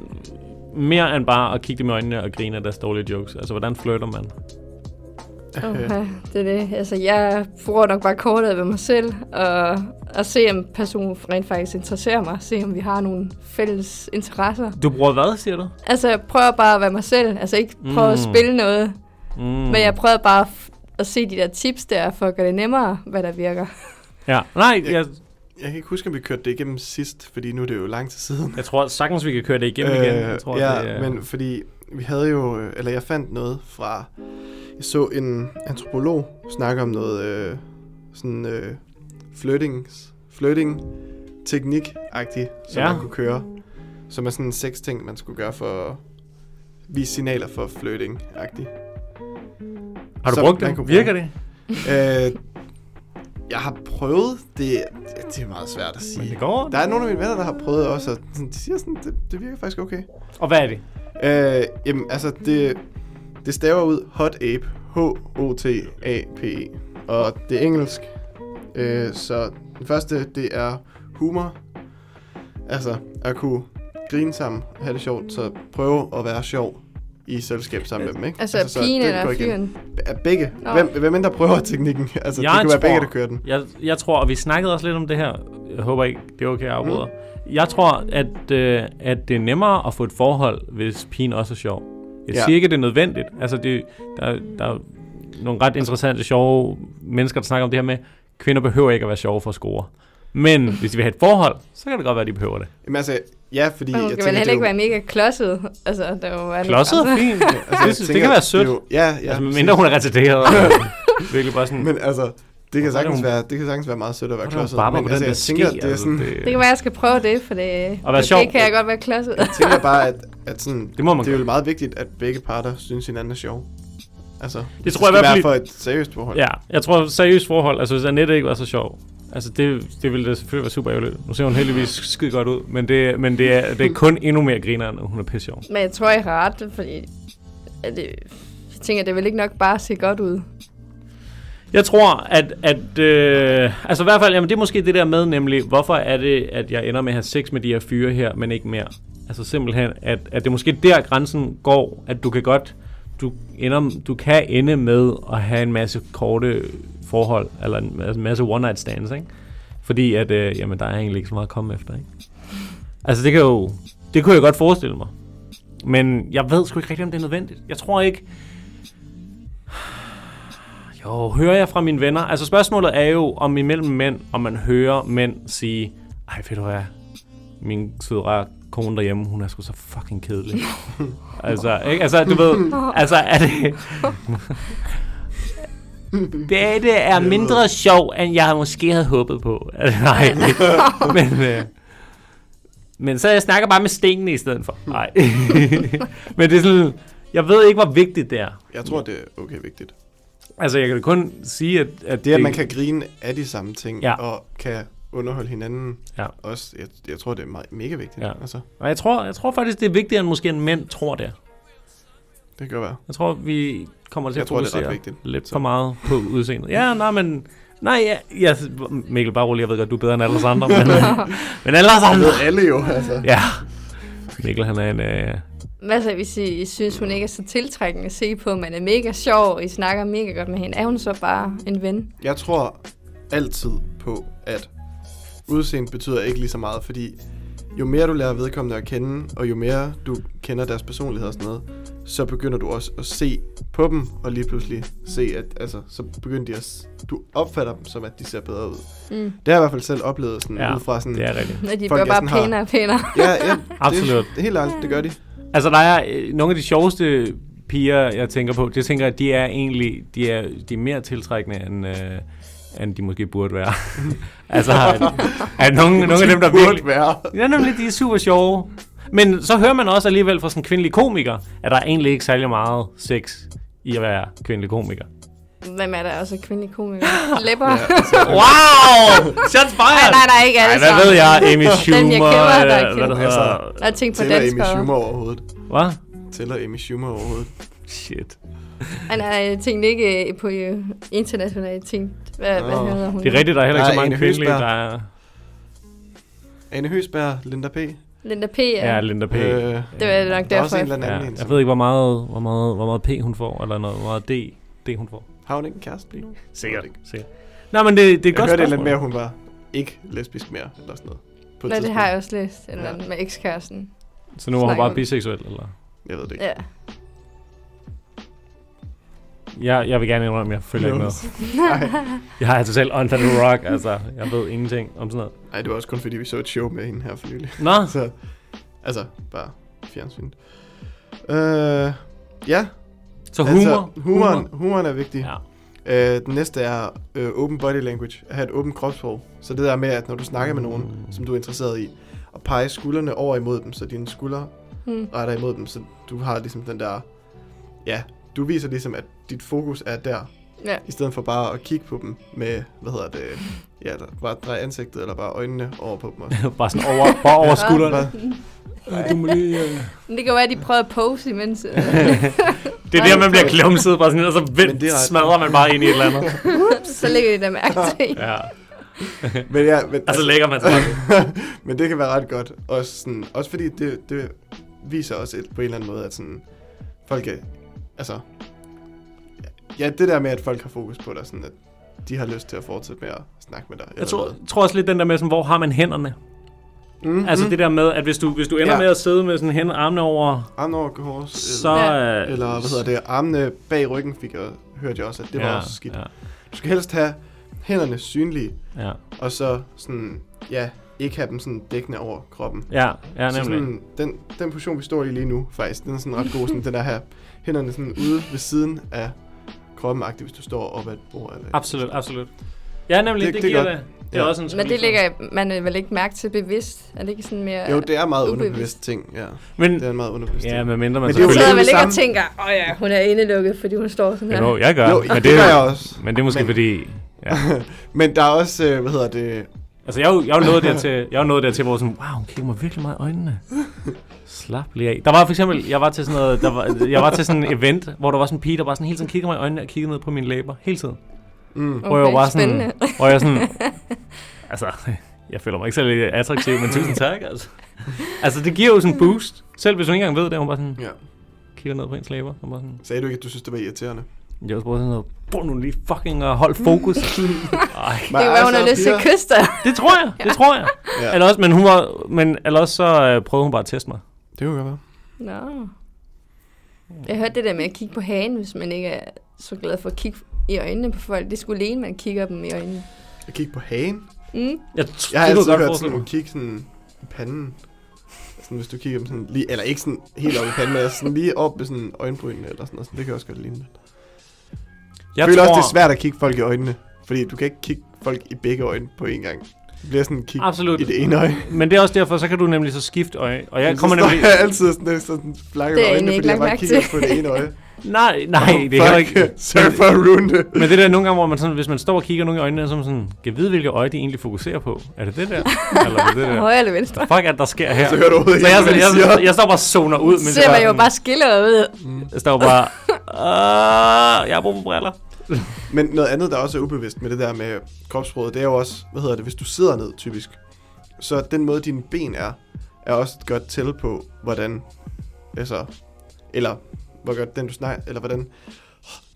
[SPEAKER 1] mere end bare at kigge dem i øjnene og grine af deres dårlige jokes? Altså, hvordan flirter man?
[SPEAKER 2] Altså, Øh.
[SPEAKER 3] Okay, det er det. Altså, jeg bruger nok bare kortet ved mig selv, og, og se, om personen rent faktisk interesserer mig. Se, om vi har nogle fælles interesser.
[SPEAKER 1] Du bruger hvad, siger du?
[SPEAKER 3] Altså, jeg prøver bare at være mig selv. Altså, ikke prøve mm. at
[SPEAKER 1] Mm.
[SPEAKER 3] spille noget,
[SPEAKER 1] Mm.
[SPEAKER 3] men jeg prøver bare at, f- at se de der tips der, for at gøre det nemmere, hvad der virker.
[SPEAKER 1] Ja. Nej, jeg,
[SPEAKER 2] øh, Jeg kan ikke huske, om vi kørte det igennem sidst, fordi nu er det jo lang tid siden.
[SPEAKER 1] jeg tror sagtens, vi kan køre det igennem igen. Jeg tror,
[SPEAKER 2] Øh, ja,
[SPEAKER 1] det, øh, er-
[SPEAKER 2] men fordi vi havde jo... øh, Eller jeg fandt noget fra... Jeg så en antropolog snakke om noget øh, sådan øh, flirtings, flirting teknik agtigt som
[SPEAKER 1] Ja.
[SPEAKER 2] ja. man kunne køre. Som er sådan seks ting, man skulle gøre for at vise signaler for flirting agtigt
[SPEAKER 1] Har du
[SPEAKER 2] så
[SPEAKER 1] brugt
[SPEAKER 2] man
[SPEAKER 1] det?
[SPEAKER 2] kunne
[SPEAKER 1] Virker
[SPEAKER 2] bruge-
[SPEAKER 1] det?
[SPEAKER 2] øh, jeg har prøvet det. Det er meget svært at
[SPEAKER 1] Men det
[SPEAKER 2] sige.
[SPEAKER 1] går.
[SPEAKER 2] Der er nogle af mine venner, der har prøvet også, og sådan- de siger sådan, det, det virker faktisk okay.
[SPEAKER 1] Og hvad er det?
[SPEAKER 2] Øh, jamen, altså, det, det staver ud hot ape. H-O-T-A-P-E. E, Og det er engelsk. Øh, så den første, det er humor. Altså, at kunne grine sammen, have det sjovt, så prøve at være sjov i selskab sammen med dem, ikke?
[SPEAKER 3] Altså, altså
[SPEAKER 2] så
[SPEAKER 3] pigen
[SPEAKER 2] det går igen.
[SPEAKER 3] eller fyren.
[SPEAKER 2] Er begge.
[SPEAKER 3] Nå.
[SPEAKER 2] Hvem, hvem end der prøver teknikken? <laughs> Altså, det kan være begge, der kører den.
[SPEAKER 1] Jeg, jeg tror, og vi snakkede også lidt om det her. Jeg håber ikke, det er okay, jeg afbryder. Jeg tror, at, øh, at det er nemmere at få et forhold, hvis pigen også er sjov. Jeg ja.
[SPEAKER 2] Ja.
[SPEAKER 1] siger ikke, at det er nødvendigt. Altså, det, der, der er nogle ret interessante, sjove mennesker, der snakker om det her med, kvinder behøver ikke at være sjove for at score. Men hvis de vil have et forhold, så kan det godt være, at de behøver det.
[SPEAKER 2] Jamen altså, ja, fordi
[SPEAKER 3] Man
[SPEAKER 2] jeg
[SPEAKER 3] skal
[SPEAKER 2] tænker,
[SPEAKER 3] vel
[SPEAKER 2] det er
[SPEAKER 3] heller ikke
[SPEAKER 2] jo-
[SPEAKER 3] være mega klodset. Altså, der må være
[SPEAKER 1] Klodset er fint.
[SPEAKER 2] Ja, altså,
[SPEAKER 1] Det synes- det kan være sødt.
[SPEAKER 2] er jo- Ja, ja.
[SPEAKER 1] Altså, mindre hun er
[SPEAKER 2] <laughs>
[SPEAKER 1] retarderet. Virkelig bare sådan...
[SPEAKER 2] Men altså, det kan,
[SPEAKER 1] Hvorfor er
[SPEAKER 2] sagtens
[SPEAKER 1] hun-
[SPEAKER 2] være, det kan sagtens være meget sødt at være
[SPEAKER 1] Hvorfor er hun
[SPEAKER 2] klodset.
[SPEAKER 1] barber
[SPEAKER 2] Men
[SPEAKER 1] på
[SPEAKER 2] altså,
[SPEAKER 1] den der
[SPEAKER 2] jeg
[SPEAKER 1] ske?
[SPEAKER 2] tænker, det er sådan,
[SPEAKER 1] Altså, det-
[SPEAKER 3] Det kan være, jeg skal prøve det, for det,
[SPEAKER 1] At være sjov.
[SPEAKER 3] det kan jeg godt være klodset.
[SPEAKER 2] jeg tænker bare, at, at sådan,
[SPEAKER 1] <laughs> Det må man
[SPEAKER 2] det er
[SPEAKER 1] gøre.
[SPEAKER 2] jo meget vigtigt, at begge parter synes, hinanden er sjov. Altså,
[SPEAKER 1] tror jeg i hvert
[SPEAKER 2] være
[SPEAKER 1] fald
[SPEAKER 2] for et seriøst forhold.
[SPEAKER 1] Ja, jeg tror seriøst forhold, altså hvis Annette ikke var så sjov, altså det, det ville da selvfølgelig være super ærgerligt. Nu ser hun heldigvis skide godt ud, men det, men det, er, det er kun endnu mere griner, når hun er pisse sjov.
[SPEAKER 3] Men jeg tror, I har ret, fordi at det, jeg tænker, det er vel ikke nok bare at se godt ud.
[SPEAKER 1] Jeg tror, at, at øh, altså i hvert fald, jamen det er måske det der med nemlig, hvorfor er det, at jeg ender med at have sex med de her fyre her, men ikke mere? Altså simpelthen, at, at det er måske der grænsen går, at du kan godt, du, ender, du kan ende med at have en masse korte forhold, eller en masse, masse one night stands, ikke? Fordi at, øh, jamen der er egentlig ikke så meget at komme efter, ikke? Altså det kan jo, det kunne jeg godt forestille mig. Men jeg ved sgu ikke rigtigt, om det er nødvendigt. Jeg tror ikke, Jo, hører jeg fra mine venner? Altså spørgsmålet er jo, om imellem mænd, om man hører mænd sige, ej, ved du hvad, min søde rare kone derhjemme, hun er sgu så fucking
[SPEAKER 2] <laughs>
[SPEAKER 1] kedelig. altså, ikke? Altså, du ved, altså, er
[SPEAKER 2] <laughs>
[SPEAKER 1] det... Dette er mindre sjov, end jeg måske havde håbet på. Altså,
[SPEAKER 2] <laughs>
[SPEAKER 1] Nej, men... Øh, men så jeg snakker bare med stenene i stedet for. Nej. <laughs> men det er sådan... Jeg ved ikke, hvor vigtigt det er.
[SPEAKER 2] Jeg tror, det er okay vigtigt.
[SPEAKER 1] Altså, jeg kan da kun sige, at... at
[SPEAKER 2] Det, at man kan grine af de samme ting,
[SPEAKER 1] Ja.
[SPEAKER 2] ja. og kan underholde hinanden
[SPEAKER 1] Ja.
[SPEAKER 2] ja. også, jeg, jeg tror, det er meget, mega vigtigt.
[SPEAKER 1] Ja.
[SPEAKER 2] Ja. Altså,
[SPEAKER 1] Og jeg tror, jeg tror faktisk, det er vigtigere, end måske en mænd tror det. er.
[SPEAKER 2] det kan godt være.
[SPEAKER 1] Jeg tror, vi kommer til
[SPEAKER 2] Jeg
[SPEAKER 1] at
[SPEAKER 2] tror, det er ret
[SPEAKER 1] fokusere
[SPEAKER 2] vigtigt.
[SPEAKER 1] lidt
[SPEAKER 2] Så.
[SPEAKER 1] for meget på udseendet. Ja, nej, men... Nej, ja, ja, Mikkel, bare rolig, jeg ved godt, du er bedre end alle os andre. men, men alle os
[SPEAKER 2] Det
[SPEAKER 1] andre...
[SPEAKER 2] ved alle jo, altså.
[SPEAKER 1] Ja. Mikkel, han er en... Øh,
[SPEAKER 3] Hvad så, hvis I synes, hun ikke er så tiltrækkende at se på, man er mega sjov, og I snakker mega godt med hende? Er hun så bare en ven?
[SPEAKER 2] Jeg tror altid på, at udseende betyder ikke lige så meget, fordi jo mere du lærer vedkommende at kende, og jo mere du kender deres personlighed og sådan noget, så begynder du også at se på dem, og lige pludselig se, at altså, så begynder de at, s- du opfatter dem som, at de ser bedre ud.
[SPEAKER 3] Mm.
[SPEAKER 2] Det har jeg i hvert fald selv oplevet sådan,
[SPEAKER 1] ja,
[SPEAKER 2] ud fra sådan...
[SPEAKER 1] det er rigtigt.
[SPEAKER 3] Når
[SPEAKER 2] Folk
[SPEAKER 3] de bliver
[SPEAKER 2] er sådan
[SPEAKER 3] bare
[SPEAKER 2] her.
[SPEAKER 3] pænere og pænere.
[SPEAKER 2] Ja, ja,
[SPEAKER 1] <laughs> Absolut.
[SPEAKER 2] Det, det, er helt ærligt, det gør de.
[SPEAKER 1] <laughs> Altså, der er øh, nogle af de sjoveste piger, jeg tænker på. Jeg tænker, at de er egentlig de er, de er mere tiltrækkende, end, øh, end de måske burde være. <laughs> altså, at, at nogle, nogle af dem, der
[SPEAKER 2] burde
[SPEAKER 1] virkelig...
[SPEAKER 2] være.
[SPEAKER 1] Ja, nemlig, de er super sjove. Men så hører man også alligevel fra sådan en kvindelig komiker, at der er egentlig ikke særlig meget sex i at være kvindelig komiker.
[SPEAKER 3] Hvem er der også kvindelig komiker? Læber?
[SPEAKER 2] Ja, <laughs> altså,
[SPEAKER 1] Wow! Shots
[SPEAKER 3] Nej,
[SPEAKER 1] fired!
[SPEAKER 3] nej, nej, ikke alle
[SPEAKER 1] Ej, hvad
[SPEAKER 3] sammen.
[SPEAKER 1] ved jeg? Amy
[SPEAKER 3] Den, jeg
[SPEAKER 1] Schumer,
[SPEAKER 3] kender, der
[SPEAKER 1] øh,
[SPEAKER 3] ikke
[SPEAKER 1] hvad det
[SPEAKER 2] kender.
[SPEAKER 1] hedder.
[SPEAKER 3] Og tænk på
[SPEAKER 2] tæller Amy Schumer
[SPEAKER 3] danskere.
[SPEAKER 2] overhovedet?
[SPEAKER 1] Hvad?
[SPEAKER 2] Tæller Amy Schumer overhovedet?
[SPEAKER 1] Shit.
[SPEAKER 3] Han er tænkt ikke øh, på øh, internationale ting. Hvad,
[SPEAKER 2] Nå.
[SPEAKER 3] hvad hedder hun?
[SPEAKER 1] Det er rigtigt, der er heller ikke
[SPEAKER 2] Der
[SPEAKER 1] så
[SPEAKER 2] er
[SPEAKER 1] mange
[SPEAKER 2] Ane
[SPEAKER 1] kvindelige, der
[SPEAKER 2] Høsberg.
[SPEAKER 1] er...
[SPEAKER 2] Anne Høsberg, Linda P.
[SPEAKER 3] Linda P.
[SPEAKER 1] Ja,
[SPEAKER 3] Ja.
[SPEAKER 1] Linda P.
[SPEAKER 2] Øh,
[SPEAKER 3] Det var nok
[SPEAKER 2] der er også
[SPEAKER 3] derfor.
[SPEAKER 2] en eller anden
[SPEAKER 1] Ja,
[SPEAKER 2] anden.
[SPEAKER 1] jeg
[SPEAKER 2] som-
[SPEAKER 1] ved ikke, hvor meget, hvor, meget, hvor meget P hun får, eller noget, hvor meget D, D hun får.
[SPEAKER 2] Har hun ikke en kæreste lige nu?
[SPEAKER 1] Sikkert.
[SPEAKER 2] Jeg ved det
[SPEAKER 1] Sikkert. Nej, men det, det er et
[SPEAKER 2] Jeg
[SPEAKER 1] godt
[SPEAKER 2] hørte
[SPEAKER 1] spørgsmål.
[SPEAKER 2] det lidt mere, hun var ikke lesbisk mere, eller sådan noget. På et
[SPEAKER 3] Nå, det
[SPEAKER 2] tidspunkt.
[SPEAKER 3] har jeg også læst. Eller
[SPEAKER 2] Ja.
[SPEAKER 3] ja. med ekskæresten.
[SPEAKER 1] Så nu er hun
[SPEAKER 3] Snakker
[SPEAKER 1] bare
[SPEAKER 3] om.
[SPEAKER 1] biseksuel, eller?
[SPEAKER 2] Jeg ved det ikke.
[SPEAKER 3] Ja.
[SPEAKER 1] Jeg, jeg vil gerne indrømme, at jeg følger
[SPEAKER 2] <laughs>
[SPEAKER 1] ikke med. Jeg har altså selv under the rock, altså. Jeg ved ingenting om sådan noget.
[SPEAKER 2] Nej, det var også kun fordi, vi så et show med hende her for nylig. <laughs>
[SPEAKER 1] Nå,
[SPEAKER 2] Så, altså, bare fjernsynet. Øh, ja,
[SPEAKER 1] så humor.
[SPEAKER 2] altså, humoren, humoren er vigtig.
[SPEAKER 1] Ja.
[SPEAKER 2] Øh, den næste er øh, open body language. At have et åbent kropsprog. Så det der med, at når du snakker med nogen, som du er interesseret i, og pege skuldrene over imod dem, så dine skuldre
[SPEAKER 3] Hmm.
[SPEAKER 2] retter imod dem, så du har ligesom den der... Ja, du viser ligesom, at dit fokus er der,
[SPEAKER 3] Ja.
[SPEAKER 2] i stedet for bare at kigge på dem med, hvad hedder det, ja, der, bare dreje ansigtet eller bare øjnene over på dem. Også.
[SPEAKER 1] bare sådan over, bare over skulderen.
[SPEAKER 2] Bare,
[SPEAKER 1] Du må lige, øh.
[SPEAKER 3] Men det kan jo være, at de prøvede at pose imens. øh.
[SPEAKER 1] Det er der, man bliver klumset, bare sådan, og så
[SPEAKER 2] Men
[SPEAKER 1] vildt
[SPEAKER 2] det er ret-
[SPEAKER 1] smadrer man bare ind i et eller andet.
[SPEAKER 3] så lægger de der mærke til.
[SPEAKER 1] Ja.
[SPEAKER 2] men ja, men,
[SPEAKER 1] Og så lægger man sig.
[SPEAKER 2] men det kan være ret godt. Også, sådan, også fordi det, det viser også et- på en eller anden måde, at sådan, folk er, altså, ja, det der med, at folk har fokus på dig, sådan at de har lyst til at fortsætte med at snakke med dig. eller
[SPEAKER 1] Jeg tror,
[SPEAKER 2] noget.
[SPEAKER 1] tror også lidt den der med, sådan, hvor har man hænderne?
[SPEAKER 2] Mhm.
[SPEAKER 1] Altså det der med, at hvis du, hvis du ender
[SPEAKER 2] Ja.
[SPEAKER 1] med at sidde med sådan hænder armene over,
[SPEAKER 2] Armene over kors,
[SPEAKER 1] så...
[SPEAKER 3] Ja.
[SPEAKER 1] øh,
[SPEAKER 2] Eller hvad hedder det? Armene bag ryggen fik jeg, hørte jeg også, at det ja, var også skidt. Ja.
[SPEAKER 1] Ja,
[SPEAKER 2] Du skal helst have hænderne synlige,
[SPEAKER 1] ja,
[SPEAKER 2] og så sådan, ja, ikke have dem sådan dækkende over kroppen.
[SPEAKER 1] ja, ja
[SPEAKER 2] så
[SPEAKER 1] nemlig.
[SPEAKER 2] sådan, den, den position, vi står i lige nu, faktisk, den er sådan ret god, sådan den der her, hænderne sådan ude ved siden af kroppen, agtigt, hvis du står op ad et bord. Eller,
[SPEAKER 1] Absolut, absolut. Ja, nemlig, det, det,
[SPEAKER 2] Det- det er
[SPEAKER 1] giver
[SPEAKER 2] godt.
[SPEAKER 1] det. Det er
[SPEAKER 2] Ja.
[SPEAKER 1] også en
[SPEAKER 3] Men det
[SPEAKER 1] skole-
[SPEAKER 3] ligger man vel ikke mærke til bevidst? Er det ikke sådan mere...
[SPEAKER 2] jo, det er meget
[SPEAKER 3] Ubevidst.
[SPEAKER 2] underbevidst ting, ja.
[SPEAKER 1] Men,
[SPEAKER 2] Det er en meget underbevidst
[SPEAKER 1] ja,
[SPEAKER 2] ting.
[SPEAKER 1] men mindre man
[SPEAKER 2] Men det er
[SPEAKER 3] Du
[SPEAKER 2] jo
[SPEAKER 3] sidder
[SPEAKER 1] selvfølgelig...
[SPEAKER 2] det
[SPEAKER 3] vel ikke
[SPEAKER 2] samme.
[SPEAKER 3] og tænker, åh oh ja, hun er indelukket, fordi hun står sådan her.
[SPEAKER 1] Jo, jeg gør.
[SPEAKER 2] Jo,
[SPEAKER 1] men
[SPEAKER 2] det
[SPEAKER 1] det, er
[SPEAKER 2] gør
[SPEAKER 1] jo-
[SPEAKER 2] jeg også. <laughs>
[SPEAKER 1] Men det er måske men.
[SPEAKER 2] Men-
[SPEAKER 1] fordi... Ja.
[SPEAKER 2] Men der er også, øh, hvad hedder det,
[SPEAKER 1] Altså, jeg er jo- jeg er jo nået dertil, jeg er jo nået dertil, hvor sådan, wow, hun kigger mig virkelig meget i øjnene. Slap lige af. Der var for eksempel, jeg var til sådan noget, der var, jeg var til sådan en event, hvor der var sådan en pige, der bare sådan hele tiden kiggede mig i øjnene og kiggede ned på mine læber. Hele tiden.
[SPEAKER 2] mm,
[SPEAKER 1] Hvor jeg var bare sådan-
[SPEAKER 3] spændende.
[SPEAKER 1] Hvor jeg
[SPEAKER 2] <laughs>
[SPEAKER 1] sådan, altså, jeg føler mig ikke særlig attraktiv, men tusind tak, altså. Altså, det giver jo sådan en boost. Selv hvis hun ikke engang ved det, hun bare sådan
[SPEAKER 2] ja.
[SPEAKER 1] kigger ned på ens læber. Og bare sådan,
[SPEAKER 2] Sagde du ikke, at du synes, det var irriterende?
[SPEAKER 1] jeg var også bare sådan noget, brug nu lige fucking og <laughs> hold fokus. Ej,
[SPEAKER 3] <laughs> Det kan være, hun har lyst til at kysse
[SPEAKER 2] <laughs>
[SPEAKER 3] dig.
[SPEAKER 1] det tror jeg, det tror jeg.
[SPEAKER 2] Ja.
[SPEAKER 1] Eller også, men, hun var, men, eller også så øh, prøvede hun bare at teste mig.
[SPEAKER 2] Det kunne godt være.
[SPEAKER 3] Nå. Jeg hørte det der med at kigge på hagen, hvis man ikke er så glad for at kigge i øjnene på folk. Det skulle alene, man kigger dem i øjnene.
[SPEAKER 2] Jeg kigger på hagen.
[SPEAKER 3] Mm.
[SPEAKER 1] Jeg, t-
[SPEAKER 2] Jeg har
[SPEAKER 1] det kunne jeg
[SPEAKER 2] altid
[SPEAKER 1] godt
[SPEAKER 2] hørt
[SPEAKER 1] forestille
[SPEAKER 2] sådan, at
[SPEAKER 1] mig.
[SPEAKER 2] kigge sådan i panden. Sådan, hvis du kigger dem sådan lige, eller ikke sådan helt op i panden, men sådan lige op med sådan øjenbrynene eller sådan noget. Sådan, det kan også godt ligne lidt. Jeg,
[SPEAKER 1] Jeg
[SPEAKER 2] føler
[SPEAKER 1] tror,
[SPEAKER 2] også, det er svært at kigge folk i øjnene, fordi du kan ikke kigge folk i begge øjne på én gang. Det bliver sådan kig
[SPEAKER 1] Absolut.
[SPEAKER 2] i det ene øje.
[SPEAKER 1] Men det er også derfor, så kan du nemlig så skifte øje. Og jeg
[SPEAKER 2] Så
[SPEAKER 1] kommer
[SPEAKER 2] står
[SPEAKER 1] nemlig...
[SPEAKER 2] Jeg <laughs> altid sådan, sådan flakke
[SPEAKER 3] Det
[SPEAKER 2] med
[SPEAKER 3] er
[SPEAKER 2] øjnene, fordi
[SPEAKER 3] egentlig ikke
[SPEAKER 2] jeg bare
[SPEAKER 3] lagt mærke
[SPEAKER 2] kigger
[SPEAKER 3] til.
[SPEAKER 2] på det ene øje.
[SPEAKER 1] <laughs> Nej, nej, det er heller
[SPEAKER 2] Fuck,
[SPEAKER 1] ikke...
[SPEAKER 2] Sorry for at ruin det.
[SPEAKER 1] Men det der nogle gange, hvor man sådan, hvis man står og kigger nogen i øjnene, så er man sådan, kan vide, hvilke øjne de egentlig fokuserer på. Er det det der? Eller er det det der?
[SPEAKER 3] Højre eller venstre.
[SPEAKER 1] Fuck, at der sker her.
[SPEAKER 2] Så hører du overhovedet
[SPEAKER 1] så
[SPEAKER 2] ikke,
[SPEAKER 1] jeg,
[SPEAKER 2] hvad
[SPEAKER 1] sådan,
[SPEAKER 2] de
[SPEAKER 1] jeg, jeg,
[SPEAKER 2] siger.
[SPEAKER 1] jeg, står bare og zoner ud.
[SPEAKER 3] Så ser man jo bare skiller ud.
[SPEAKER 2] Mm.
[SPEAKER 1] Jeg står bare... "Ah, jeg har brug for briller.
[SPEAKER 2] Men noget andet, der også er ubevidst med det der med kropsproget, det er jo også, hvad hedder det, hvis du sidder ned typisk, så den måde, dine ben er, er også et godt tæl på, hvordan, altså, eller hvor godt den du snakker, eller hvordan,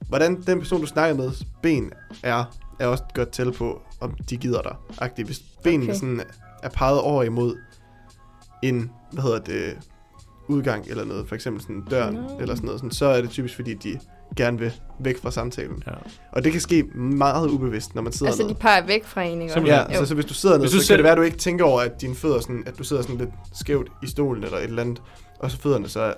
[SPEAKER 2] hvordan den person, du snakker med, ben er, er også et godt tæl på, om de gider dig. Agtigt. Hvis benene
[SPEAKER 3] Okay.
[SPEAKER 2] okay. sådan er peget over imod en, hvad hedder det, udgang eller noget, for eksempel sådan døren
[SPEAKER 3] Nå.
[SPEAKER 2] eller sådan noget, sådan, så er det typisk, fordi de gerne vil væk fra samtalen.
[SPEAKER 1] Ja.
[SPEAKER 2] Og det kan ske meget ubevidst, når man sidder
[SPEAKER 3] Altså, de
[SPEAKER 2] ned.
[SPEAKER 3] peger væk fra en, ikke? også?
[SPEAKER 1] Simpelthen.
[SPEAKER 2] Ja,
[SPEAKER 3] Jo.
[SPEAKER 2] så, så hvis du sidder ned,
[SPEAKER 1] Hvis
[SPEAKER 2] så
[SPEAKER 1] du
[SPEAKER 2] kan
[SPEAKER 1] selv-
[SPEAKER 2] det være, at du ikke tænker over, at dine fødder sådan, at du sidder sådan lidt skævt i stolen eller et eller andet, og så fødderne så peger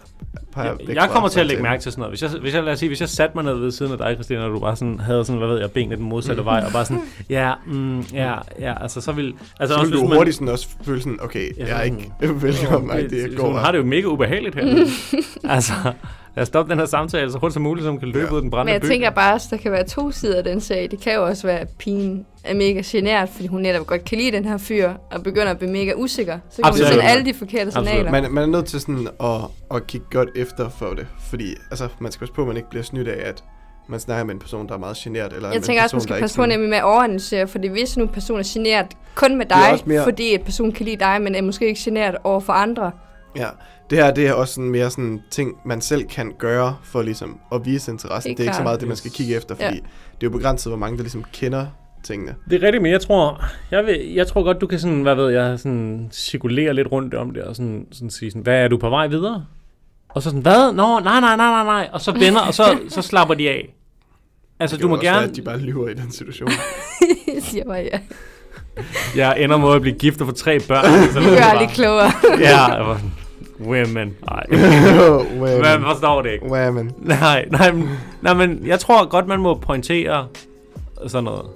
[SPEAKER 1] Jeg,
[SPEAKER 2] væk
[SPEAKER 1] jeg
[SPEAKER 2] fra
[SPEAKER 1] kommer til at
[SPEAKER 2] samtalen.
[SPEAKER 1] lægge mærke til sådan noget. Hvis jeg, hvis jeg, lad os sige, hvis jeg satte mig ned ved siden af dig, Christina, og du bare sådan, havde sådan, hvad ved jeg, benene den modsatte vej, og bare
[SPEAKER 2] <laughs>
[SPEAKER 1] sådan, ja, mm, ja, ja, altså så vil... Altså
[SPEAKER 2] Så vil
[SPEAKER 1] hvis
[SPEAKER 2] du
[SPEAKER 1] man-
[SPEAKER 2] hurtigt sådan også føle sådan, okay,
[SPEAKER 1] Ja,
[SPEAKER 2] jeg er
[SPEAKER 1] sådan-
[SPEAKER 2] ikke <laughs> velkommen,
[SPEAKER 1] Åh,
[SPEAKER 2] nej, det
[SPEAKER 1] Hun
[SPEAKER 2] går
[SPEAKER 1] har det jo mega ubehageligt
[SPEAKER 2] <laughs>
[SPEAKER 1] her. altså, lad os stoppe den her samtale så hurtigt som muligt, så hun kan løbe
[SPEAKER 2] Ja.
[SPEAKER 1] ud af den brændende
[SPEAKER 3] Men jeg
[SPEAKER 1] by.
[SPEAKER 3] tænker bare, at der kan være to sider af den sag. Det kan jo også være, at pigen er mega genert, fordi hun netop godt kan lide den her fyr, og begynder at blive mega usikker. Så kan hun
[SPEAKER 1] Absolut.
[SPEAKER 3] sende alle de forkerte
[SPEAKER 1] Absolut.
[SPEAKER 3] signaler.
[SPEAKER 2] Man, man er nødt til sådan at, at kigge godt efter for det, fordi altså, man skal passe på, at man ikke bliver snydt af, at man snakker med en person, der er meget generet. Eller med
[SPEAKER 3] Jeg
[SPEAKER 2] en
[SPEAKER 3] tænker også,
[SPEAKER 2] person,
[SPEAKER 3] man
[SPEAKER 2] der
[SPEAKER 3] skal
[SPEAKER 2] ikke
[SPEAKER 3] passe på
[SPEAKER 2] sådan-
[SPEAKER 3] nemlig med at overanalysere, fordi hvis nu en person er genert kun med
[SPEAKER 2] Det er
[SPEAKER 3] dig,
[SPEAKER 2] også mere-
[SPEAKER 3] fordi et person kan lide dig, men er måske ikke genert over for andre. <laughs>
[SPEAKER 2] Ja, det her det er også sådan mere sådan ting, man selv kan gøre for ligesom at vise interesse.
[SPEAKER 3] Helt
[SPEAKER 2] Det er ikke så
[SPEAKER 3] klart.
[SPEAKER 2] meget det, man skal kigge efter, fordi
[SPEAKER 3] Ja.
[SPEAKER 2] ja. det er jo begrænset, hvor mange der ligesom kender tingene.
[SPEAKER 1] Det er rigtigt, men jeg tror, jeg, ved, jeg tror godt, du kan sådan, hvad ved jeg, sådan cirkulere lidt rundt om det, og sådan, sådan sige sådan, hvad er du på vej videre? Og så sådan, hvad? Nå, nej, nej, nej, nej, nej. Og så vender, og så, så slapper de af. Altså,
[SPEAKER 2] Det
[SPEAKER 1] du
[SPEAKER 2] kan
[SPEAKER 1] må
[SPEAKER 2] jo også
[SPEAKER 1] gerne...
[SPEAKER 2] Være, at de bare lyver i den
[SPEAKER 1] <laughs>
[SPEAKER 2] situation.
[SPEAKER 3] Jeg siger bare, ja.
[SPEAKER 1] Jeg ender med at blive gift og få tre børn.
[SPEAKER 3] <laughs>
[SPEAKER 1] Så
[SPEAKER 3] Vi gør lidt klogere.
[SPEAKER 1] Ja, jeg var sådan, women. Nej, man
[SPEAKER 2] Women.
[SPEAKER 1] forstår det ikke.
[SPEAKER 2] Women.
[SPEAKER 1] <laughs> Nej, nej, men, nej, men jeg tror godt, man må pointere sådan noget.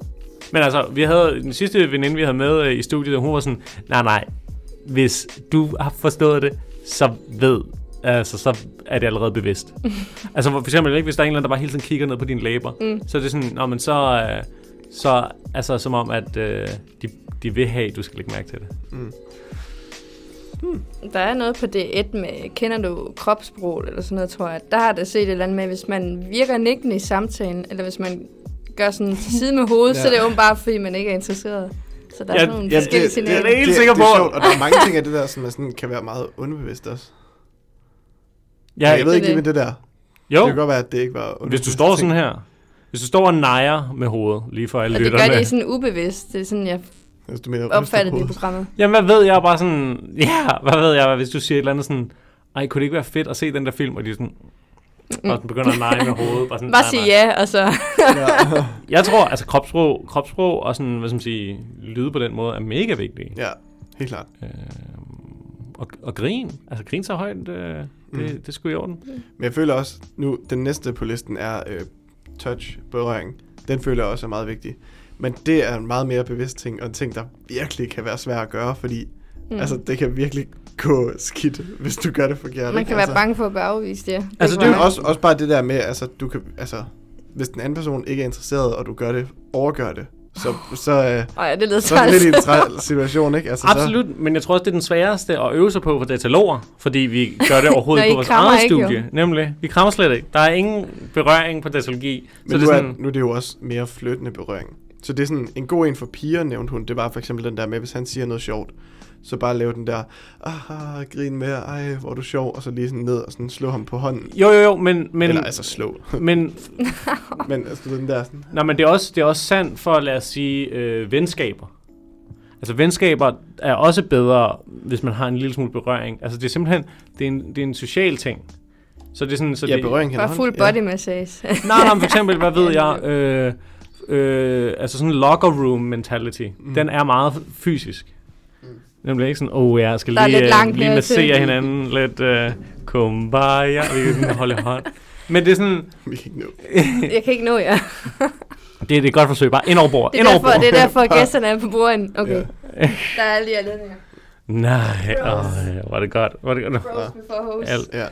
[SPEAKER 1] Men altså, vi havde den sidste veninde, vi havde med øh, i studiet, og hun var sådan, nej, nej, hvis du har forstået det, så ved, altså, så er det allerede bevidst. altså, for eksempel, ikke, hvis der er en eller anden, der bare hele tiden kigger ned på dine læber, mm. så er det sådan, nå, men så, øh, så altså, som om, at øh, de, de vil have, at du skal lægge mærke til det.
[SPEAKER 3] Der er noget på det et med, kender du kropsprog eller sådan noget, tror jeg. Der har der set et eller andet med, hvis man virker nikkende i samtalen, eller hvis man gør sådan til side med hovedet, ja. så er det jo bare, fordi man ikke er interesseret. Så der er
[SPEAKER 1] Ja,
[SPEAKER 3] sådan nogle
[SPEAKER 1] ja,
[SPEAKER 3] ja,
[SPEAKER 1] det-
[SPEAKER 3] forskellige
[SPEAKER 1] det-
[SPEAKER 3] signaler.
[SPEAKER 1] det er helt
[SPEAKER 2] det,
[SPEAKER 1] sikker
[SPEAKER 2] det er
[SPEAKER 1] på.
[SPEAKER 2] sjovt, og der er mange ting af det der, som er sådan, kan være meget underbevidst også. Ja, jeg ved
[SPEAKER 3] det
[SPEAKER 2] ikke lige
[SPEAKER 3] er
[SPEAKER 2] med det der.
[SPEAKER 1] jo,
[SPEAKER 2] Det kan godt være, at det ikke var
[SPEAKER 1] hvis
[SPEAKER 2] underbevidst
[SPEAKER 1] du står sådan
[SPEAKER 2] ting.
[SPEAKER 1] her, hvis du står og nejer med hovedet, lige for alle
[SPEAKER 3] Og det
[SPEAKER 1] lytterne.
[SPEAKER 3] gør de sådan ubevidst. Det er sådan, jeg
[SPEAKER 2] Altså, du mener,
[SPEAKER 3] opfattede det i
[SPEAKER 2] underbevidst
[SPEAKER 3] programmet.
[SPEAKER 1] Jamen, hvad ved jeg bare sådan... <laughs> Ja, hvad ved jeg, hvis du siger et eller andet sådan... Ej, kunne det ikke være fedt at se den der film? Og de er sådan... Og den begynder at neje med hovedet. Bare, sådan,
[SPEAKER 3] Bare
[SPEAKER 1] nej,
[SPEAKER 3] sige
[SPEAKER 1] nej.
[SPEAKER 3] ja, og så... <laughs>
[SPEAKER 2] hoved. Ja.
[SPEAKER 1] Jeg tror, altså kropsprog, kropsprog og sådan, hvad skal man sige, lyde på den måde er mega vigtige.
[SPEAKER 2] ja, <laughs> helt klart.
[SPEAKER 1] Og, og grin, altså grin så højt, øh, det, mm. det, det skulle i orden.
[SPEAKER 2] Men jeg føler også, nu den næste på listen er øh, touch, berøring. Den føler jeg også er meget vigtig. Men det er en meget mere bevidst ting, og en ting, der virkelig kan være svær at gøre, fordi mm. altså, det kan virkelig gå skidt, hvis du gør det forkert.
[SPEAKER 3] Man
[SPEAKER 2] ikke?
[SPEAKER 3] kan være
[SPEAKER 2] altså,
[SPEAKER 3] bange for at blive afvist, ja.
[SPEAKER 1] Altså,
[SPEAKER 2] Det er jo
[SPEAKER 1] Ja.
[SPEAKER 2] også, også bare det der med, altså, du kan, altså, hvis den anden person ikke er interesseret, og du gør det, overgør det, så, så, øh,
[SPEAKER 3] Åh ja, det lyder
[SPEAKER 2] så er det
[SPEAKER 3] træls. <laughs>
[SPEAKER 2] lidt i en træl situation, ikke? Altså,
[SPEAKER 1] Absolut, men jeg tror også, det er den sværeste at øve sig på for dataloger, fordi vi gør det
[SPEAKER 3] <laughs>
[SPEAKER 1] overhovedet
[SPEAKER 3] Nå,
[SPEAKER 1] ikke
[SPEAKER 3] I
[SPEAKER 1] på vores
[SPEAKER 3] krammer
[SPEAKER 1] eget
[SPEAKER 3] ikke, jo.
[SPEAKER 1] studie. Nemlig, vi krammer slet ikke. Der er ingen berøring på datalogi.
[SPEAKER 2] Så,
[SPEAKER 1] Så
[SPEAKER 2] men
[SPEAKER 1] det er
[SPEAKER 2] nu,
[SPEAKER 1] sådan,
[SPEAKER 2] er, nu er det jo også mere flyttende berøring. Så det er sådan, en god en for piger, nævnte hun. Det var for eksempel den der med, hvis han siger noget sjovt, så bare lave den der, ah, grin med, ej, hvor er du sjov, og så lige sådan ned og sådan slå ham på hånden.
[SPEAKER 1] jo jo jo, men, men,
[SPEAKER 2] Eller altså
[SPEAKER 1] <laughs>
[SPEAKER 2] slå.
[SPEAKER 1] men
[SPEAKER 2] men altså den der sådan,
[SPEAKER 1] Nej, men det er også, det er også sandt for, lad os sige, øh, venskaber. Altså venskaber er også bedre, hvis man har en lille smule berøring. Altså det er simpelthen, det er en, det er en social ting. Så det er sådan, så
[SPEAKER 2] Ja,
[SPEAKER 1] det,
[SPEAKER 2] berøring
[SPEAKER 3] Bare
[SPEAKER 2] henhold.
[SPEAKER 3] full body massage. <laughs>
[SPEAKER 1] Nej, nej, men for eksempel, hvad ved jeg, øh, øh, altså sådan locker room mentality, mm. den er meget f- fysisk. Nemlig ikke sådan, åh, oh, jeg skal
[SPEAKER 3] Mm. Der er
[SPEAKER 1] lige,
[SPEAKER 3] lidt
[SPEAKER 1] øh,
[SPEAKER 3] langt
[SPEAKER 1] lige
[SPEAKER 3] ned
[SPEAKER 1] massere
[SPEAKER 3] til."
[SPEAKER 1] hinanden lidt, øh, kumbaya, vi kan sådan holde i hånd. Men det er sådan,
[SPEAKER 2] Ja. Vi kan ikke nå.
[SPEAKER 3] Jeg kan ikke nå jer.
[SPEAKER 1] det, det er et godt forsøg, bare ind over bord,
[SPEAKER 3] Det
[SPEAKER 1] ind
[SPEAKER 3] er
[SPEAKER 1] over
[SPEAKER 3] derfor,
[SPEAKER 1] bord.
[SPEAKER 3] det er derfor at gæsterne er på bordet. Okay,
[SPEAKER 2] Ja.
[SPEAKER 3] der er alle de her ledninger.
[SPEAKER 1] Nej, åh, ja, var det godt, var det godt.
[SPEAKER 3] Bros before hoes.
[SPEAKER 1] Alt.
[SPEAKER 2] Ja.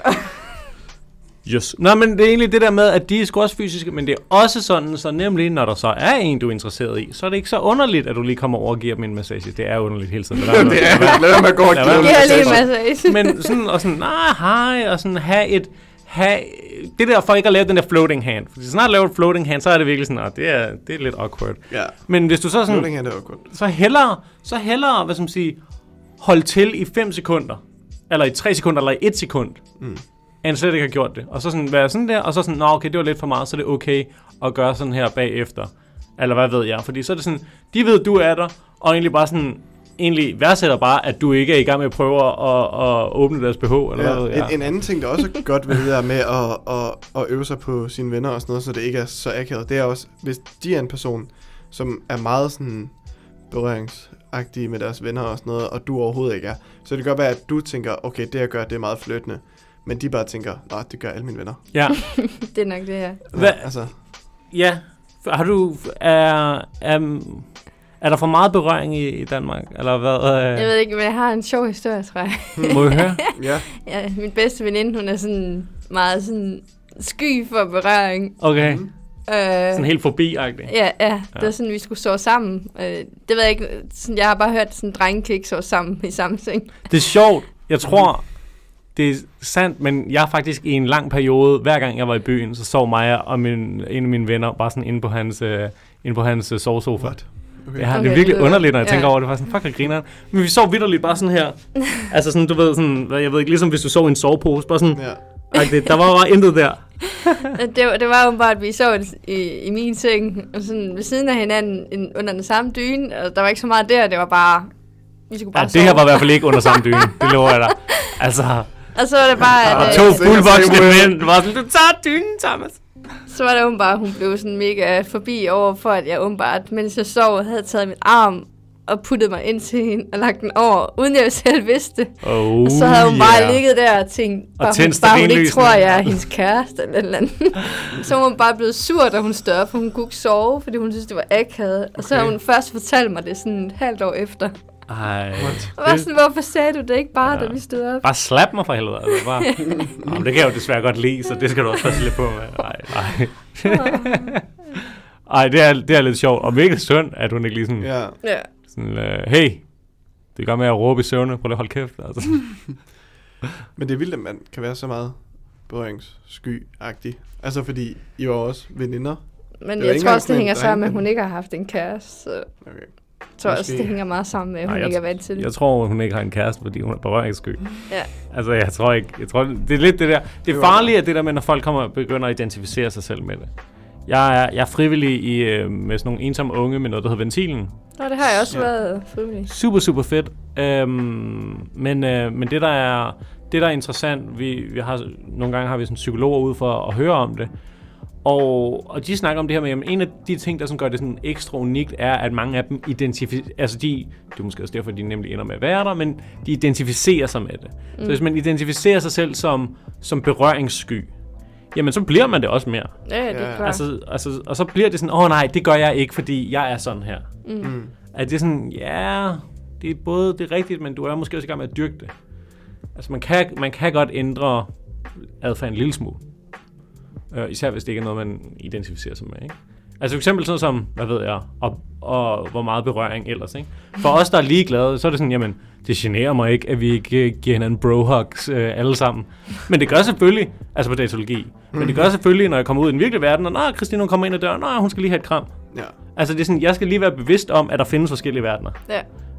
[SPEAKER 1] Yes. Nå, men det er egentlig det der med, at de er sgu også fysiske, men det er også sådan, så nemlig, når der så er en, du er interesseret i, så er det ikke så underligt, at du lige kommer over og giver dem en massage. Det er underligt hele
[SPEAKER 2] <laughs>
[SPEAKER 1] tiden. Lad være med-
[SPEAKER 2] det er, lad være med at gå og
[SPEAKER 1] Lad
[SPEAKER 2] give
[SPEAKER 1] være
[SPEAKER 2] dem
[SPEAKER 3] Det
[SPEAKER 1] med
[SPEAKER 3] er
[SPEAKER 1] at
[SPEAKER 2] en
[SPEAKER 1] massage.
[SPEAKER 3] lige
[SPEAKER 2] massage.
[SPEAKER 1] <laughs>
[SPEAKER 3] massage.
[SPEAKER 1] Men sådan, og sådan, nej, hej, og sådan, have et, have, det der for ikke at lave den der floating hand. Fordi snart du laver et floating hand, så er det virkelig sådan, at det er, det er lidt awkward.
[SPEAKER 2] Ja.
[SPEAKER 1] Men hvis du så
[SPEAKER 2] Nu er
[SPEAKER 1] sådan,
[SPEAKER 2] det her, det var godt.
[SPEAKER 1] så hellere, så hellere, hvad skal man sige, holde til i 5 sekunder, eller i 3 sekunder, eller i 1 sekund,
[SPEAKER 2] Mm.
[SPEAKER 1] end slet ikke har gjort det. Og så sådan, være sådan der, og så sådan, nå okay, det var lidt for meget, så det er okay at gøre sådan her bagefter. Eller hvad ved jeg, fordi så er det sådan, de ved, du er der, og egentlig bare sådan, egentlig værdsætter bare, at du ikke er i gang med at prøve at, at åbne deres BH, eller ja, hvad ved
[SPEAKER 2] Ja.
[SPEAKER 1] jeg.
[SPEAKER 2] En, en anden ting, der også er godt ved det der med at, at, at øve sig på sine venner og sådan noget, så det ikke er så akavet, det er også, hvis de er en person, som er meget sådan berøringsagtige med deres venner og sådan noget, og du overhovedet ikke er, så det kan godt være, at du tænker, okay, det jeg gør, det er meget flyttende, men de bare tænker, nej, det gør alle mine venner.
[SPEAKER 1] ja.
[SPEAKER 3] Det er nok det her.
[SPEAKER 1] Hvad,
[SPEAKER 2] altså,
[SPEAKER 1] ja. Har du, er, er, er der for meget berøring i, i Danmark, eller hvad? Øh,
[SPEAKER 3] Jeg ved ikke, men jeg har en sjov historie, tror jeg.
[SPEAKER 1] <laughs>
[SPEAKER 3] <laughs>
[SPEAKER 1] Må jeg høre?
[SPEAKER 2] hmm, ja,
[SPEAKER 3] Ja, min bedste veninde, hun er sådan meget sådan sky for berøring.
[SPEAKER 1] Okay,
[SPEAKER 2] Hmm.
[SPEAKER 3] Øh,
[SPEAKER 1] sådan helt forbi-agtig.
[SPEAKER 3] Ja, ja, det
[SPEAKER 1] Ja.
[SPEAKER 3] var sådan, vi skulle sove sammen. Øh, det ved jeg ikke, sådan, jeg har bare hørt, sådan drenge kan ikke sove sammen i samme
[SPEAKER 1] <laughs>
[SPEAKER 3] seng.
[SPEAKER 1] Det er sjovt. Jeg tror, det er sandt, men jeg er faktisk i en lang periode, hver gang jeg var i byen, så sov mig og min, en af mine venner bare sådan inde på hans, øh, inde på hans øh, sovesofa.
[SPEAKER 2] What? Okay.
[SPEAKER 1] Ja, okay, det er
[SPEAKER 3] Okay,
[SPEAKER 1] virkelig
[SPEAKER 3] det lyder-
[SPEAKER 1] underligt, når jeg
[SPEAKER 3] ja.
[SPEAKER 1] tænker over det. Det var sådan, fuck, jeg griner. Men vi sov vidderligt bare
[SPEAKER 3] <laughs>
[SPEAKER 1] sådan her. altså sådan, du ved, sådan, hvad- jeg ved ikke, ligesom hvis du sov i en sovepose, bare sådan,
[SPEAKER 2] ja.
[SPEAKER 1] ja. det, der var bare intet
[SPEAKER 3] <laughs>
[SPEAKER 1] der.
[SPEAKER 3] Øh, det, var- det var åbenbart, at vi sov i, i min seng, og sådan ved siden af hinanden en- under den samme dyne, og der var ikke så meget der, det var bare... Vi skulle bare
[SPEAKER 1] Ja, det
[SPEAKER 3] sove.
[SPEAKER 1] her var i hvert fald ikke under samme dyne, det lover jeg dig. Altså,
[SPEAKER 3] Og så var det bare,
[SPEAKER 1] der
[SPEAKER 3] at,
[SPEAKER 1] var
[SPEAKER 3] øh,
[SPEAKER 1] to
[SPEAKER 2] sikkert
[SPEAKER 1] fuldvoksne
[SPEAKER 2] same way.
[SPEAKER 1] mænd, der var sådan, du tager dynen, Thomas.
[SPEAKER 3] så var det åbenbart, at hun blev sådan mega forbi over for, at jeg åbenbart, mens jeg sov, havde taget min arm og puttet mig ind til hende og lagt den over, uden jeg selv vidste det.
[SPEAKER 1] Oh,
[SPEAKER 3] Og så havde hun bare ligget der og tænkt, bare, hun,
[SPEAKER 1] tændt
[SPEAKER 3] bare hun ikke
[SPEAKER 1] stearinlysene.
[SPEAKER 3] tror, jeg er hendes kæreste eller et eller andet. <laughs> så var hun bare blevet sur, da hun stod op, for hun kunne ikke sove, fordi hun synes, det var akavet. Og så har
[SPEAKER 2] Okay.
[SPEAKER 3] hun først fortalt mig det sådan et halvt år efter.
[SPEAKER 1] Ej,
[SPEAKER 3] Og var
[SPEAKER 1] det-
[SPEAKER 3] sådan, hvorfor sagde du det ikke bare,
[SPEAKER 1] Ja.
[SPEAKER 3] ja. da vi stod op?
[SPEAKER 1] Bare slap mig for helvede. Altså,
[SPEAKER 2] <laughs>
[SPEAKER 1] bare. Nå, men det kan jeg jo desværre godt lide, så det skal du også passe lidt på med. Ej,
[SPEAKER 2] <laughs>
[SPEAKER 1] ej. ej det, er, det er lidt sjovt. Og virkelig synd, at hun ikke lige sådan,
[SPEAKER 2] ja.
[SPEAKER 3] Ja.
[SPEAKER 1] sådan øh, hey, det gør med at råbe i søvne. Prøv lige at holde kæft.
[SPEAKER 2] <laughs>
[SPEAKER 1] Altså.
[SPEAKER 2] Men det er vildt, at man kan være så meget berøringssky-agtig. Altså, fordi I var også veninder.
[SPEAKER 3] Men
[SPEAKER 2] Det var ikke
[SPEAKER 3] jeg tror
[SPEAKER 2] engang
[SPEAKER 3] også, det
[SPEAKER 2] sådan en
[SPEAKER 3] hænger sammen med, at
[SPEAKER 2] dreng,
[SPEAKER 3] hun ikke har haft en kæreste. Så jeg
[SPEAKER 2] Okay.
[SPEAKER 3] tror også,
[SPEAKER 2] Måske.
[SPEAKER 3] det hænger meget sammen med, at
[SPEAKER 1] Nej,
[SPEAKER 3] hun
[SPEAKER 1] jeg
[SPEAKER 3] ikke er
[SPEAKER 1] tr-
[SPEAKER 3] vant til det.
[SPEAKER 1] Jeg tror, hun ikke har en kæreste, fordi hun er berøringssky.
[SPEAKER 3] Ja.
[SPEAKER 1] Altså, jeg tror ikke. Jeg tror, det er lidt det der. Det
[SPEAKER 2] var-
[SPEAKER 1] farlige er det der med, når folk kommer og begynder at identificere sig selv med det. Jeg er, jeg er frivillig i, øh, med sådan nogle ensomme unge med noget, der hedder Ventilen.
[SPEAKER 3] Nå, det har jeg også
[SPEAKER 2] Ja.
[SPEAKER 3] været frivillig.
[SPEAKER 1] Super, super fedt. Øhm, men, øh, men det, der er, det, der er interessant, vi, vi har, nogle gange har vi sådan psykologer ude for at høre om det, og, og de snakker om det her med, at en af de ting, der sådan gør det sådan ekstra unikt, er, at mange af dem identificerer, altså de, det er måske også derfor, de nemlig ender med at være der, men de identificerer sig med det. Mm. Så hvis man identificerer sig selv som, som berøringssky, jamen så bliver man det også mere.
[SPEAKER 3] Ja, ja,
[SPEAKER 2] Ja.
[SPEAKER 3] det er klart.
[SPEAKER 1] Altså, altså, og så bliver det sådan, åh oh, nej, det gør jeg ikke, fordi jeg er sådan her. Mm. At det er sådan, ja, det er både det er rigtigt, men du er måske også i gang med at dyrke det. Altså man kan, man kan godt ændre adfærd en lille smule. Øh, især hvis det ikke er noget, man identificerer sig med, ikke? Altså for eksempel sådan som, hvad ved jeg, og, og hvor meget berøring ellers, ikke? For os, der er ligeglade, så er det sådan, jamen, det generer mig ikke, at vi ikke øh, giver hinanden brohugs øh, alle sammen. Men det gør selvfølgelig, altså på datologi, men det gør selvfølgelig, når jeg kommer ud i den virkelige verden, og nej, Christine, hun kommer ind ad døren, nej, hun skal lige have et kram.
[SPEAKER 2] Ja.
[SPEAKER 1] Altså det er sådan, jeg skal lige være bevidst om, at der findes forskellige verdener.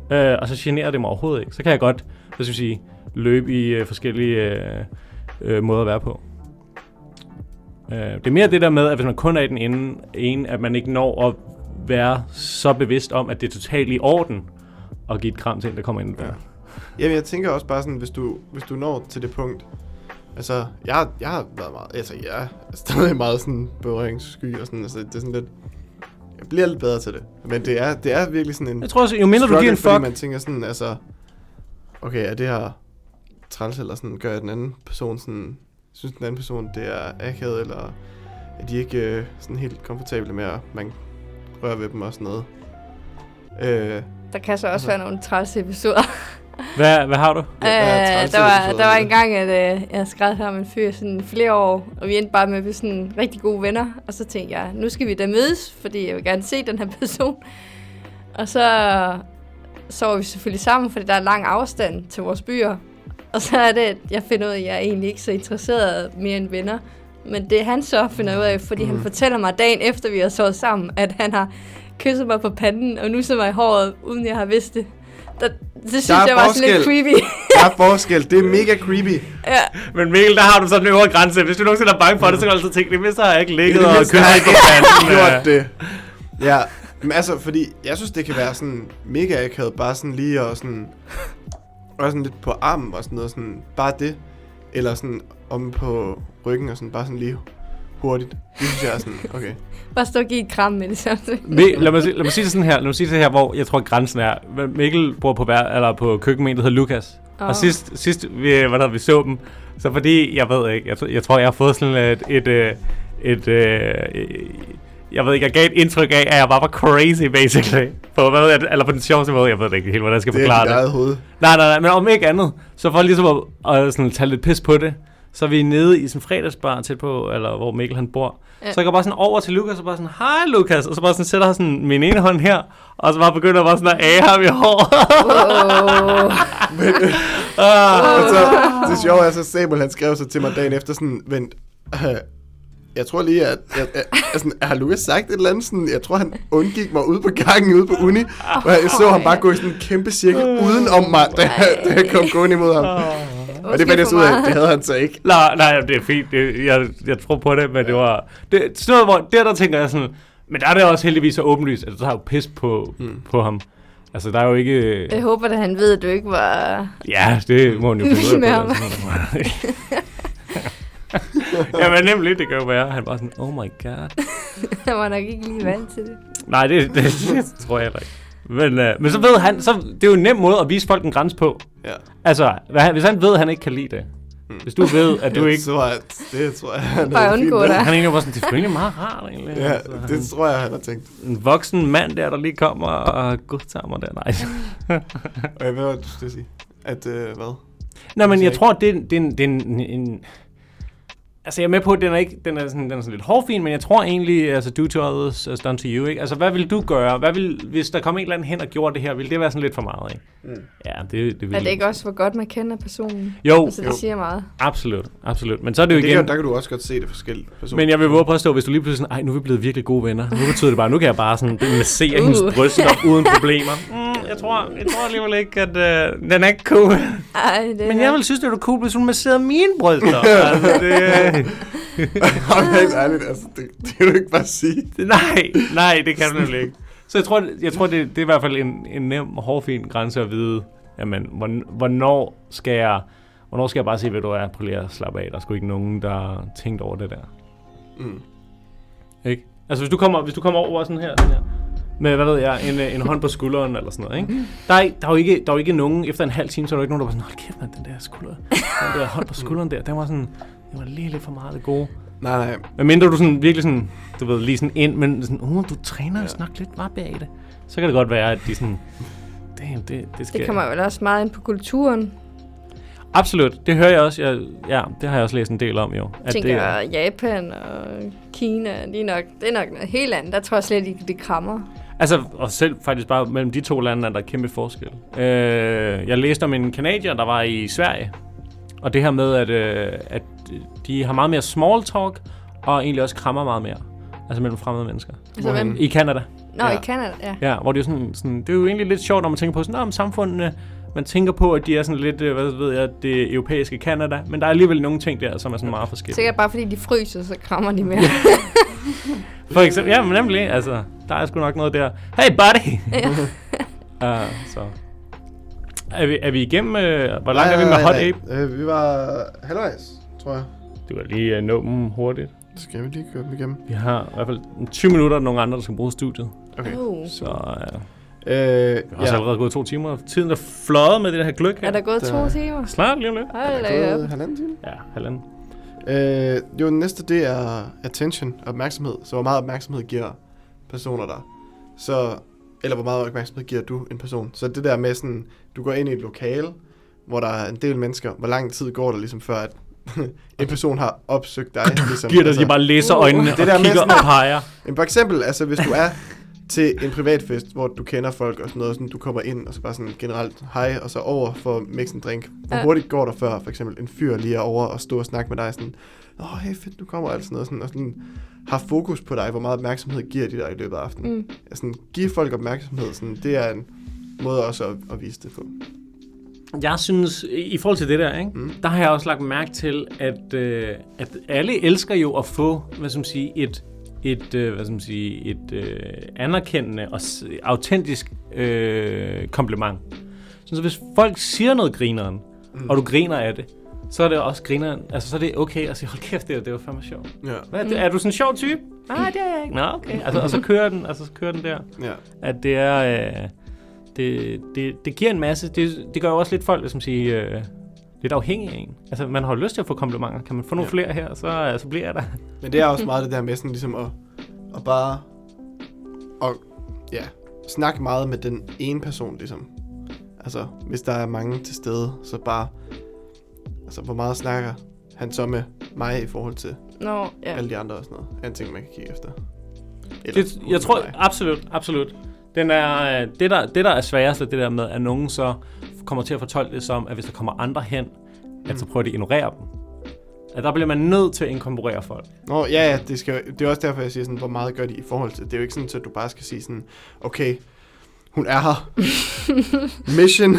[SPEAKER 3] Ja.
[SPEAKER 1] Øh, og så generer det mig overhovedet ikke. Så kan jeg godt, hvad skal jeg sige, løbe i øh, forskellige øh, øh, måder at være på. Øh, det er mere det der med, at hvis man kun er i den ene, ene, at man ikke når at være så bevidst om, at det er totalt i orden at give et kram til en, der kommer ind. Ja.
[SPEAKER 2] Jamen, jeg tænker også bare sådan, hvis du, hvis du når til det punkt, Altså, jeg, jeg har været meget... Altså, jeg er stadig meget sådan berøringssky og sådan. Altså, det er sådan lidt... Jeg bliver lidt bedre til det. Men det er, det er virkelig sådan en...
[SPEAKER 1] Jeg tror også, jo mindre du giver en
[SPEAKER 2] struggle, fordi
[SPEAKER 1] fuck...
[SPEAKER 2] man tænker sådan, altså... Okay, er det her træls, eller sådan, gør jeg den anden person sådan... Synes den anden person, det er akavet, eller... Er de ikke øh, sådan helt komfortable med, at man rører ved dem og sådan noget? Øh,
[SPEAKER 3] Der kan så også være nogle træls episoder.
[SPEAKER 1] Hvad, hvad har du?
[SPEAKER 2] Ja, der er
[SPEAKER 3] Øh,
[SPEAKER 2] trælse
[SPEAKER 3] der, var,
[SPEAKER 2] episoder
[SPEAKER 3] der var
[SPEAKER 2] i det.
[SPEAKER 3] en gang, at øh, jeg skræd her med en fyr sådan flere år, og vi endte bare med at blive sådan rigtig gode venner. Og så tænkte jeg, nu skal vi da mødes, fordi jeg vil gerne se den her person. Og så sover vi selvfølgelig sammen, fordi der er lang afstand til vores byer. Og så er det, at jeg finder ud af, at jeg er egentlig ikke så interesseret mere end venner. Men det han så finder ud af, fordi mm. han fortæller mig dagen efter, vi har sovet sammen, at han har kysset mig på panden og nusset mig i håret, uden jeg har vidst det. Der, det synes
[SPEAKER 2] Der er
[SPEAKER 3] jeg var sådan lidt
[SPEAKER 2] forskel.
[SPEAKER 3] creepy.
[SPEAKER 2] der er forskel. Det er mega creepy.
[SPEAKER 1] Men Mikkel, der har du sådan en øvre grænse. Hvis du nogensinde er bange for det, så kan du altid tænke, det mindste har jeg ikke ligget og kørt mig på panden.
[SPEAKER 2] gjort det. Ja, men altså, fordi jeg synes, det kan være sådan mega akavet, bare sådan lige og sådan, og sådan lidt på armen og sådan noget, sådan bare det, eller sådan om på ryggen og sådan bare sådan lige hurtigt. Det synes jeg er sådan, okay.
[SPEAKER 3] Bare stå og give et kram med det samme.
[SPEAKER 1] Mi- lad, mig, sige- lad mig sige det sådan her, lad mig sige det her, hvor jeg tror grænsen er. Hvad Mikkel bor på, vær- eller på køkken med en, der hedder Lukas. Oh.
[SPEAKER 3] Åh.
[SPEAKER 1] Og sidst, sidst vi, hvad der, vi så dem, så fordi, jeg ved ikke, jeg, tr- jeg tror, jeg har fået sådan et, et, øh, et, øh, jeg ved ikke, jeg gav et indtryk af, at jeg bare var crazy, basically. På, hvad ved jeg, eller på den sjoveste måde, jeg ved det ikke helt, hvordan jeg skal
[SPEAKER 2] Det er
[SPEAKER 1] forklare
[SPEAKER 2] dit eget hoved.
[SPEAKER 1] Nej, nej, nej, men om ikke andet, så for ligesom at, at sådan, tage lidt pis på det, så er vi nede i sådan en fredagsbar tæt på, eller hvor Mikkel han bor.
[SPEAKER 3] Ja.
[SPEAKER 1] Ja. Så jeg går bare sådan over til Lukas og bare sådan, hej Lukas, og så bare sådan sætter jeg sådan min ene hånd her, og så bare begynder bare sådan at ære ham i håret.
[SPEAKER 2] <laughs>
[SPEAKER 1] <laughs>
[SPEAKER 3] Oh.
[SPEAKER 1] Ah.
[SPEAKER 2] Og så, det sjove er så, Samuel han skrev så til mig dagen efter sådan, vent, øh, jeg tror lige, at, jeg, jeg, altså, har Lukas sagt et eller andet sådan, jeg tror, han undgik mig ude på gangen ude på uni, og jeg så ham bare gå i sådan en kæmpe cirkel uden om mig, da jeg, da jeg kom gående imod ham. Og det fandt jeg så ud af, det havde han så ikke.
[SPEAKER 1] Nej, nej, det er fint. Det, jeg, jeg tror på det, men det var... Det, sådan noget, hvor, der, der tænker jeg sådan... Men der er det også heldigvis så åbenlyst, at der er jo pis på,
[SPEAKER 2] Hmm.
[SPEAKER 1] mm. på ham. Altså, der er jo ikke...
[SPEAKER 3] Jeg håber, at han ved, at du ikke var... <laughs>
[SPEAKER 1] Ja, det må hun jo finde ud
[SPEAKER 3] Med
[SPEAKER 1] af.
[SPEAKER 3] ham.
[SPEAKER 1] på et eller andet <laughs> tidspunkt. Jamen nemlig, det kan jo være. Han var sådan, oh my god.
[SPEAKER 3] Han var nok ikke lige vant til det.
[SPEAKER 1] Nej, det, det, det tror jeg heller ikke. Men, øh, men så ved han, så, det er jo en nem måde at vise folk en grænse på.
[SPEAKER 2] Ja.
[SPEAKER 1] Altså, hvad, han- hvis han ved, at han ikke kan lide det. Hvis du ved, at du
[SPEAKER 2] Jeg
[SPEAKER 1] ikke...
[SPEAKER 2] Tror, at det tror jeg, han
[SPEAKER 3] Bare
[SPEAKER 2] havde fint
[SPEAKER 3] undgå
[SPEAKER 2] med.
[SPEAKER 1] Han
[SPEAKER 3] dig.
[SPEAKER 1] er egentlig bare sådan, det er sgu egentlig meget rart egentlig.
[SPEAKER 2] Ja,
[SPEAKER 1] Altså,
[SPEAKER 2] det tror jeg, han har tænkt.
[SPEAKER 1] En voksen mand der, der lige kommer og godtager mig der. <laughs> Nej.
[SPEAKER 2] Og jeg ved, hvad du skulle sige. At, øh, hvad?
[SPEAKER 1] Nå, men jeg
[SPEAKER 2] Altså, ikke-
[SPEAKER 1] tror, det er, en- det er, en- det er en, en... Altså, jeg er med på, at den er, ikke, den er, sådan, den er sådan lidt hårdfin, men jeg tror egentlig, altså, do to others as done to you, ikke? Altså, hvad vil du gøre? Hvad vil, hvis der kom en eller anden hen og gjorde det her, ville det være sådan lidt for meget, ikke? Mm. Ja, det, det ville
[SPEAKER 3] Er det ikke også, hvor godt man kender personen?
[SPEAKER 1] Jo,
[SPEAKER 3] Altså, det
[SPEAKER 2] Jo.
[SPEAKER 3] siger meget.
[SPEAKER 1] absolut, absolut. Men så er det jo
[SPEAKER 2] Det kan,
[SPEAKER 1] igen...
[SPEAKER 2] der kan du også godt se det forskellige personer. <laughs>
[SPEAKER 1] Men jeg vil våge på at stå, hvis du lige pludselig sådan, ej, nu er vi blevet virkelig gode venner. Nu betyder det bare, nu kan jeg bare sådan massere uh.
[SPEAKER 3] Uh.
[SPEAKER 1] hendes bryster <laughs> uden problemer. Mm, jeg, tror, jeg tror alligevel ikke, at øh, den er ikke cool.
[SPEAKER 3] Ej, det
[SPEAKER 1] Men
[SPEAKER 3] er-
[SPEAKER 1] jeg ville synes, det var cool, hvis hun masserede mine bryster. <laughs> altså, det, øh,
[SPEAKER 2] Jamen, helt ærligt, altså, det, det kan du ikke bare sige.
[SPEAKER 1] Det- Nej, nej, det kan du nemlig ikke. Så jeg tror, det- jeg tror det, det er i hvert fald en, en nem og hårfin grænse at vide, jamen, hvorn- hvornår skal jeg, hvornår skal jeg bare sige, hvad du er, prøv lige at slappe af. Der er sgu ikke nogen, der har tænkt over det der.
[SPEAKER 2] Mm.
[SPEAKER 1] Ikke? Altså, hvis du kommer, hvis du kommer over sådan her, sådan her med, hvad ved jeg, en, øh, en hånd på skulderen eller sådan noget, ikke? Der er, ikke- der er jo ikke, der er jo ikke nogen, efter en halv time, så er der ikke nogen, der var sådan, hold kæft, man, den der skulder, den der hånd på skulderen der, den var sådan, den var lige lidt for meget af det gode.
[SPEAKER 2] Nej, nej.
[SPEAKER 1] Hvad mindre du sådan virkelig sådan, du ved, lige sådan ind, men sådan, uh, du træner ja. nok lidt bare bag det. Så kan det godt være, at de sådan, damn, det, det skal...
[SPEAKER 3] Det kommer vel også meget ind på kulturen,
[SPEAKER 1] Absolut, det hører jeg også. Jeg, ja, det har jeg også læst en del om, jo.
[SPEAKER 3] at tænker
[SPEAKER 1] det,
[SPEAKER 3] det er... Japan og Kina, de er nok, det er nok noget helt andet. Der tror jeg slet ikke, det krammer.
[SPEAKER 1] Altså, og selv faktisk bare mellem de to lande er der kæmpe forskel. Øh, jeg læste om en kanadier, der var i Sverige, og det her med, at, øh, at de har meget mere small talk, og egentlig også krammer meget mere. Altså mellem fremmede mennesker.
[SPEAKER 3] Altså, hvem?
[SPEAKER 1] I Kanada.
[SPEAKER 3] Nå,
[SPEAKER 2] Ja.
[SPEAKER 3] i Canada, ja.
[SPEAKER 1] Ja, hvor det er sådan, sådan, det er jo egentlig lidt sjovt, når man tænker på sådan, "Nå, men samfundene, man tænker på, at de er sådan lidt, øh, hvad ved jeg, det europæiske Kanada, men der er alligevel nogle ting der, som er sådan meget forskellige.
[SPEAKER 3] Sikkert bare fordi de fryser, så krammer de mere.
[SPEAKER 1] For eksempel, ja, men nemlig, altså, der er sgu nok noget der. Hey, buddy! <laughs> Ja. uh, så. Er vi, er vi igennem, øh, hvor langt er vi med Hot Ape?
[SPEAKER 2] Øh, vi var halvvejs, tror jeg.
[SPEAKER 1] Du kan lige uh, nå dem hurtigt.
[SPEAKER 2] Så skal vi lige køre dem igennem.
[SPEAKER 1] Vi har i hvert fald 20 minutter og nogle andre, der skal bruge studiet.
[SPEAKER 2] Okay.
[SPEAKER 3] Uh.
[SPEAKER 1] Så uh, vi
[SPEAKER 2] Øh,
[SPEAKER 1] har også
[SPEAKER 2] ja.
[SPEAKER 1] allerede gået to timer. Tiden er fløjet med det her gløk
[SPEAKER 3] Er
[SPEAKER 1] her.
[SPEAKER 3] der gået to
[SPEAKER 2] Der-
[SPEAKER 3] timer?
[SPEAKER 1] Snart lige om lidt.
[SPEAKER 3] Hold da
[SPEAKER 2] Er
[SPEAKER 3] op.
[SPEAKER 2] der halvanden time?
[SPEAKER 1] Ja, halvanden.
[SPEAKER 2] Øh, jo, den næste, det er attention, opmærksomhed. Så hvor meget opmærksomhed giver personer dig? Så, eller hvor meget opmærksomhed giver du en person? Så det der med sådan, du går ind i et lokale, hvor der er en del mennesker. Hvor lang tid går der ligesom før, at <laughs> en person har
[SPEAKER 1] <laughs>
[SPEAKER 2] opsøgt dig? Ligesom,
[SPEAKER 1] Giver dig, de bare læser
[SPEAKER 3] Uh.
[SPEAKER 1] øjnene
[SPEAKER 2] Det
[SPEAKER 1] og
[SPEAKER 2] der med
[SPEAKER 1] kigger
[SPEAKER 2] sådan-
[SPEAKER 1] og peger.
[SPEAKER 2] Jamen, for eksempel, altså hvis du er til en privatfest, hvor du kender folk og sådan noget, sådan, du kommer ind og så bare sådan generelt hej, og så over for at mix en drink. Hvor
[SPEAKER 3] Ja.
[SPEAKER 2] hurtigt går der før, for eksempel en fyr lige er over og stå og snakke med dig sådan, åh, oh, hey, fedt, du kommer, og alt sådan noget, sådan, og sådan har fokus på dig, hvor meget opmærksomhed giver de dig i løbet af aftenen.
[SPEAKER 3] Mm.
[SPEAKER 2] Mm. Sådan, give folk opmærksomhed, sådan, det er en måde også at, at vise det på.
[SPEAKER 1] Jeg synes, i i forhold til det der, ikke, mm. der har jeg også lagt mærke til, at, øh, at alle elsker jo at få hvad skal man sige, et, et, øh, hvad skal man sige, et øh, anerkendende og s- autentisk øh, kompliment. Sådan, så hvis folk siger noget grineren, mm. og du griner af det, så er det også grineren. Altså, så er det okay at sige, hold kæft, det, der, det var fandme sjovt.
[SPEAKER 2] Ja,
[SPEAKER 1] Hvad, mm. Er du sådan en sjov type? Nej, det er jeg ikke. Nå, okay. Altså, og så kører den, altså, så kører den der
[SPEAKER 2] ja.
[SPEAKER 1] at det er... Øh, det, det, det giver en masse... Det, det gør jo også lidt folk, som siger... Øh, lidt afhængige af en. Altså, man har jo lyst til at få komplimenter. Kan man få nogle
[SPEAKER 2] Ja.
[SPEAKER 1] flere her, så, øh, så bliver jeg der.
[SPEAKER 2] Men det er også meget det der med sådan ligesom at, at bare og ja, snakke meget med den ene person ligesom. Altså, hvis der er mange til stede, så bare, altså hvor meget snakker han så med mig i forhold til
[SPEAKER 3] Nå, ja.
[SPEAKER 2] ja. alle de andre og sådan noget. Er en ting, man kan kigge efter.
[SPEAKER 1] Det, jeg tror absolut, absolut. Den er, øh, det, der, det, der er sværest, er det der med, at nogen så kommer til at fortolke det som, at hvis der kommer andre hen, at så prøver de at ignorere dem. At der bliver man nødt til at inkorporere folk.
[SPEAKER 2] Nå, ja, ja, det, skal, jo- det er også derfor, jeg siger sådan, hvor meget gør de i forhold til. Det er jo ikke sådan, at du bare skal sige sådan, okay, hun er her. Mission.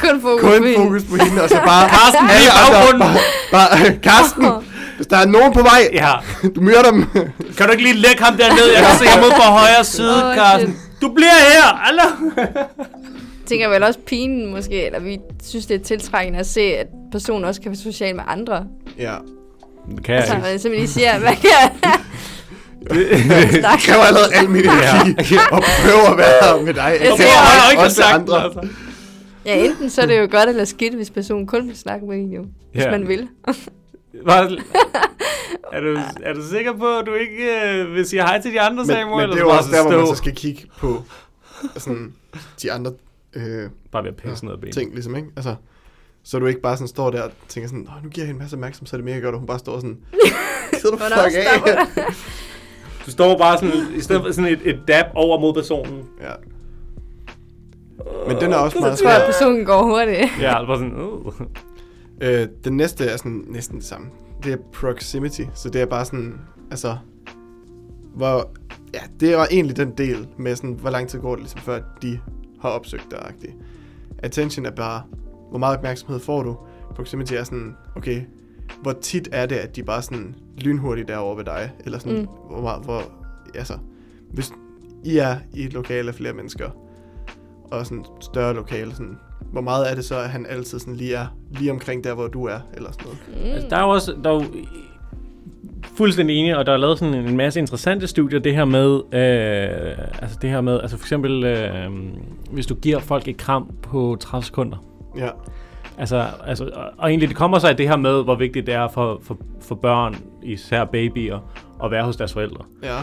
[SPEAKER 3] Kun fokus på
[SPEAKER 2] Kun
[SPEAKER 3] hende.
[SPEAKER 2] fokus på hende, og så bare...
[SPEAKER 1] Karsten,
[SPEAKER 2] alle
[SPEAKER 1] i
[SPEAKER 2] andre,
[SPEAKER 1] baggrunden.
[SPEAKER 2] Bare, bare, <laughs> Karsten,
[SPEAKER 3] <laughs>
[SPEAKER 2] hvis der er nogen på vej,
[SPEAKER 1] Ja.
[SPEAKER 2] du myrder dem.
[SPEAKER 1] Kan du ikke lige lægge ham derned? Jeg kan se ham ud på højre side,
[SPEAKER 3] Åh, shit.
[SPEAKER 1] Carsten. Du bliver her! Hallo!
[SPEAKER 3] tænker vel også pinen måske, eller vi synes, det er tiltrækkende at se, at personen også kan være social med andre.
[SPEAKER 2] ja.
[SPEAKER 1] Kan
[SPEAKER 3] Altså, man simpelthen lige siger, hvad kan Altså,
[SPEAKER 1] <laughs>
[SPEAKER 2] Det kræver allerede al min energi
[SPEAKER 1] Ja.
[SPEAKER 2] og prøve at være med dig. Og
[SPEAKER 3] Jeg
[SPEAKER 1] Det
[SPEAKER 3] tænker
[SPEAKER 1] har jeg
[SPEAKER 2] også-
[SPEAKER 1] ikke
[SPEAKER 2] også
[SPEAKER 1] sagt.
[SPEAKER 2] andre.
[SPEAKER 1] Altså.
[SPEAKER 3] Ja, enten så er det jo godt eller skidt, hvis personen kun vil snakke med en jo, hvis
[SPEAKER 1] Ja.
[SPEAKER 3] man vil.
[SPEAKER 1] Hvad- er, du, er du sikker på, at du ikke øh, vil sige hej til de andre,
[SPEAKER 2] Men,
[SPEAKER 1] Samuel?
[SPEAKER 2] men det er
[SPEAKER 1] eller
[SPEAKER 2] jo
[SPEAKER 1] bare
[SPEAKER 2] også der, hvor man
[SPEAKER 1] stå?
[SPEAKER 2] så skal kigge på sådan, de andre øh,
[SPEAKER 1] Bare ved at pisse ned ad benet.
[SPEAKER 2] ting, ligesom, ikke? Altså, så du ikke bare sådan står der og tænker sådan, Nå, nu giver jeg hende en masse opmærksomhed, så er det mega godt, og hun bare står
[SPEAKER 1] <laughs>
[SPEAKER 2] sådan, sidder du
[SPEAKER 3] Hvornår
[SPEAKER 2] fuck
[SPEAKER 3] stopper
[SPEAKER 2] af?
[SPEAKER 1] Du står bare sådan, i stedet for sådan et, et dab over mod personen.
[SPEAKER 2] Ja. Men den er også
[SPEAKER 3] Så
[SPEAKER 2] meget
[SPEAKER 3] tror jeg,
[SPEAKER 2] svær.
[SPEAKER 3] at personen går hurtigt.
[SPEAKER 1] Ja, bare sådan, uh.
[SPEAKER 2] Øh, den næste er sådan næsten det samme. Det er proximity, så det er bare sådan, altså, hvor, ja, det var egentlig den del med sådan, hvor lang tid går det ligesom, før de har opsøgt dig, agtigt. Attention er bare, hvor meget opmærksomhed får du? Proximity er sådan, okay, hvor tit er det, at de bare sådan lynhurtigt derovre ved dig? Eller sådan,
[SPEAKER 3] Mm.
[SPEAKER 2] mm. hvor meget, hvor, altså, hvis I er i et lokale af flere mennesker, og sådan et større lokale, sådan, hvor meget er det så, at han altid sådan lige er lige omkring der, hvor du er, eller sådan noget?
[SPEAKER 1] Altså, der er jo også... Der er jo fuldstændig enig, og der er lavet sådan en masse interessante studier, det her med, øh, altså det her med, altså for eksempel, øh, hvis du giver folk et kram på 30 sekunder,
[SPEAKER 2] Ja,
[SPEAKER 1] Altså, altså, og- og egentlig det kommer sig af det her med, hvor vigtigt det er for, for, for børn, især babyer, at være hos deres forældre.
[SPEAKER 2] ja,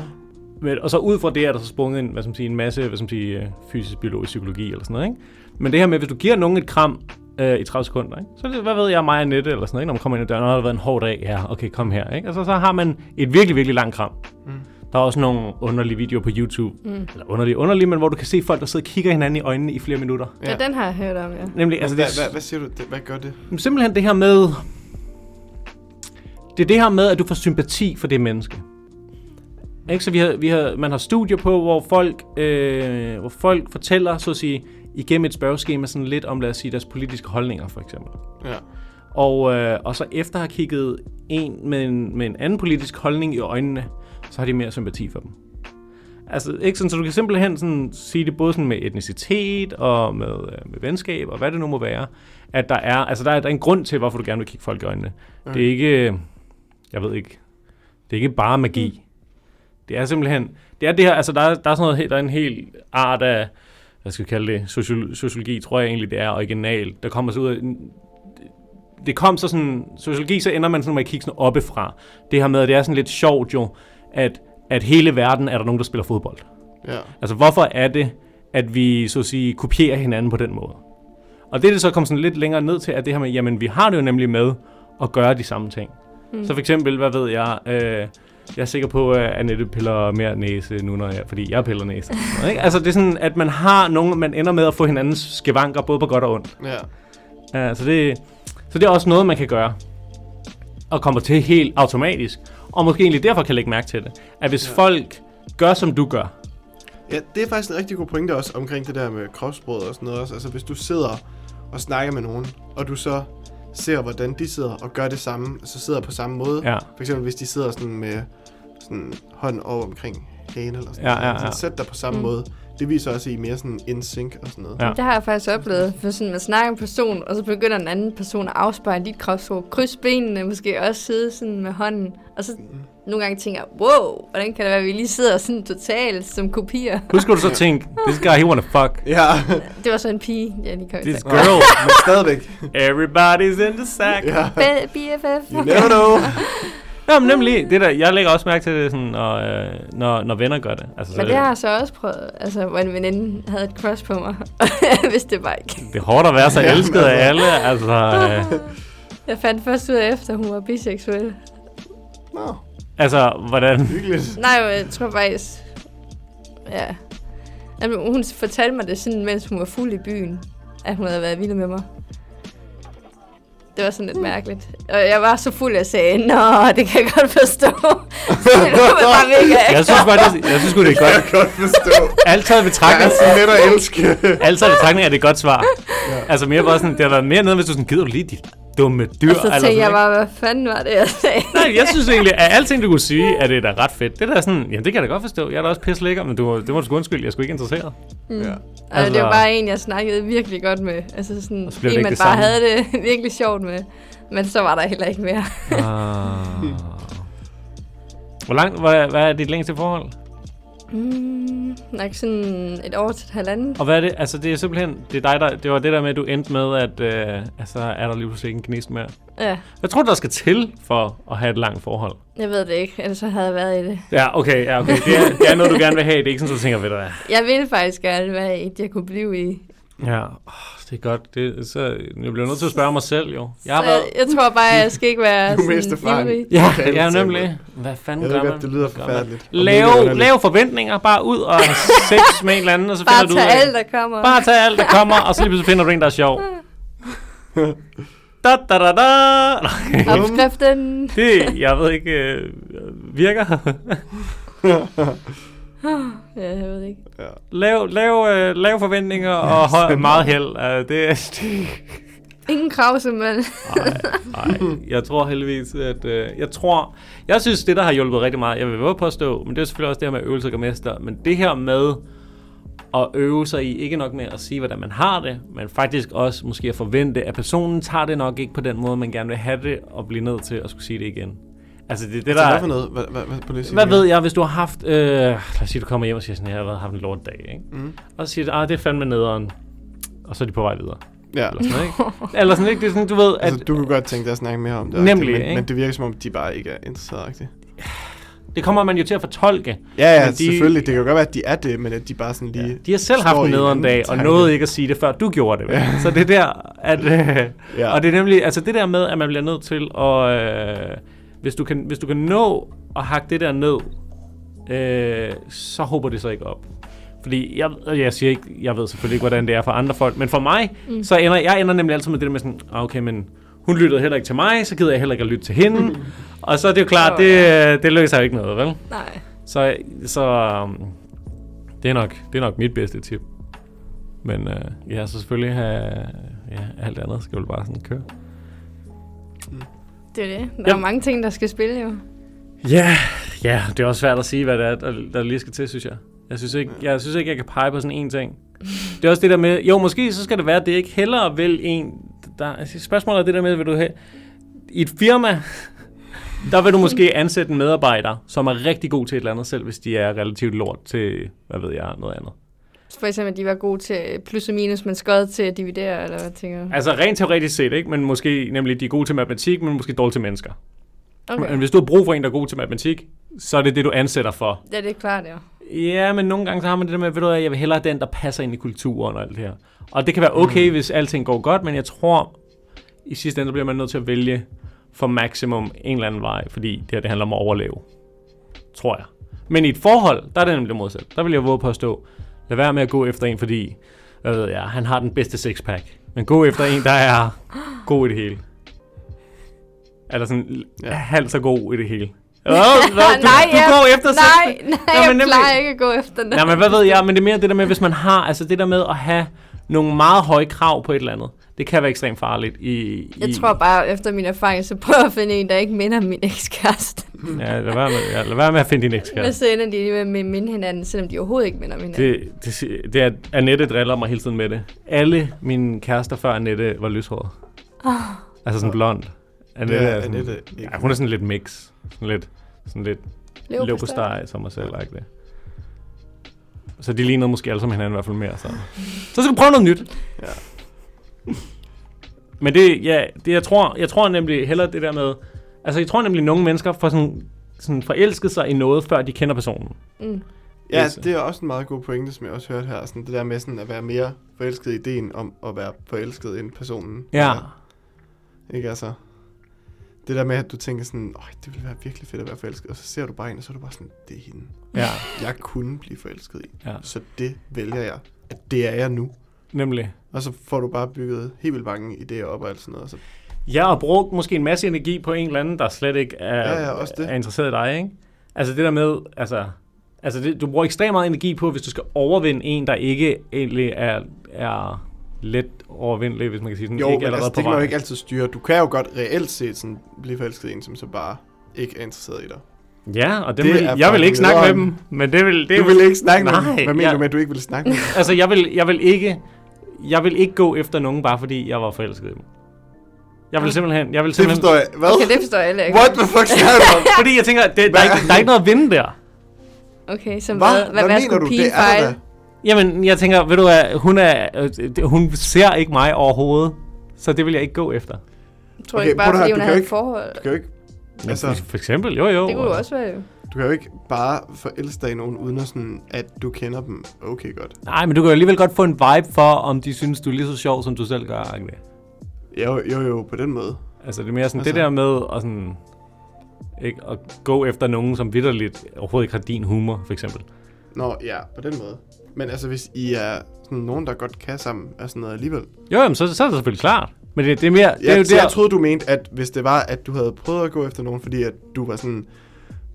[SPEAKER 1] Men, og så ud fra det er der så sprunget en, hvad skal man sige, en masse hvad skal man sige, øh, fysisk, biologisk psykologi eller sådan noget. Ikke? Men det her med, hvis du giver nogen et kram øh, i 30 sekunder, ikke? så er det, hvad ved jeg, mig og Nette eller sådan noget, ikke? når man kommer ind ad døren, "Nå, har det været en hård dag, ja, okay, kom her. Ikke? Altså, så har man et virkelig, virkelig langt kram. Mm. Der er også nogle underlige videoer på YouTube, mm. eller underlige, underlige, men hvor du kan se folk, der sidder og kigger hinanden i øjnene i flere minutter.
[SPEAKER 3] Ja, den har jeg hørt om, ja.
[SPEAKER 1] Nemlig, altså,
[SPEAKER 2] hvad,
[SPEAKER 1] det, er-
[SPEAKER 2] hvad, hvad siger du? Det, hvad gør det?
[SPEAKER 1] Jamen, Simpelthen det her med... Det er det her med, at du får sympati for det menneske. Ikke? Så vi har, vi har, man har studier på, hvor folk, øh, hvor folk fortæller, så at sige, igennem et spørgeskema sådan lidt om, lad os sige, deres politiske holdninger, for eksempel.
[SPEAKER 2] Ja.
[SPEAKER 1] Og, øh, og så efter at have kigget en med, en med en anden politisk holdning i øjnene, så har de mere sympati for dem. Altså, ikke sådan, så du kan simpelthen sådan sige det både sådan med etnicitet og med, øh, med venskab og hvad det nu må være. At der er, altså der er, der er en grund til, hvorfor du gerne vil kigge folk i øjnene. Mm. Det er ikke, jeg ved ikke, det er ikke bare magi. Det er simpelthen, det er det her, altså der, er- der er sådan noget, helt- der er en hel art af, hvad skal vi kalde det, sociolo- sociologi, tror jeg egentlig, det er original, der kommer så ud af, det kom så sådan, sociologi, så ender man sådan med at kigge sådan oppefra. Det her med, at det er sådan lidt sjovt jo, at, at hele verden er der nogen, der spiller fodbold.
[SPEAKER 2] Ja.
[SPEAKER 1] Altså, hvorfor er det, at vi så at sige kopierer hinanden på den måde? Og det er det så kom sådan lidt længere ned til, at det her med, jamen vi har det jo nemlig med at gøre de samme ting. Mm. Så for eksempel, hvad ved jeg, øh, jeg er sikker på, at Annette piller mere næse nu, når jeg, fordi jeg piller næse. Ikke? Altså det er sådan, at man har nogen, man ender med at få hinandens skavanker, både på godt og ondt.
[SPEAKER 2] Ja.
[SPEAKER 1] Ja, så, det, så det er også noget, man kan gøre. Og kommer til helt automatisk. Og måske egentlig derfor kan lægge mærke til det. At hvis ja. folk gør, som du gør,
[SPEAKER 2] Ja, det er faktisk en rigtig god pointe også omkring det der med kropsbrød og sådan noget også. Altså hvis du sidder og snakker med nogen, og du så ser, hvordan de sidder og gør det samme, så sidder på samme måde.
[SPEAKER 1] Ja.
[SPEAKER 2] For eksempel hvis de sidder sådan med sådan hånd over omkring hagen eller sådan
[SPEAKER 1] Ja,
[SPEAKER 2] noget.
[SPEAKER 1] ja,
[SPEAKER 2] Sådan,
[SPEAKER 1] ja.
[SPEAKER 2] Sæt dig på samme
[SPEAKER 3] Mm.
[SPEAKER 2] mm. måde. Det viser også, at I er mere sådan in sync og sådan noget.
[SPEAKER 1] Ja.
[SPEAKER 3] Det har jeg faktisk oplevet, for sådan, man snakker en person, og så begynder en anden person at afspejle dit kropsprog. Kryds benene, måske også sidde sådan med hånden. Og så nogle gange tænker jeg, wow, hvordan kan det være, at vi lige sidder sådan totalt som kopier?
[SPEAKER 1] Husk, du så tænke, this guy, he wanna fuck.
[SPEAKER 2] Ja, <laughs>
[SPEAKER 3] Det var så en pige, jeg lige kom i
[SPEAKER 1] This
[SPEAKER 3] tanke om.
[SPEAKER 1] girl,
[SPEAKER 2] men stadigvæk.
[SPEAKER 1] everybody's in the sack.
[SPEAKER 2] Ja.
[SPEAKER 3] Ba- BFF.
[SPEAKER 2] You never know.
[SPEAKER 1] Nå, men nemlig, det der, jeg lægger også mærke til det, sådan, når, øh, når, når venner gør det. Altså, så,
[SPEAKER 3] Men det har jeg så også prøvet, altså, hvor en veninde havde et crush på mig, <laughs> hvis det var ikke.
[SPEAKER 1] det er hårdt at være så
[SPEAKER 2] Ja,
[SPEAKER 1] elsket
[SPEAKER 2] altså.
[SPEAKER 1] af alle. Altså, øh,
[SPEAKER 3] Jeg fandt først ud af, efter hun var biseksuel.
[SPEAKER 2] Nå,
[SPEAKER 1] altså, hvordan...
[SPEAKER 2] hyggeligt.
[SPEAKER 3] Nej, jeg tror faktisk... Ja. Jamen, hun fortalte mig det sådan, mens hun var fuld i byen, at hun havde været vild med mig. Det var sådan
[SPEAKER 1] Hmm.
[SPEAKER 3] lidt mærkeligt. Og jeg var så fuld, at jeg sagde, Nå, det kan jeg godt forstå. <laughs> Så det var bare mega
[SPEAKER 1] Jeg synes faktisk, jeg synes sgu, det er
[SPEAKER 2] Jeg
[SPEAKER 1] godt.
[SPEAKER 2] kan godt
[SPEAKER 1] <laughs>
[SPEAKER 2] forstå.
[SPEAKER 1] Alt taget i
[SPEAKER 2] Jeg er
[SPEAKER 1] betragtning,
[SPEAKER 2] så let at elske.
[SPEAKER 1] alt taget i betragtning er Altså, det et godt svar. Altså mere bare sådan, det har været mere nede, hvis du sådan, gider du lige dit dumme dyr?
[SPEAKER 3] Og
[SPEAKER 1] eller
[SPEAKER 3] så tænkte jeg
[SPEAKER 1] altså, sådan,
[SPEAKER 3] bare, hvad fanden var det, jeg sagde?
[SPEAKER 1] Nej, jeg synes egentlig, at alting, du kunne sige, at det er da ret fedt. Det der er sådan, jamen det kan jeg da godt forstå. Jeg er da også pisse lækker, men du, det må du sgu undskylde. Jeg er sgu ikke interesseret.
[SPEAKER 2] Ja.
[SPEAKER 3] Altså, det
[SPEAKER 1] Altså-
[SPEAKER 3] var bare en, jeg snakkede virkelig godt med. Altså sådan,
[SPEAKER 1] Og så blev det
[SPEAKER 3] en,
[SPEAKER 1] ikke
[SPEAKER 3] man
[SPEAKER 1] det
[SPEAKER 3] bare
[SPEAKER 1] samme.
[SPEAKER 3] havde det <laughs> virkelig sjovt med. Men så var der heller ikke mere.
[SPEAKER 1] Ah. Hvor langt, hvad, hvad er dit længste forhold?
[SPEAKER 3] Mm, nok sådan et år til et halvandet.
[SPEAKER 1] Og hvad er det? Altså, det er simpelthen, det er dig, der, det var det der med, at du endte med, at øh, altså, er der lige pludselig ikke en gnist mere.
[SPEAKER 3] Ja,
[SPEAKER 1] Hvad tror du, der skal til for at have et langt forhold?
[SPEAKER 3] jeg ved det ikke, ellers så havde jeg været i det.
[SPEAKER 1] Ja, okay, ja, okay. Det er, det er noget, du gerne vil have. Det er ikke sådan, du tænker, ved du hvad?
[SPEAKER 3] Jeg ville faktisk gerne være i det, jeg kunne blive i.
[SPEAKER 1] Ja, oh, det er godt. Det, så, jeg bliver nødt til at spørge mig selv, jo. Jeg har
[SPEAKER 3] Så
[SPEAKER 1] været...
[SPEAKER 3] jeg, jeg tror bare, jeg skal ikke
[SPEAKER 1] <laughs>
[SPEAKER 3] være
[SPEAKER 2] Du er mest erfaren.
[SPEAKER 3] ivrig.
[SPEAKER 1] Ja,
[SPEAKER 2] Okay,
[SPEAKER 1] ja
[SPEAKER 2] tænker
[SPEAKER 1] nemlig. Hvad fanden
[SPEAKER 2] Jeg
[SPEAKER 1] gør
[SPEAKER 2] ved
[SPEAKER 1] man?
[SPEAKER 2] godt, det lyder
[SPEAKER 1] Hvad gør man?
[SPEAKER 2] forfærdeligt. og mega
[SPEAKER 1] Lave,
[SPEAKER 2] underligt.
[SPEAKER 1] lave forventninger, bare ud
[SPEAKER 2] <laughs>
[SPEAKER 1] og have sex med en eller anden, og så finder
[SPEAKER 3] Bare
[SPEAKER 1] du ud
[SPEAKER 3] tage
[SPEAKER 1] af...
[SPEAKER 3] alt, der kommer.
[SPEAKER 1] Bare tag alt, der kommer, og så lige pludselig finder du en, der er sjov. Da, da, da,
[SPEAKER 2] <laughs>
[SPEAKER 1] da. Nej,
[SPEAKER 3] Opskriften.
[SPEAKER 1] det, jeg ved ikke, øh, virker.
[SPEAKER 3] Ja, jeg ved det ikke.
[SPEAKER 2] <laughs> Ja.
[SPEAKER 1] lav, lav, øh, lav forventninger og høj, meget held. Øh, det, det,
[SPEAKER 3] Ingen krav, som man...
[SPEAKER 1] nej, jeg tror heldigvis, at... Øh, jeg tror... Jeg synes, det, der har hjulpet rigtig meget, jeg vil våge påstå, men det er selvfølgelig også det her med øvelse og mester, men det her med at øve sig i, ikke nok med at sige, hvordan man har det, men faktisk også måske at forvente, at personen tager det nok ikke på den måde, man gerne vil have det, og blive nødt til at skulle sige det igen. Altså, det er det, der...
[SPEAKER 2] Så hvad for noget? Hvad, hvad, hvad, på det
[SPEAKER 1] Hvad ved jeg, hvis du har haft... Øh, lad os sige, du kommer hjem og siger sådan her, jeg har været- haft en lort dag, ikke?
[SPEAKER 2] Mm.
[SPEAKER 1] Og så siger du, ah, det er fandme nederen. Og så er de på vej videre.
[SPEAKER 2] Ja.
[SPEAKER 1] Eller sådan, ikke? Eller sådan, ikke? Det er sådan, du ved, at...
[SPEAKER 2] Altså, du kunne godt tænke dig at snakke mere om det.
[SPEAKER 1] Nemlig,
[SPEAKER 2] men,
[SPEAKER 1] ikke?
[SPEAKER 2] men det virker som om, de bare ikke er interesseret. Ikke?
[SPEAKER 1] Det kommer man jo til at fortolke.
[SPEAKER 2] Ja, ja,
[SPEAKER 1] Men
[SPEAKER 2] de,
[SPEAKER 1] de-
[SPEAKER 2] selvfølgelig. Det kan jo godt være, at de er det, men at de bare sådan lige...
[SPEAKER 1] De har selv
[SPEAKER 2] Står
[SPEAKER 1] haft en
[SPEAKER 2] i
[SPEAKER 1] nederen
[SPEAKER 2] en
[SPEAKER 1] dag, og
[SPEAKER 2] tanke.
[SPEAKER 1] nåede ikke at sige det, før du gjorde det. vel?
[SPEAKER 2] Ja.
[SPEAKER 1] Så det er der, at... Øh,
[SPEAKER 2] <laughs> Ja.
[SPEAKER 1] Og det er nemlig, altså det der med, at man bliver nødt til at... Øh, hvis, du kan, hvis du kan nå at hakke det der ned, øh, så håber det så ikke op. Fordi jeg, og jeg siger ikke, jeg ved selvfølgelig ikke, hvordan det er for andre folk, men for mig, mm. så ender jeg ender nemlig altid med det der med sådan, "Ah, okay, men hun lyttede heller ikke til mig, så gider jeg heller ikke at lytte til hende.
[SPEAKER 2] Mm.
[SPEAKER 1] og så er det jo klart,
[SPEAKER 3] Åh,
[SPEAKER 1] det, øh, det løser jo ikke noget, vel?
[SPEAKER 3] <laughs> Nej.
[SPEAKER 1] Så, så um, det, er nok, det er nok mit bedste tip. Men øh, ja, så selvfølgelig have, ja, alt andet skal jo bare sådan køre.
[SPEAKER 3] Det er det. Der
[SPEAKER 1] Ja.
[SPEAKER 3] er mange ting, der skal spille jo.
[SPEAKER 1] Ja, ja, det er også svært at sige, hvad det er, der, der lige skal til, synes jeg. Jeg synes, ikke, jeg synes ikke, jeg kan pege på sådan en ting. Det er også det der med, jo, måske så skal det være, at det ikke hellere vil en... Der, altså, spørgsmålet er det der med, vil du have... I et firma, der vil du måske ansætte en medarbejder, som er rigtig god til et eller andet, selv hvis de er relativt lort til, hvad ved jeg, noget andet.
[SPEAKER 3] For eksempel, at de var gode til plus og minus, men skød til at dividere, eller hvad tænker du?
[SPEAKER 1] Altså rent teoretisk set, ikke? Men måske, nemlig de er gode til matematik, men måske dårlige til mennesker. Okay. Men
[SPEAKER 3] Okay,
[SPEAKER 1] hvis du har brug for en, der er god til matematik, så er det det, du ansætter for.
[SPEAKER 3] ja, det er klart, ja.
[SPEAKER 1] Ja, men nogle gange så har man det der med, ved du hvad, jeg vil hellere den, der passer ind i kulturen og alt det her. Og det kan være okay, mm. hvis alting går godt, men jeg tror, i sidste ende så bliver man nødt til at vælge for maksimum en eller anden vej, fordi det her det handler om at overleve. Tror jeg. Men i et forhold, der er det nemlig modsat. Der vil jeg våge på at stå, lad være med at gå efter en, fordi, hvad ved jeg, han har den bedste sixpack. Men gå efter en, der er god i det hele. Eller sådan ja.
[SPEAKER 2] Ja.
[SPEAKER 1] halvt så god i det hele. Oh, no, du,
[SPEAKER 3] nej,
[SPEAKER 1] du
[SPEAKER 3] jeg-
[SPEAKER 1] går efter
[SPEAKER 3] Nej,
[SPEAKER 1] sixpack.
[SPEAKER 3] nej,
[SPEAKER 1] Nå,
[SPEAKER 3] jeg
[SPEAKER 1] men nemlig-
[SPEAKER 3] plejer ikke at gå efter den.
[SPEAKER 1] <laughs> Nej, men hvad ved jeg, men det er mere det der med, hvis man har, altså det der med at have nogle meget høje krav på et eller andet. Det kan være ekstremt farligt i...
[SPEAKER 3] Jeg
[SPEAKER 1] i,
[SPEAKER 3] tror bare, efter min erfaring, så prøver jeg at finde en, der ikke minder om min ekskæreste.
[SPEAKER 1] Ja, lad være med, ja, lad være med at finde din
[SPEAKER 3] Men
[SPEAKER 1] ekskæreste.
[SPEAKER 3] så ender de alligevel med at minde hinanden, selvom de overhovedet ikke minder om hinanden.
[SPEAKER 1] Det, det, si- det er, Annette driller mig hele tiden med det. Alle mine kærester før Annette var lyshåret.
[SPEAKER 3] Ah.
[SPEAKER 1] Oh. Altså sådan blond. Annette
[SPEAKER 2] Ja,
[SPEAKER 1] er sådan,
[SPEAKER 2] Annette ikke.
[SPEAKER 1] ja, hun er sådan lidt mix. Sådan lidt, sådan lidt
[SPEAKER 3] Leverpostej.
[SPEAKER 1] leverpostej, som mig selv like det. Så de lignede måske alle sammen hinanden i hvert fald mere. Så, så skal vi prøve noget nyt.
[SPEAKER 2] Ja.
[SPEAKER 1] Men det, ja, det jeg, tror, jeg tror nemlig heller det der med... Altså, jeg tror nemlig, at nogle mennesker får sådan, sådan forelsket sig i noget, før de kender personen.
[SPEAKER 3] Mm.
[SPEAKER 2] Ja,
[SPEAKER 1] Altså.
[SPEAKER 2] det er også en meget god pointe, som jeg også hørte her. Sådan det der med sådan at være mere forelsket i ideen om at være forelsket end personen.
[SPEAKER 1] Ja.
[SPEAKER 2] Ikke altså? Det der med, at du tænker sådan, Øj, det ville være virkelig fedt at være forelsket. Og så ser du bare en, og så er du bare sådan, det er hende.
[SPEAKER 1] Ja,
[SPEAKER 2] Jeg kunne blive forelsket i.
[SPEAKER 1] ja.
[SPEAKER 2] Så det vælger jeg. At det er jeg nu.
[SPEAKER 1] Nemlig.
[SPEAKER 2] Og så får du bare bygget helt vildt mange idéer op og alt sådan noget. og Så,
[SPEAKER 1] Jeg har brugt måske en masse energi på en eller anden, der slet ikke er,
[SPEAKER 2] Ja, ja, også det.
[SPEAKER 1] er interesseret i dig, ikke? Altså det der med, altså, altså det, du bruger ekstremt meget energi på, hvis du skal overvinde en, der ikke egentlig er, er let overvindelig, hvis man kan sige sådan,
[SPEAKER 2] jo,
[SPEAKER 1] ikke
[SPEAKER 2] men
[SPEAKER 1] allerede
[SPEAKER 2] altså,
[SPEAKER 1] på
[SPEAKER 2] det kan man
[SPEAKER 1] vej.
[SPEAKER 2] jo ikke altid styre. Du kan jo godt reelt set sådan, blive forelsket i en, som så bare ikke er interesseret i dig.
[SPEAKER 1] Ja, og dem
[SPEAKER 2] Det
[SPEAKER 1] vil,
[SPEAKER 2] er
[SPEAKER 1] jeg vil ikke
[SPEAKER 2] fucking
[SPEAKER 1] snakke med dem,
[SPEAKER 2] nederen.
[SPEAKER 1] men det vil... Det
[SPEAKER 2] Du vil ikke snakke med
[SPEAKER 1] Nej,
[SPEAKER 2] dem. Hvad mener
[SPEAKER 1] jeg-
[SPEAKER 2] du med, at du ikke vil snakke med dem?
[SPEAKER 1] Altså jeg vil, jeg vil ikke... Jeg vil ikke gå efter nogen, bare fordi jeg var forelsket i dem. Jeg vil simpelthen... Jeg vil
[SPEAKER 2] Det
[SPEAKER 1] simpelthen
[SPEAKER 2] forstår jeg. Hvad?
[SPEAKER 3] Okay, det forstår jeg heller ikke.
[SPEAKER 2] What the fuck snakker
[SPEAKER 3] <laughs>
[SPEAKER 2] du om?
[SPEAKER 1] fordi jeg tænker, det, der, er ikke, der er ikke noget at vinde der.
[SPEAKER 3] Okay, så
[SPEAKER 2] Hvad,
[SPEAKER 3] hvad, hvad,
[SPEAKER 2] hvad
[SPEAKER 3] hvad
[SPEAKER 2] mener
[SPEAKER 3] skulle
[SPEAKER 2] du?
[SPEAKER 3] pigen
[SPEAKER 2] Det er der
[SPEAKER 3] fejle?
[SPEAKER 2] da.
[SPEAKER 1] Jamen, jeg tænker, ved du hvad, hun, er, øh, det- hun ser ikke mig overhovedet, så det vil jeg ikke gå efter.
[SPEAKER 3] Tror
[SPEAKER 2] Okay,
[SPEAKER 3] okay, ikke
[SPEAKER 2] prøv
[SPEAKER 3] bare,
[SPEAKER 2] at høre,
[SPEAKER 3] fordi
[SPEAKER 2] du
[SPEAKER 3] hun
[SPEAKER 2] kan
[SPEAKER 3] havde
[SPEAKER 2] jo
[SPEAKER 3] et forhold.
[SPEAKER 2] Du kan jo ikke,
[SPEAKER 1] Altså,
[SPEAKER 2] Altså-
[SPEAKER 1] for, for eksempel, jo jo.
[SPEAKER 3] Det kunne jo også være jo.
[SPEAKER 2] du kan jo ikke bare forelske dig i nogen, uden at, sådan, at du kender dem okay godt.
[SPEAKER 1] Nej, men du kan jo alligevel godt få en vibe for, om de synes, du er lige så sjov, som du selv gør. Agne.
[SPEAKER 2] Jo, jo, jo, på den måde.
[SPEAKER 1] Altså, det er mere sådan, altså.
[SPEAKER 2] Altså.
[SPEAKER 1] det der med at, sådan, ikke, at gå efter nogen, som vidderligt overhovedet ikke har din humor, for eksempel.
[SPEAKER 2] Nå, ja, på den måde. Men altså, hvis I er sådan nogen, der godt kan sammen, er sådan noget alligevel.
[SPEAKER 1] Jo, jamen, så, så er det selvfølgelig klart. Men det, det er mere... det er
[SPEAKER 2] Jeg,
[SPEAKER 1] jo
[SPEAKER 2] det,
[SPEAKER 1] der,
[SPEAKER 2] jeg troede, du mente, at hvis det var, at du havde prøvet at gå efter nogen, fordi at du var sådan,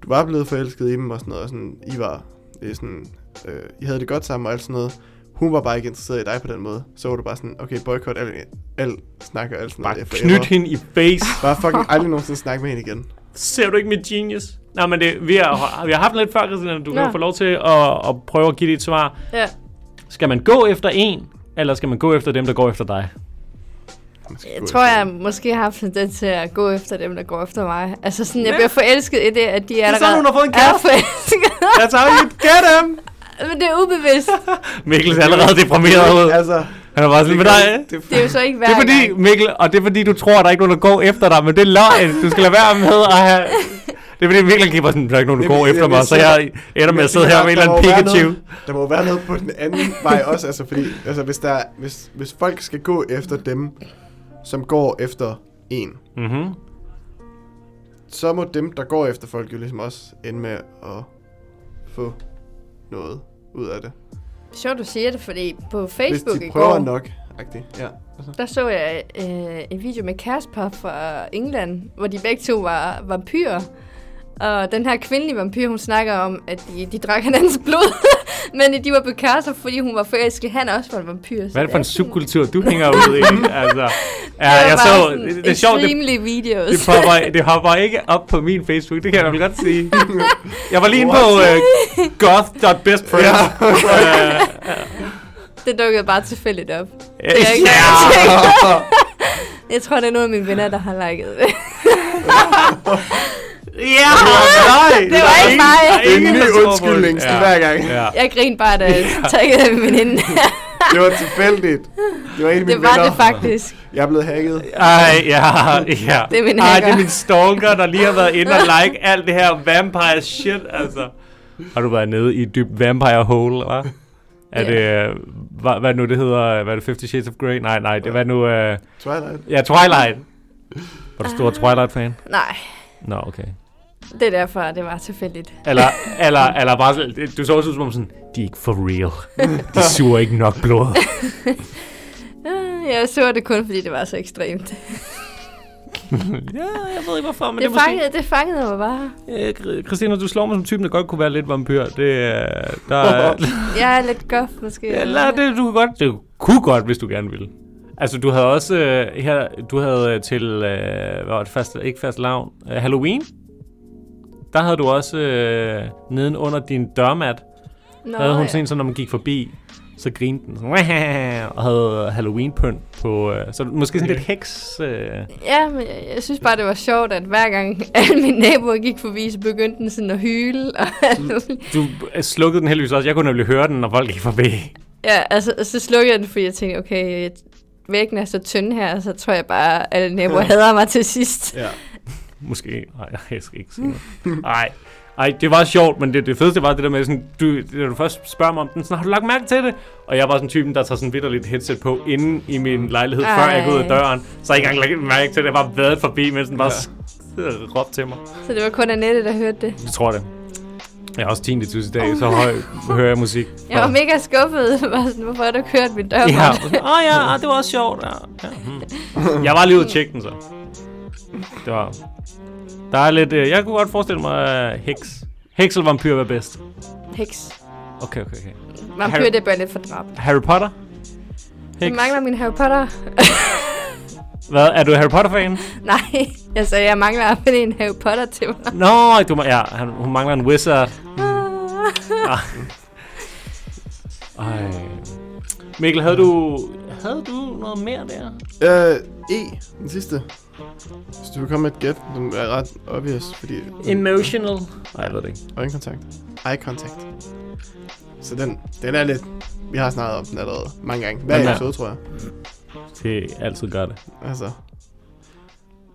[SPEAKER 2] du var blevet forelsket i dem og sådan noget, og sådan, I var øh, sådan, øh, I havde det godt sammen og alt sådan noget. Hun var bare ikke interesseret i dig på den måde. Så var du bare sådan, okay, boykot al, al snak og alt sådan
[SPEAKER 1] bare
[SPEAKER 2] noget. forever.
[SPEAKER 1] knyt hende i face.
[SPEAKER 2] Bare
[SPEAKER 1] <laughs>
[SPEAKER 2] fucking aldrig nogensinde snakke med hende igen.
[SPEAKER 1] Ser du ikke mit genius? Nej, men det, vi, har, vi har haft den lidt før, Christina. Du kan
[SPEAKER 3] Ja.
[SPEAKER 1] jo få lov til at, at prøve at give dit svar.
[SPEAKER 3] Ja.
[SPEAKER 1] Skal man gå efter en, eller skal man gå efter dem, der går efter dig?
[SPEAKER 2] Man skal
[SPEAKER 3] Jeg
[SPEAKER 2] gå
[SPEAKER 3] tror,
[SPEAKER 2] efter
[SPEAKER 3] jeg måske har haft den til at gå efter dem, der går efter mig. Altså sådan, jeg bliver forelsket i det, at de allerede
[SPEAKER 1] sådan, hun har fået en
[SPEAKER 3] er
[SPEAKER 1] kæreste.
[SPEAKER 3] forelsket. <laughs>
[SPEAKER 1] Jeg tager ikke get him!
[SPEAKER 3] Men det er ubevidst.
[SPEAKER 1] Mikkel er allerede deprimeret ud.
[SPEAKER 2] hende. Altså,
[SPEAKER 1] Han er bare sådan, men nej,
[SPEAKER 2] det, det,
[SPEAKER 3] Det er jo så ikke hver
[SPEAKER 1] det er fordi,
[SPEAKER 3] gang.
[SPEAKER 1] Mikkel, og det er fordi, du tror, at der er ikke nogen, der går efter dig, men det er løgn. Du skal lade være med at have... Det er fordi, Mikkel kigger sådan, der er ikke nogen, der
[SPEAKER 2] Jamen,
[SPEAKER 1] går efter
[SPEAKER 2] jamen,
[SPEAKER 1] mig,
[SPEAKER 2] jeg
[SPEAKER 1] så jeg ender med at sidde her med en eller anden
[SPEAKER 2] Der må være
[SPEAKER 1] Pikachu.
[SPEAKER 2] noget- Der må være noget på den anden vej også, altså fordi, altså hvis, der, hvis, hvis folk skal gå efter dem, som går efter en,
[SPEAKER 1] Mhm.
[SPEAKER 2] så må dem, der går efter folk, jo ligesom også ende med at få noget ud af det.
[SPEAKER 3] Sjovt, du siger det, fordi på
[SPEAKER 2] Hvis
[SPEAKER 3] Facebook
[SPEAKER 2] de
[SPEAKER 3] i
[SPEAKER 2] prøver
[SPEAKER 3] går,
[SPEAKER 2] nok, agtigt.
[SPEAKER 1] <laughs>
[SPEAKER 2] Ja.
[SPEAKER 3] der så jeg øh, en video med Kasper fra England, hvor de begge to var vampyrer. Og den her kvindelige vampyr, hun snakker om, at de, de drak hinandens blod. <laughs> Men de var på kærester, fordi hun var forelsket. Han også var en vampyr. så
[SPEAKER 1] Hvad er det for
[SPEAKER 3] er
[SPEAKER 1] en subkultur, du hænger ud i? Altså, Ja, jeg
[SPEAKER 3] bare
[SPEAKER 1] så,
[SPEAKER 3] sådan
[SPEAKER 1] det, det er sjovt, det,
[SPEAKER 3] Extremely videos. <laughs>
[SPEAKER 1] det, popper, det hopper ikke op på min Facebook, det kan jeg da godt
[SPEAKER 3] <laughs>
[SPEAKER 1] sige. Jeg var lige inde på
[SPEAKER 2] What?
[SPEAKER 1] uh, goth.bestfriend.
[SPEAKER 2] Ja.
[SPEAKER 1] <laughs> Øh,
[SPEAKER 3] det dukkede bare tilfældigt op.
[SPEAKER 1] ja,
[SPEAKER 3] er ikke-
[SPEAKER 1] ja.
[SPEAKER 3] Jeg tror, det er nogle af mine venner, der har liket det. <laughs>
[SPEAKER 1] Ja, nej.
[SPEAKER 3] Det var ikke mig.
[SPEAKER 1] der
[SPEAKER 2] Det er en
[SPEAKER 1] ingen,
[SPEAKER 2] ny
[SPEAKER 1] der tror på det.
[SPEAKER 2] undskyldning sådan hver gang.
[SPEAKER 1] Ja.
[SPEAKER 3] Jeg grinede bare, da jeg taggede min veninde.
[SPEAKER 2] Det var tilfældigt. Det var en af mine
[SPEAKER 3] <laughs> det var
[SPEAKER 2] venner.
[SPEAKER 3] det faktisk.
[SPEAKER 2] Jeg er blevet hacket.
[SPEAKER 1] Ej, ja, ja.
[SPEAKER 3] Det er min
[SPEAKER 1] Ej,
[SPEAKER 3] hacker.
[SPEAKER 1] det er min stalker, der lige har været inde og like alt det her vampire shit, altså. Har du været nede i et dybt vampire hole, hva'? Er
[SPEAKER 3] Ja.
[SPEAKER 1] det, øh, hvad, hvad er det nu det hedder, hvad er det, 50 Shades of Grey? Nej, nej, det var nu, øh,
[SPEAKER 2] Twilight.
[SPEAKER 1] ja, Twilight. Var du stor Twilight-fan?
[SPEAKER 3] Nej,
[SPEAKER 1] Nå, okay.
[SPEAKER 3] det er derfor, det var tilfældigt.
[SPEAKER 1] Eller, eller, eller bare, sådan- du så også ud som om sådan, de er ikke for real. De suger ikke nok blod.
[SPEAKER 3] Øh, Jeg så det kun, fordi det var så ekstremt.
[SPEAKER 1] ja, jeg ved ikke hvorfor, men
[SPEAKER 3] Det fangede, det fangede mig bare.
[SPEAKER 1] Øh, Kri- Christina, du slår mig som typen, der godt kunne være lidt vampyr. Det, øh, der, er-
[SPEAKER 3] Jeg er lidt gof, måske.
[SPEAKER 1] eller det, du kunne godt, det kunne godt, hvis du gerne ville. Altså, du havde også øh, her, du havde øh, til, øh, hvad var det, fast, ikke fast lavn, øh, Halloween. Der havde du også øh, neden under din dørmat,
[SPEAKER 3] Nå,
[SPEAKER 1] der havde hun
[SPEAKER 3] ja.
[SPEAKER 1] sådan en, så når man gik forbi, så grinte den, sådan, og havde Halloween-pynt på, øh, så måske sådan lidt heks. Øh,
[SPEAKER 3] Ja, men jeg, jeg synes bare, det var sjovt, at hver gang <laughs> alle mine naboer gik forbi, så begyndte den sådan at hyle. Og <laughs> alt muligt.
[SPEAKER 1] du øh, slukkede den heldigvis også, jeg kunne nemlig høre den, når folk gik forbi.
[SPEAKER 3] ja, altså, så slukkede jeg den, fordi jeg tænkte, okay, jeg- væggen er så tynd her, så tror jeg bare, at alle naboer hader mig til sidst.
[SPEAKER 2] Ja.
[SPEAKER 1] Måske. Nej, jeg skal ikke sige noget. Nej. Ej, det var sjovt, men det, det fedeste var det der med, sådan, du, når du først spørger mig om den, sådan, har du lagt mærke til det? Og jeg var sådan typen, der tager sådan vidderligt et headset på inden i min lejlighed, Ej. før jeg går ud af
[SPEAKER 3] Ej.
[SPEAKER 1] døren. Så har jeg ikke engang lagt mærke til det, jeg har bare været forbi, mens den bare ja. råbte til mig.
[SPEAKER 3] Så det var kun Annette, der hørte det.
[SPEAKER 1] Jeg tror det. Jeg er også 10. i dag, så høj, hører jeg musik.
[SPEAKER 3] Jeg var mega skuffet. <laughs> Bare sådan, Hvorfor har du kørt min dør?
[SPEAKER 1] Ja, åh oh, ja, ah, det var også sjovt. Ja. Ja. hmm. Jeg var lige ude og tjekke den så. Det var... Der er lidt... Øh, jeg kunne godt forestille mig øh, heks. Heks eller vampyr var bedst.
[SPEAKER 3] Heks.
[SPEAKER 1] Okay, okay, okay.
[SPEAKER 3] Vampyr, det bør lidt for drab.
[SPEAKER 1] Harry Potter?
[SPEAKER 3] Jeg
[SPEAKER 1] Heks.
[SPEAKER 3] mangler min Harry Potter. <laughs>
[SPEAKER 1] Hvad? Er du Harry Potter-fan?
[SPEAKER 3] Nej, jeg sagde, jeg mangler at finde en Harry Potter til mig. <laughs>
[SPEAKER 1] Nå, du, ma- ja, han, hun mangler en wizard. Ah. Ej. Mikkel, havde du, havde du noget mere der?
[SPEAKER 2] Øh, E, den sidste. Hvis du vil komme med et gæt, den er ret obvious, fordi
[SPEAKER 1] Emotional. Nej, jeg ved det ikke.
[SPEAKER 2] øjenkontakt. Eye contact. Så den, den er lidt... Vi har snakket om den allerede mange gange. Hver
[SPEAKER 1] Den er-
[SPEAKER 2] episode, tror jeg.
[SPEAKER 1] Det er altid gør det.
[SPEAKER 2] Altså,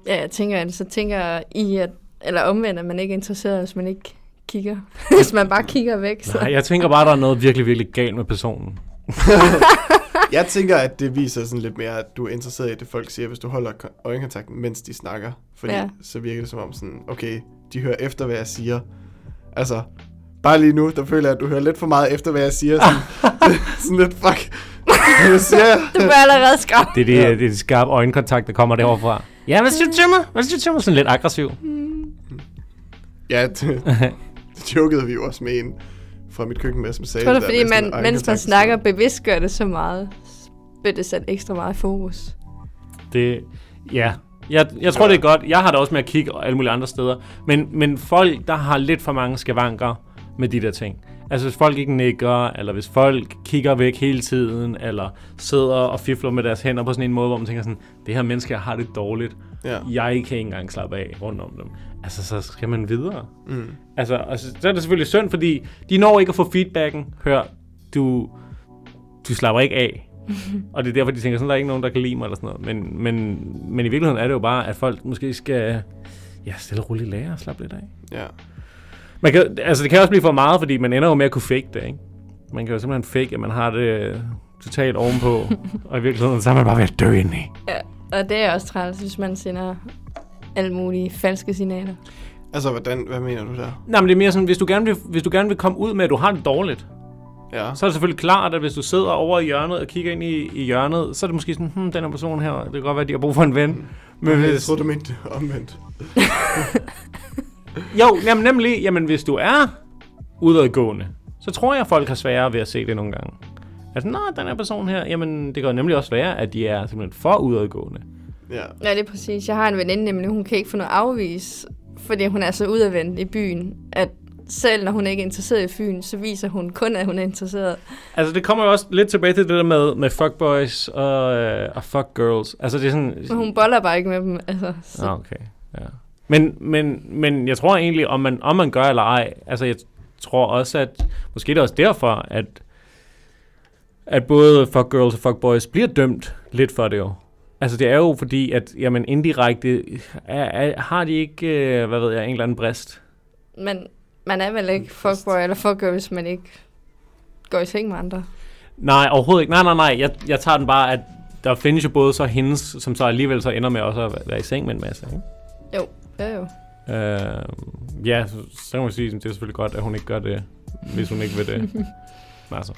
[SPEAKER 3] Ja, jeg tænker, så tænker I, at, eller omvendt, at man ikke er interesseret, hvis man ikke kigger. <laughs> hvis man bare kigger væk. Så.
[SPEAKER 1] Nej, jeg tænker bare, der er noget virkelig, virkelig galt med personen.
[SPEAKER 2] jeg tænker, at det viser sådan lidt mere, at du er interesseret i det, folk siger, hvis du holder kon- øjenkontakten, mens de snakker. Fordi
[SPEAKER 3] Ja.
[SPEAKER 2] ja. så virker det som om sådan, okay, de hører efter, hvad jeg siger. Altså, bare lige nu, der føler jeg, at du hører lidt for meget efter, hvad jeg siger. Sådan, <laughs> sådan lidt, fuck. Hvad siger jeg?
[SPEAKER 3] Du bør allerede skrabe.
[SPEAKER 1] Det er det, ja. det, er det skarpe øjenkontakt, der kommer derovre fra. Ja, hvad siger du til mig? Hvad siger du til mig? Sådan lidt aggressiv.
[SPEAKER 2] Ja, det, det jokede vi jo også med en fra mit køkken med, som sagde...
[SPEAKER 3] Tror du,
[SPEAKER 2] det der
[SPEAKER 3] fordi
[SPEAKER 2] med sådan
[SPEAKER 3] man, mens man
[SPEAKER 2] øjenkontakt.
[SPEAKER 3] snakker bevidst gør det så meget, så bliver det sat ekstra meget i fokus.
[SPEAKER 1] Det, ja. Jeg, jeg tror, det er godt. Jeg har det også med at kigge og alle mulige andre steder. Men, men folk, der har lidt for mange skavanker med de der ting. Altså hvis folk ikke nikker, eller hvis folk kigger væk hele tiden, eller sidder og fifler med deres hænder på sådan en måde, hvor man tænker sådan, det her menneske jeg har det dårligt.
[SPEAKER 2] Ja.
[SPEAKER 1] Jeg kan ikke engang slappe af rundt om dem. Altså, så skal man videre. Mm. Altså, og så, så er det selvfølgelig synd, fordi de når ikke at få feedbacken. Hør, du, du slapper ikke <laughs> af. og det er derfor, de tænker, sådan der er ikke nogen, der kan lide mig eller sådan noget. Men, men, men i virkeligheden er det jo bare, at folk måske skal ja, stille og roligt lære og slappe lidt af.
[SPEAKER 2] Ja.
[SPEAKER 1] Man kan, altså, det kan også blive for meget, fordi man ender jo med at kunne fake det, ikke? Man kan jo simpelthen fake, at man har det øh, totalt <laughs> ovenpå, og i virkeligheden, så er man bare ved at dø ind i.
[SPEAKER 3] Ja, og det er også træls, hvis man sender alle mulige falske signaler.
[SPEAKER 2] Altså, hvordan, hvad mener du der?
[SPEAKER 1] Nej, men det er mere sådan, hvis du, gerne vil, hvis du gerne vil komme ud med, at du har det dårligt,
[SPEAKER 2] Ja.
[SPEAKER 1] så er det selvfølgelig klart, at hvis du sidder over i hjørnet og kigger ind i, i hjørnet, så er det måske sådan, hmm, den her person her, det kan godt være, at de har brug for en ven. Men
[SPEAKER 2] Jeg
[SPEAKER 1] hvis,
[SPEAKER 2] troede, du mente det omvendt.
[SPEAKER 1] jo, jamen, nemlig, jamen, hvis du er udadgående, så tror jeg, at folk har sværere ved at se det nogle gange. Altså, nå, den her person her, jamen, det kan jo nemlig også være, at de er simpelthen for udadgående.
[SPEAKER 2] Ja.
[SPEAKER 3] Ja, det er præcis. Jeg har en veninde, nemlig hun kan ikke få noget afvis, fordi hun er så udadvendt i byen, at selv når hun ikke er interesseret i Fyn, så viser hun kun, at hun er interesseret.
[SPEAKER 1] Altså, det kommer jo også lidt tilbage til det der med, med fuckboys og, øh, og fuckgirls. Altså, det er sådan...
[SPEAKER 3] Men hun boller bare ikke med dem. Altså, så.
[SPEAKER 1] Ah, okay. Ja. Men, men, men jeg tror egentlig, om man, om man gør eller ej, altså jeg tror også, at måske det er også derfor, at, at både fuck girls og fuck boys bliver dømt lidt for det jo. Altså det er jo fordi, at jamen, indirekte er, er, har de ikke, øh, hvad ved jeg, en eller anden brist.
[SPEAKER 3] Men man er vel ikke fuckboy eller fuckgirl, hvis man ikke går i seng med andre.
[SPEAKER 1] Nej, overhovedet ikke. Nej, nej, nej. Jeg, jeg tager den bare, at der findes jo både så hendes, som så alligevel så ender med også at være i seng med en masse. Ikke?
[SPEAKER 3] Jo, jo jo.
[SPEAKER 1] Øh, ja, så, så kan man sige, at det er selvfølgelig godt, at hun ikke gør det, hvis hun ikke vil det. Men altså.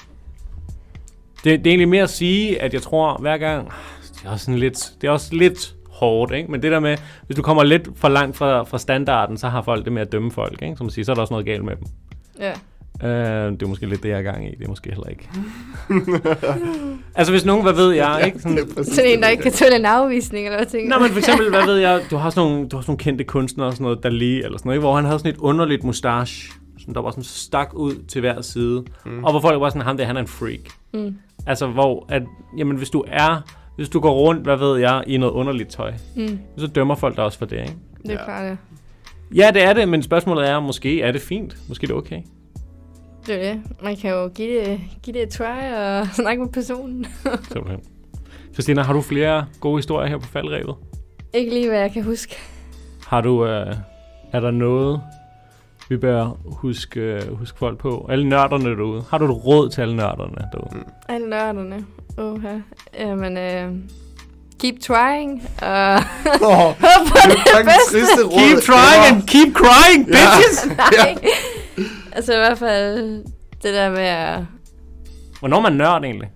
[SPEAKER 1] Det, det er egentlig mere at sige, at jeg tror hver gang, ah, det er også, sådan lidt, det er også lidt hårdt, ikke? men det der med, hvis du kommer lidt for langt fra, fra standarden, så har folk det med at dømme folk, ikke? som man siger, så er der også noget galt med dem.
[SPEAKER 3] Ja.
[SPEAKER 1] Øh, det er måske lidt det, jeg er gang i, det er måske heller ikke. altså hvis nogen, hvad ved
[SPEAKER 2] <laughs>
[SPEAKER 1] jeg, ikke? Sådan,
[SPEAKER 2] præcis
[SPEAKER 3] Sådan en,
[SPEAKER 2] det,
[SPEAKER 3] der ikke kan tåle en afvisning, eller hvad tænker
[SPEAKER 1] Nå, men for eksempel, hvad ved jeg, du har sådan nogle, du har sådan nogle kendte kunstnere og sådan noget, Dali eller sådan noget, ikke? hvor han havde sådan et underligt mustache, sådan, der var sådan stak ud til hver side, mm. og hvor folk var sådan, ham der, han er en freak.
[SPEAKER 3] Mm.
[SPEAKER 1] Altså, hvor, at, jamen, hvis du er, hvis du går rundt, hvad ved jeg, i noget underligt tøj,
[SPEAKER 3] Mm,
[SPEAKER 1] så dømmer folk dig også for det, ikke?
[SPEAKER 3] det er
[SPEAKER 2] Ja.
[SPEAKER 3] klart, ja.
[SPEAKER 1] Ja, det er det, men spørgsmålet er, måske er det fint, måske er det okay.
[SPEAKER 3] Det er det. Man kan jo give det, give det et try og <laughs> snakke med personen.
[SPEAKER 1] Simpelthen. Christina, har du flere gode historier her på faldrevet?
[SPEAKER 3] Ikke lige, hvad jeg kan huske.
[SPEAKER 1] Har du, øh, er der noget, vi bør huske, øh, huske folk på? Alle nørderne derude. Har du et råd til alle nørderne derude? Mm.
[SPEAKER 3] Alle nørderne. Åh, her. Jamen, øh, keep trying. Og <laughs>
[SPEAKER 2] Åh,
[SPEAKER 3] håb på
[SPEAKER 2] det
[SPEAKER 3] det,
[SPEAKER 2] er faktisk det triste
[SPEAKER 3] bedste.
[SPEAKER 2] råd.
[SPEAKER 1] Keep trying and keep crying,
[SPEAKER 2] Ja.
[SPEAKER 1] bitches!
[SPEAKER 3] Nej. altså i hvert fald det der med at...
[SPEAKER 1] Hvornår er man nørd egentlig?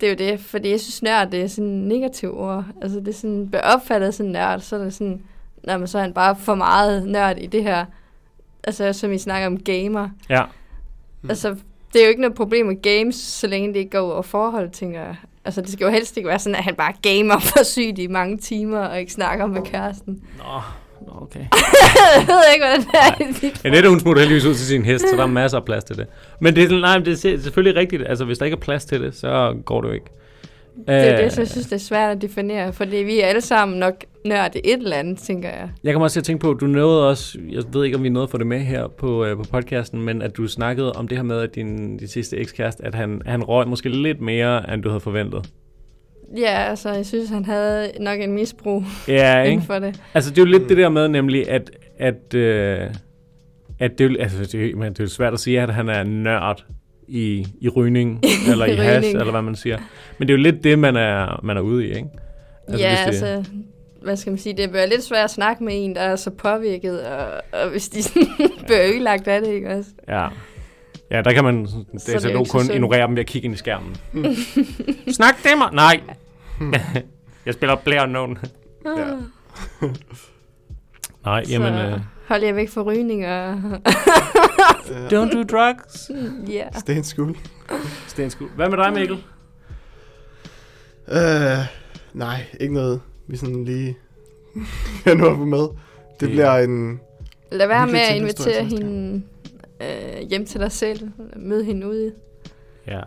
[SPEAKER 3] Det er jo det, fordi jeg synes nørd, det er sådan et negativt ord. Altså det er sådan, bliver opfattet som nørd, så er det sådan, når man så er han bare for meget nørd i det her. Altså som I snakker om gamer.
[SPEAKER 1] Ja.
[SPEAKER 3] Mm. Altså det er jo ikke noget problem med games, så længe det ikke går ud over forhold, tænker jeg. Altså det skal jo helst ikke være sådan, at han bare gamer for sygt i mange timer og ikke snakker med kæresten.
[SPEAKER 1] Nå, nå, okay.
[SPEAKER 3] jeg ved ikke, hvordan det er i dit
[SPEAKER 1] Annette, hun smutter heldigvis ud til sin hest, så der er masser af plads til det. Men det er, sådan, nej, men det er se- selvfølgelig rigtigt. Altså, hvis der ikke er plads til det, så går det jo ikke. Øh,
[SPEAKER 3] Det Øh. er det, så jeg synes, det er svært at definere, fordi vi er alle sammen nok nørde et eller andet, tænker jeg.
[SPEAKER 1] Jeg kommer også til at tænke på, at du nåede også, jeg ved ikke, om vi nåede at få det med her på, øh, på podcasten, men at du snakkede om det her med, at din, din sidste ekskæreste, at han, han røg måske lidt mere, end du havde forventet.
[SPEAKER 3] Ja, altså, jeg synes, han havde nok en misbrug
[SPEAKER 1] Ja,
[SPEAKER 3] inden
[SPEAKER 1] ikke?
[SPEAKER 3] for det.
[SPEAKER 1] Altså, det er jo lidt det der med nemlig, at, at, øh, at det, er jo- altså, det, er jo- men det er jo svært at sige, at han er nørd i, i
[SPEAKER 3] <laughs>
[SPEAKER 1] rygning, eller i hash,
[SPEAKER 3] Rygning.
[SPEAKER 1] eller hvad man siger. Men det er jo lidt det, man er, man er ude i, ikke?
[SPEAKER 3] Altså, ja,
[SPEAKER 1] hvis det-
[SPEAKER 3] altså, hvad skal man sige, det bliver lidt svært at snakke med en, der er så påvirket, og, og hvis de sådan <laughs> bliver ødelagt af det, ikke også?
[SPEAKER 1] Ja. Ja, der kan man det
[SPEAKER 3] Så er
[SPEAKER 1] så
[SPEAKER 3] det
[SPEAKER 1] DSLO
[SPEAKER 3] jo ikke så
[SPEAKER 1] kun
[SPEAKER 3] synd.
[SPEAKER 1] ignorere dem ved at kigge ind i skærmen. <laughs> Snak det mig! Nej! <laughs> jeg spiller Blair Known.
[SPEAKER 2] Ja.
[SPEAKER 1] Nej, jamen...
[SPEAKER 3] Ah, så
[SPEAKER 1] Uh,
[SPEAKER 3] hold jer væk fra rygning, og <laughs>
[SPEAKER 1] don't do drugs. Mm.
[SPEAKER 3] ja.
[SPEAKER 2] Stay in school.
[SPEAKER 1] Stenskud. Hvad med dig, Mikkel?
[SPEAKER 2] Øh, nej, ikke noget, vi sådan lige <laughs> kan nå på med. Det
[SPEAKER 1] Det-
[SPEAKER 2] bliver en...
[SPEAKER 3] Lad være
[SPEAKER 2] Hvilket
[SPEAKER 3] med at
[SPEAKER 2] tændhistorie
[SPEAKER 3] invitere
[SPEAKER 2] skal jeg
[SPEAKER 3] hende øh, hjem til dig selv, møde hende ude.
[SPEAKER 1] Ja.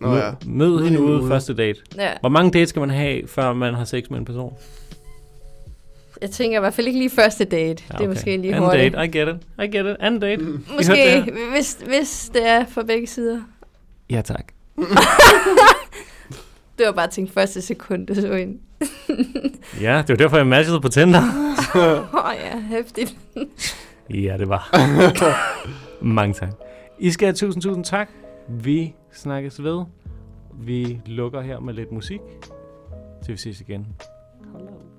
[SPEAKER 2] Nå ja.
[SPEAKER 1] Mød, mød hende
[SPEAKER 2] hende
[SPEAKER 1] ude
[SPEAKER 2] ude.
[SPEAKER 1] første date.
[SPEAKER 3] Ja,
[SPEAKER 1] Hvor mange dates skal man have, før man har sex med en person?
[SPEAKER 3] jeg tænker i hvert fald ikke lige første date. Ja, okay. Det er måske lige
[SPEAKER 1] Anden
[SPEAKER 3] hurtigt.
[SPEAKER 1] date, I get it. I get it. Anden date. Mm.
[SPEAKER 3] Måske, hvis, hvis det er fra begge sider.
[SPEAKER 1] Ja, tak.
[SPEAKER 3] Det var bare tænkt første sekund, det så ind.
[SPEAKER 1] Ja, det var derfor, jeg matchede på Tinder.
[SPEAKER 3] Åh <laughs> oh, ja, hæftigt.
[SPEAKER 1] Ja, det var. Mange tak. I skal have tusind, tusind tak. Vi snakkes ved. Vi lukker her med lidt musik. Til vi ses igen. Hello.